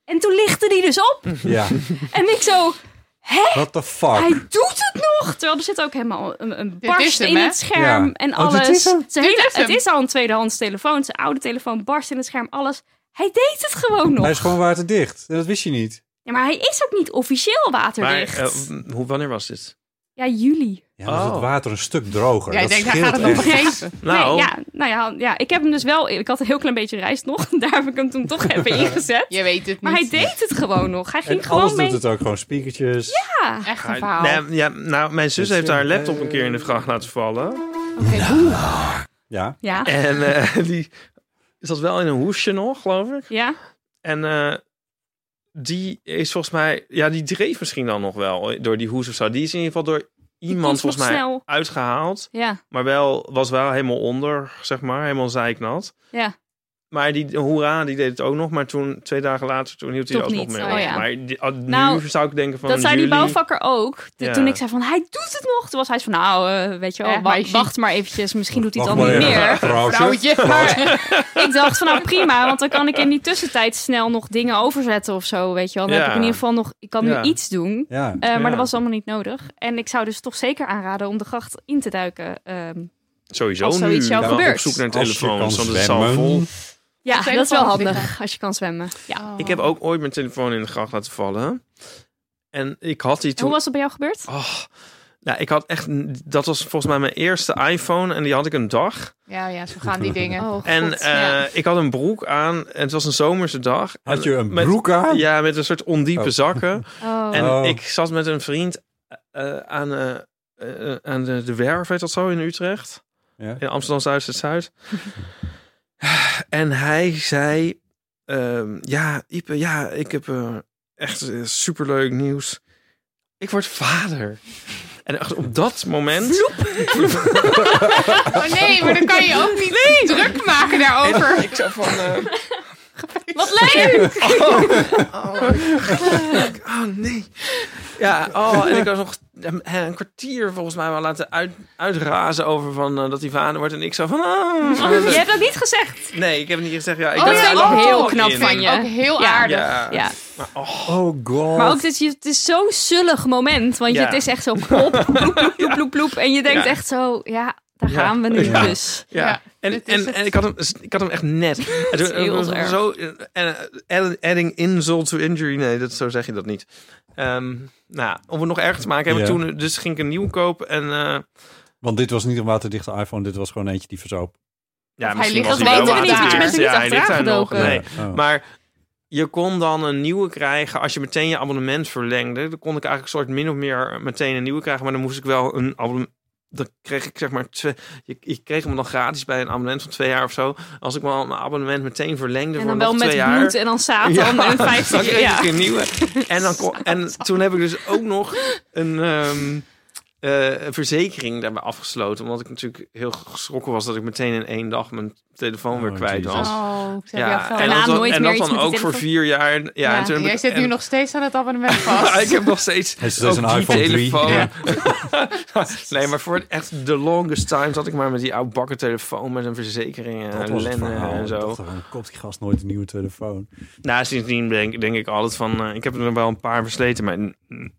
en toen lichtte die dus op.
ja.
En ik zo, hè?
What the fuck?
Hij doet het nog! Terwijl er zit ook helemaal een, een
Dit is
barst
hem,
in
hè?
het scherm
Ja.
en
Oh, dit
alles.
is hem.
Zijn hele-
Dit is hem.
het is al een tweedehands telefoon. Zijn oude telefoon barst in het scherm, alles. Hij deed het gewoon nog.
Hij is gewoon waterdicht. En dat wist je niet.
Ja, maar hij is ook niet officieel
Maar
waterdicht.
eh, hoe, wanneer was dit?
ja, juli.
Ja, dan is het
Oh.
water een stuk droger.
Jij
dat
denkt, hij
scheelt
gaat het nog
echt.
geven.
Nou,
Nee, ja, nou ja, ja, ik heb hem dus wel... Ik had een heel klein beetje rijst nog. Daar heb ik hem toen toch even ingezet.
Je weet het niet.
Maar hij deed het gewoon nog. Hij ging
En alles
gewoon mee.
doet het ook. Gewoon spiekertjes. Dus, eh,
Ja.
Echt
hij-
een verhaal.
nee, ja, nou, mijn zus
Dat
heeft haar
vind ik,
laptop een keer in de gracht laten vallen.
Ja.
Ja.
En eh, die zat wel in een hoesje nog, geloof ik.
Ja.
En eh, die is volgens mij... Ja, die dreef misschien dan nog wel door die hoes of zo. Die is in ieder geval door
komt
iemand volgens
nog
mij
snel.
uitgehaald.
Ja.
Maar wel, was wel helemaal onder, zeg maar. Helemaal zeiknat.
Ja.
Maar die hoera, die deed het ook nog. Maar toen, twee dagen later, toen hield hij
Toch
er ook nog
niet.
mee.
Oh,
op.
ja.
Maar die- ah, nu
Nou,
zou ik denken van
dat zei die
jullie-
bouwvakker ook. De-
Ja.
Toen ik zei van, hij doet het nog. Toen was hij zo van, nou, eh, weet je wel,
Eh,
wa-
maar je ziet-
wacht maar eventjes. Misschien doet hij het
Wacht
al niet
maar even.
meer.
Vrouwtje.
Vrouwtje. Maar,
Ik dacht van, nou prima, want dan kan ik in die tussentijd snel nog dingen overzetten of zo, weet je wel. Dan heb
Ja.
ik in ieder geval nog, ik kan
Ja.
nu iets doen.
Ja.
Eh, maar
Ja.
dat was allemaal niet nodig. En ik zou dus toch zeker aanraden om de gracht in te duiken. Ehm,
Sowieso
Als zoiets
nu
jou
wel
gebeurt.
op zoek naar
Als je
telefoons,
kan
want het zal
zwemmen.
vol.
ja,
Op
dat is wel
telefoon
handig
liggen.
als je kan zwemmen. Ja.
Oh.
Ik heb ook ooit mijn telefoon in de gracht laten vallen. En ik had die
En hoe
toen...
was dat bij jou gebeurd?
Oh, nou, ik had echt... Dat was volgens mij mijn eerste iPhone en die had ik een dag.
Ja, ja, zo gaan die dingen.
Oh,
En
god,
eh,
ja.
ik had een broek aan en het was een zomerse dag.
Had
En
je een
met-
broek aan?
Ja, met een soort ondiepe
Oh.
zakken.
Oh.
En
Oh.
ik zat met een vriend eh, aan, eh, eh, aan de, de werf, heet dat zo, in Utrecht.
Ja.
In Amsterdam Zuid-Zuid. en hij zei: ehm, Ja, Ipe, ja, ik heb eh, echt eh, superleuk nieuws. Ik word vader. En echt op dat moment.
Oh nee, maar dan kan je ook niet druk maken daarover.
Ik zo van. eh,
Wat leuk!
Oh nee. Ja, oh, en ik was nog een, een kwartier volgens mij wel laten uit, uitrazen over van, eh, dat hij vader wordt. En ik zo van... ah,
Je hebt dat niet gezegd.
nee, ik heb het niet gezegd. Ja, ik
Oh,
ben
ja,
daar
oh,
nog
heel
knap
in.
van je.
Ook heel
Ja.
aardig.
Ja.
Ja.
Maar, oh,
Oh god.
Maar ook dat je, het is zo'n zullig moment, want
Ja.
je, het is echt zo plop, ploep, ploep, ploep, ploep, ploep. En je denkt
Ja.
echt zo, ja, daar
Ja.
gaan we nu
Ja.
dus.
ja.
Ja,
en
dit is
en,
het.
en ik, had hem, ik had hem echt net. En toen-
heel erg.
zo, en, eh, adding insult to injury. Nee, dat, zo zeg je dat niet. Ehm, nou, om het nog erger te maken hebben,
Ja.
toen, dus ging ik een nieuw kopen. En, eh,
Want dit was niet een waterdichte iPhone. Dit was gewoon eentje die verzoop.
ja,
hij
misschien
ligt
was
nog
hij
wel
wel
daar.
waterdicht.
Want je bent
er niet
Ja, hij ligt
achteraan
daar nog.
gedoken.
Nee.
Ja. Oh.
Maar je kon dan een nieuwe krijgen als je meteen je abonnement verlengde. Dan kon ik eigenlijk een soort min of meer meteen een nieuwe krijgen. Maar dan moest ik wel een abonnement... Dan kreeg ik zeg maar... Twee, je, ik kreeg hem dan gratis bij een abonnement van twee jaar of zo. Als ik wel mijn abonnement meteen verlengde
En
voor
dan wel
nog
met
twee jaar...
bloed en dan Satan en
dan
50
kreeg
ja.
ik een nieuwe. En, dan kon, en toen heb ik dus ook nog een... ehm, eh, een verzekering daarbij afgesloten. Omdat ik natuurlijk heel geschrokken was dat ik meteen in één dag mijn telefoon weer
Oh,
kwijt
Jesus.
was.
Oh, ik zeg
Ja,
ja,
en
Daarna
dat, dan-
nooit
en
meer
dat
iets
dan
met die
ook voor
telefoon.
vier jaar. Ja,
Ja.
En toen heb
Jij
ik,
zit nu
en-
nog steeds aan het abonnement vast.
Ja, ik heb nog steeds
Hij is steeds
ook
een
die
iPhone 3.
telefoon.
Ja.
nee, maar voor echt the longest time zat ik maar met die oude bakken telefoon met een verzekering
Dat
en
was het
lennen
verhaal.
en
Ik
zo.
dacht, waarom koopt die gast nooit een nieuwe telefoon?
Nou, sindsdien denk, denk ik altijd van, eh, ik heb er wel een paar versleten, maar mm,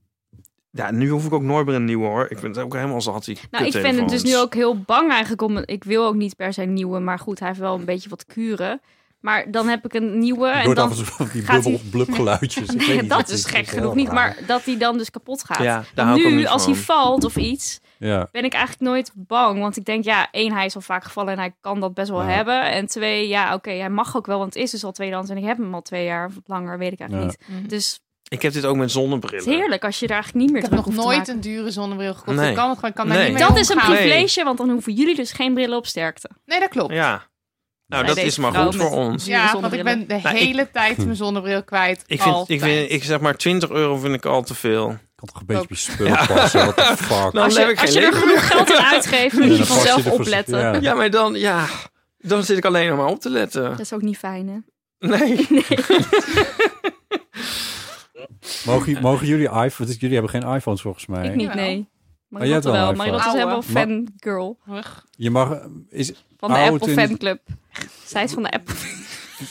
ja, nu hoef ik ook nooit meer een nieuwe hoor. Ik ben het ook helemaal zat die
Nou, ik ben het dus nu ook heel bang eigenlijk om... Ik wil ook niet per se een nieuwe, maar goed, hij heeft wel een beetje wat kuren. Maar dan heb ik een nieuwe
Ik
en
hoor af
dan...
en toe van die
gaat
bubbel blub geluidjes. Ik weet niet,
dat is
is Oh,
gek
heel
genoeg niet,
raar.
maar dat hij dan dus kapot gaat.
Ja, daar hou ik ook
nu,
niet
als hij
van.
valt of iets,
Ja.
ben ik eigenlijk nooit bang. Want ik denk, ja, één, hij is al vaak gevallen en hij kan dat best wel
Ja.
hebben. En twee, ja, oké, hij mag ook wel, want het is dus al tweedehands. En ik heb hem al twee jaar of langer, weet ik eigenlijk niet. Dus
Ik heb dit ook met
het
zonnebrillen.
is heerlijk als je daar eigenlijk niet meer
Mhm. Ik heb
druk
nog
hoeft te
nooit
maken.
een dure zonnebril gekocht.
Nee.
Ik kan het gewoon, ik kan daar
Nee.
niet mee
Dat is een
omgaan.
Nee.
privilege, want dan hoeven jullie dus geen brillen op sterkte.
Nee, dat klopt.
Ja. Nou,
Bij
dat
deze
is maar
vrouw
goed
met-
voor ons.
Ja,
Dure
want ik
zonnebrillen.
ben de
Nou, ik-
hele tijd mijn zonnebril kwijt.
Ik vind,
Altijd.
ik vind, ik zeg maar 20 euro vind ik al te veel.
Ik kan toch een beetje op je spullen passen. What the fuck?
Nou,
als
heb
je,
ik geen
als je er
leven
genoeg geld aan uitgeeft, moet
Ja,
je
dan pas
vanzelf
je er voor-
opletten.
ja.
Ja, maar dan, ja, dan zit ik alleen nog maar op te letten.
Dat is ook niet fijn, hè?
Nee.
Mogen, mogen jullie iPhones? want Jullie hebben geen iPhones volgens mij.
Ik niet,
Jawel.
nee.
jij hebt
Marilotte
wel een
wel.
iPhone.
Marilotte is dus helemaal
Oude.
fangirl
Je mag. Is,
van de
Oud
Apple
in-
fanclub. Zij is van de Apple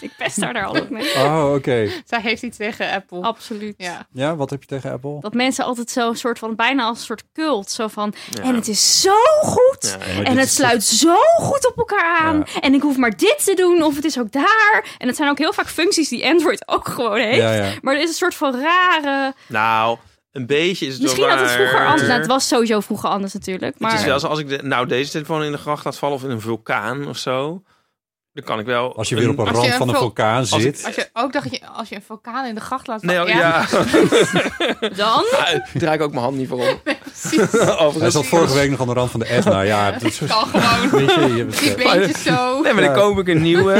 Ik pest haar daar altijd mee.
Oh, oké.
Zij heeft iets tegen
Oh.
Apple.
Absoluut.
Ja.
Ja, wat heb je tegen Apple?
Dat mensen altijd zo'n soort van, bijna als een soort cult. Zo van,
Ja.
en het is zo goed.
Ja, ja.
Maar
En
dit
het
is-
sluit zo goed op elkaar aan.
Ja.
En ik hoef maar dit te doen, of het is ook daar. En het zijn ook heel vaak functies die Android ook gewoon heeft.
Ja, ja.
Maar er is een soort van rare.
Nou, een beetje is het
Misschien
wel
had het
waar.
vroeger anders. Nou, het was sowieso vroeger anders natuurlijk. Maar
Het is wel zo, als ik de- nou deze telefoon in de gracht laat vallen of in een vulkaan of zo, dan kan ik wel.
Als je weer op een
Als
rand
je
van een
een vul-
vulkaan
Als ik-
zit.
Als je ook dacht, je, als je een vulkaan in de gracht laat
Nee, oh,
vallen.
ja.
dan.
Ah, draai ik ook mijn hand niet voor om.
precies.
Hij
Overigens.
zat vorige week nog aan de rand van de Etna. Ja, dat is
Het kan gewoon.
Weet je, je hebt,
Die
eh,
beentjes zo.
Nee, maar dan koop ik een nieuwe.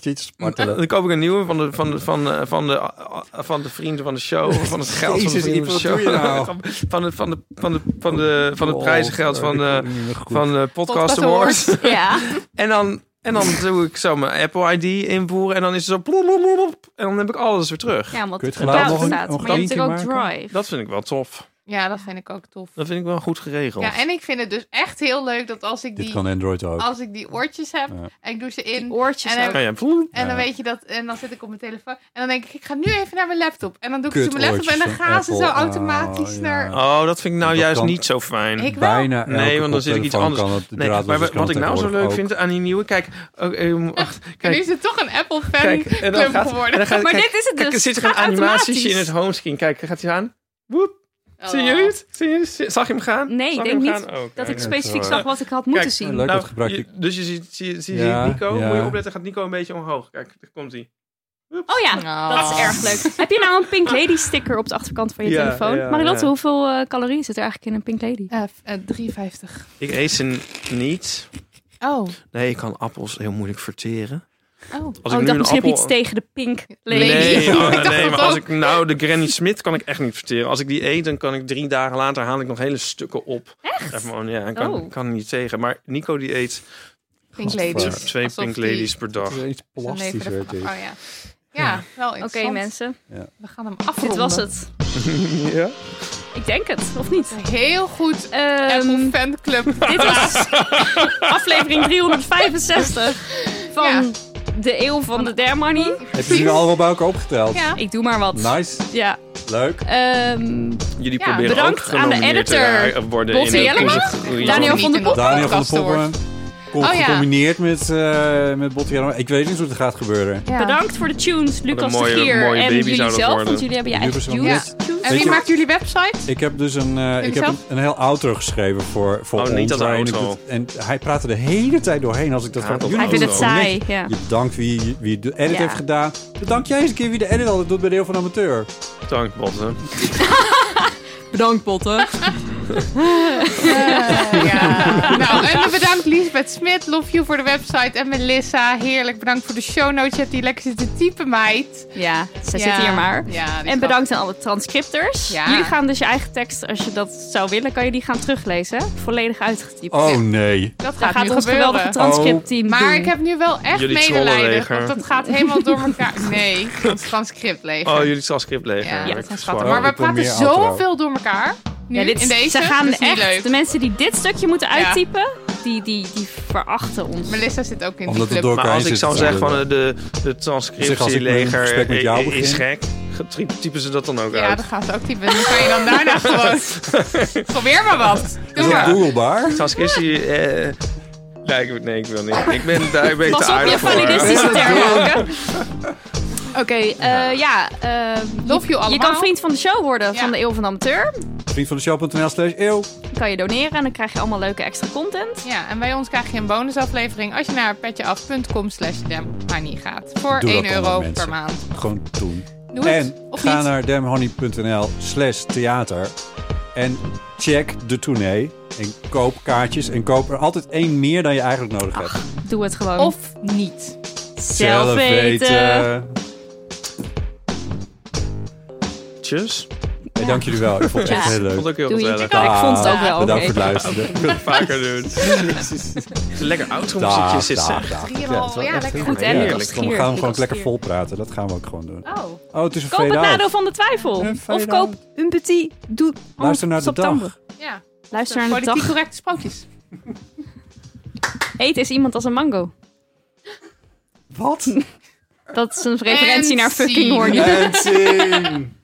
je iets spartelen.
Dan koop ik een nieuwe van de, van de, van de, van de, eh, van de vrienden van de show. of Van het geld van de
Jezus,
vrienden van de
Iep, wat
show.
doe je nou? Oh,
Van, de, van, de, van, de, van, de, van het prijzengeld van de, van eh, de Podcast
Podcast
Awards.
Ja.
En dan, en dan doe ik zo mijn Apple ID invoeren. En dan is het zo. plop, plop, plop, plop, en dan heb ik alles weer terug.
ja,
Kun
want
je
het
het geluid
cloud
nog een-
staat.
nog
Maar
een
je hebt natuurlijk
eentje
ook
maken?
Drive.
Dat vind ik wel tof.
Ja, dat vind ik ook tof.
Dat vind ik wel goed geregeld.
Ja, en ik vind het dus echt heel leuk dat als ik
Dit
die,
kan Android ook.
als ik die oortjes heb
Ja.
en ik doe ze in.
Die oortjes.
En dan-
ook.
Kan jij plop,
En dan
Ja.
weet je dat, en dan zit ik op mijn telefoon. En dan denk ik, ik ga nu even naar mijn laptop. En dan doe ik ze
Kut
op mijn laptop en dan
oortjes
gaan ze
van
zo
Apple.
automatisch
Oh, ja.
naar.
Oh, dat vind ik nou
Dat
juist
kan-
niet zo fijn.
Ik wel.
Bijna
Nee, want dan zit ik iets anders. Nee, maar
dus
wat ik nou zo leuk vind aan die nieuwe, kijk, oh, eh, wacht,
En nu
kijk,
is het toch een Apple fan
kijk, en dan
club
gaat, en
geworden.
dan gaat,
Maar
kijk,
dit is het
kijk,
dus.
er zit er
Het
een
gaat
animatiesje in
automatisch.
het homescreen. Kijk, daar gaat hij aan. Woep,
Oh.
zien jullie het? Zien jullie het? Zag je hem gaan?
Nee,
Zag
ik
je hem
denk
gaan?
niet
Oh,
Dat
kijk.
ik specifiek
Eh,
zag wat ik had moeten zien.
Leuk
nou,
dat gebruik
je-
ik.
Dus je ziet, zie, je- zie, je
Ja,
Nico,
ja.
moet je opletten, gaat Nico een beetje omhoog. Kijk, daar komt hij.
Oh ja,
Oh.
dat is erg leuk. Heb je nou een Pink Lady sticker op de achterkant van je
Ja,
telefoon?
ja,
Marilotte,
ja.
hoeveel eh, calorieën zit er eigenlijk in een Pink Lady?
Eh, f- eh, 3,50.
Ik eet ze niet.
Oh,
Nee, ik kan appels heel moeilijk verteren.
oh.
Als
oh,
ik
ik
nu
dacht
een
misschien heb je
appel...
iets tegen de Pink Lady.
Nee,
Ik
oh,
dacht
nee
dat
maar als
ook.
ik nou de Granny Smith kan ik echt niet verteren. Als ik die eet, dan kan ik drie dagen later haal ik nog hele stukken op. Echt? Gewoon, ja, ik kan,
Oh.
kan er niet tegen. Maar Nico die eet
Pink
twee,
ladies.
twee
Alsof
Pink
die-
Ladies per dag.
Iets
Zijn
plastisch
leven
werd
ervan-
dit.
Oh ja. Ja, wel
Oké
interessant.
mensen,
We gaan hem afronden.
dit was het.
Ja?
Ik denk het, of niet?
Heel goed Apple
Ehm,
fan club.
dit was aflevering 365 van
Ja.
de eeuw van de Dare Money.
Heb je ze nu allemaal bij elkaar opgeteld?
Ja. Eh,
Ik doe maar wat.
Nice,
Ja.
leuk.
Ehm,
Jullie
Ja,
proberen
bedankt
ook
aan de
genomineerd eh, te
editor,
ra- worden
Botte
in
Jellema,
de
Daniel van der
Niet in
Poppen.
Daniel van de
podcast
Poppen. Komt
Oh ja.
gecombineerd met, eh met Botti Jellema. Ik weet niet hoe het gaat gebeuren.
Ja.
Bedankt voor de tunes, Lucas
mooie-
de Geer
mooie
en
baby
jullie
zou
zelf.
dat worden.
Want jullie hebben je
Jullie
eigen
hebben
tunes.
zo'n
tunes.
En
Weet
wie
je-
maakt jullie website?
Ik heb dus een, eh, ik heb een,
Jezelf?
een heel outro geschreven voor, voor
Oh,
ons.
niet dat
waarin ik
outro.
het- En hij praatte de hele tijd doorheen als ik dat
Haat
van
dat
jullie
Hij vindt het
outro.
doen niet.
saai. Ja.
Je bedankt wie, wie de edit
Ja.
heeft gedaan. Bedankt jij eens een keer wie de edit altijd doet bij Deel van Amateur.
Dank, Botte.
Bedankt, Potten. Eh.
ja. Nou, en bedankt Lisbeth Smit. Love you voor de website. En Melissa, heerlijk. Bedankt voor de show notes. Je hebt die lekker zitten typen, meid.
Ja, ze
Ja.
zit hier maar.
Ja, die
En
is
bedankt aan alle transcripters.
Ja.
Jullie gaan dus je eigen tekst, als je dat zou willen, kan je die gaan teruglezen. hè? Volledig uitgetypt.
Oh nee.
Dat
Daar
gaat,
gaat
nu
ons
gebeuren.
geweldige transcriptteam
Maar
doen.
ik heb nu wel echt
Jullie
medelijden.
trollenleger.
Want dat gaat helemaal door elkaar. Nee, ons transcript leeg.
Oh, jullie transcript leeg.
Ja,
Ik
dat zijn
zwaar.
schatten. Maar we
Ik wil
praten
meer outro.
zoveel door elkaar. Nu,
Ja, dit,
Hm? in deze.
ze gaan
dat is niet
echt,
leuk.
de mensen die dit stukje moeten
Ja.
uittypen, die, die, die verachten ons.
Melissa zit ook in
Omdat
die
het
club.
door-
Maar als
Zit
ik zou
het
zeggen van
zo?
eh, de, de
Zeg, als ik met een gesprek
transcriptieleger
met jou
eh, eh, is
begin.
gek, ge- typen ze dat dan ook
Ja,
uit.
dat gaan ze ook typen. Dan kan je dan daarna gewoon... Probeer maar wat. Doe
Is dat
maar.
googlebaar?
Transcriptie... eh nee, ik, nee, ik wil niet. Ik ben daar een beetje
Pas
te
op je
aardig voor.
validistische termen ook, hè? Oké, eh, ja. eh,
Love you
je
allemaal.
kan vriend van de show worden
Ja.
van de Eeuw van de Amateur.
Vriend van de show.nl slash eeuw.
Dan kan je doneren en dan krijg je allemaal leuke extra content.
Ja, en bij ons krijg je een bonusaflevering als je naar petjeaf.com slash demhoney gaat. Voor
Doe dat
1 euro
allemaal, mensen.
per maand.
Gewoon doen.
Doe het.
En
Of
ga
niet.
naar demhoney.nl slash theater. En check de tournee. En koop kaartjes. En koop er altijd één meer dan je eigenlijk nodig hebt.
Doe het gewoon.
Of niet.
zelf Oh,
Tjus.
Hey, dank jullie wel. Ik vond het
Ja.
echt heel leuk. Ah,
Vond ook heel
Doei.
gezellig.
Ja, ik vond het
Ah,
ook wel
Bedankt
oké.
voor het luisteren.
Vaker doen. Lekker oud
Dag,
muziekje zit.
dag,
zeg.
dag.
Drieënhalf.
Ja, het is wel
Ja,
echt
lekker.
heel
Goed, hè?
heerlijk.
Lucas
We
Gier.
gaan hem gewoon
Lucas
lekker
Gier.
vol praten. Dat gaan we ook gewoon doen.
Oh.
Oh, het is een
Koop het
fade-out.
nadeel van de twijfel.
Een fade
Of koop een petit doet.
Luister naar de dag.
Ja. dus
Luister naar de
Politiek
dag.
correcte sprookjes.
Eten is iemand als een mango.
Wat?
Dat is een referentie naar fucking
zien.
horny.
En zien.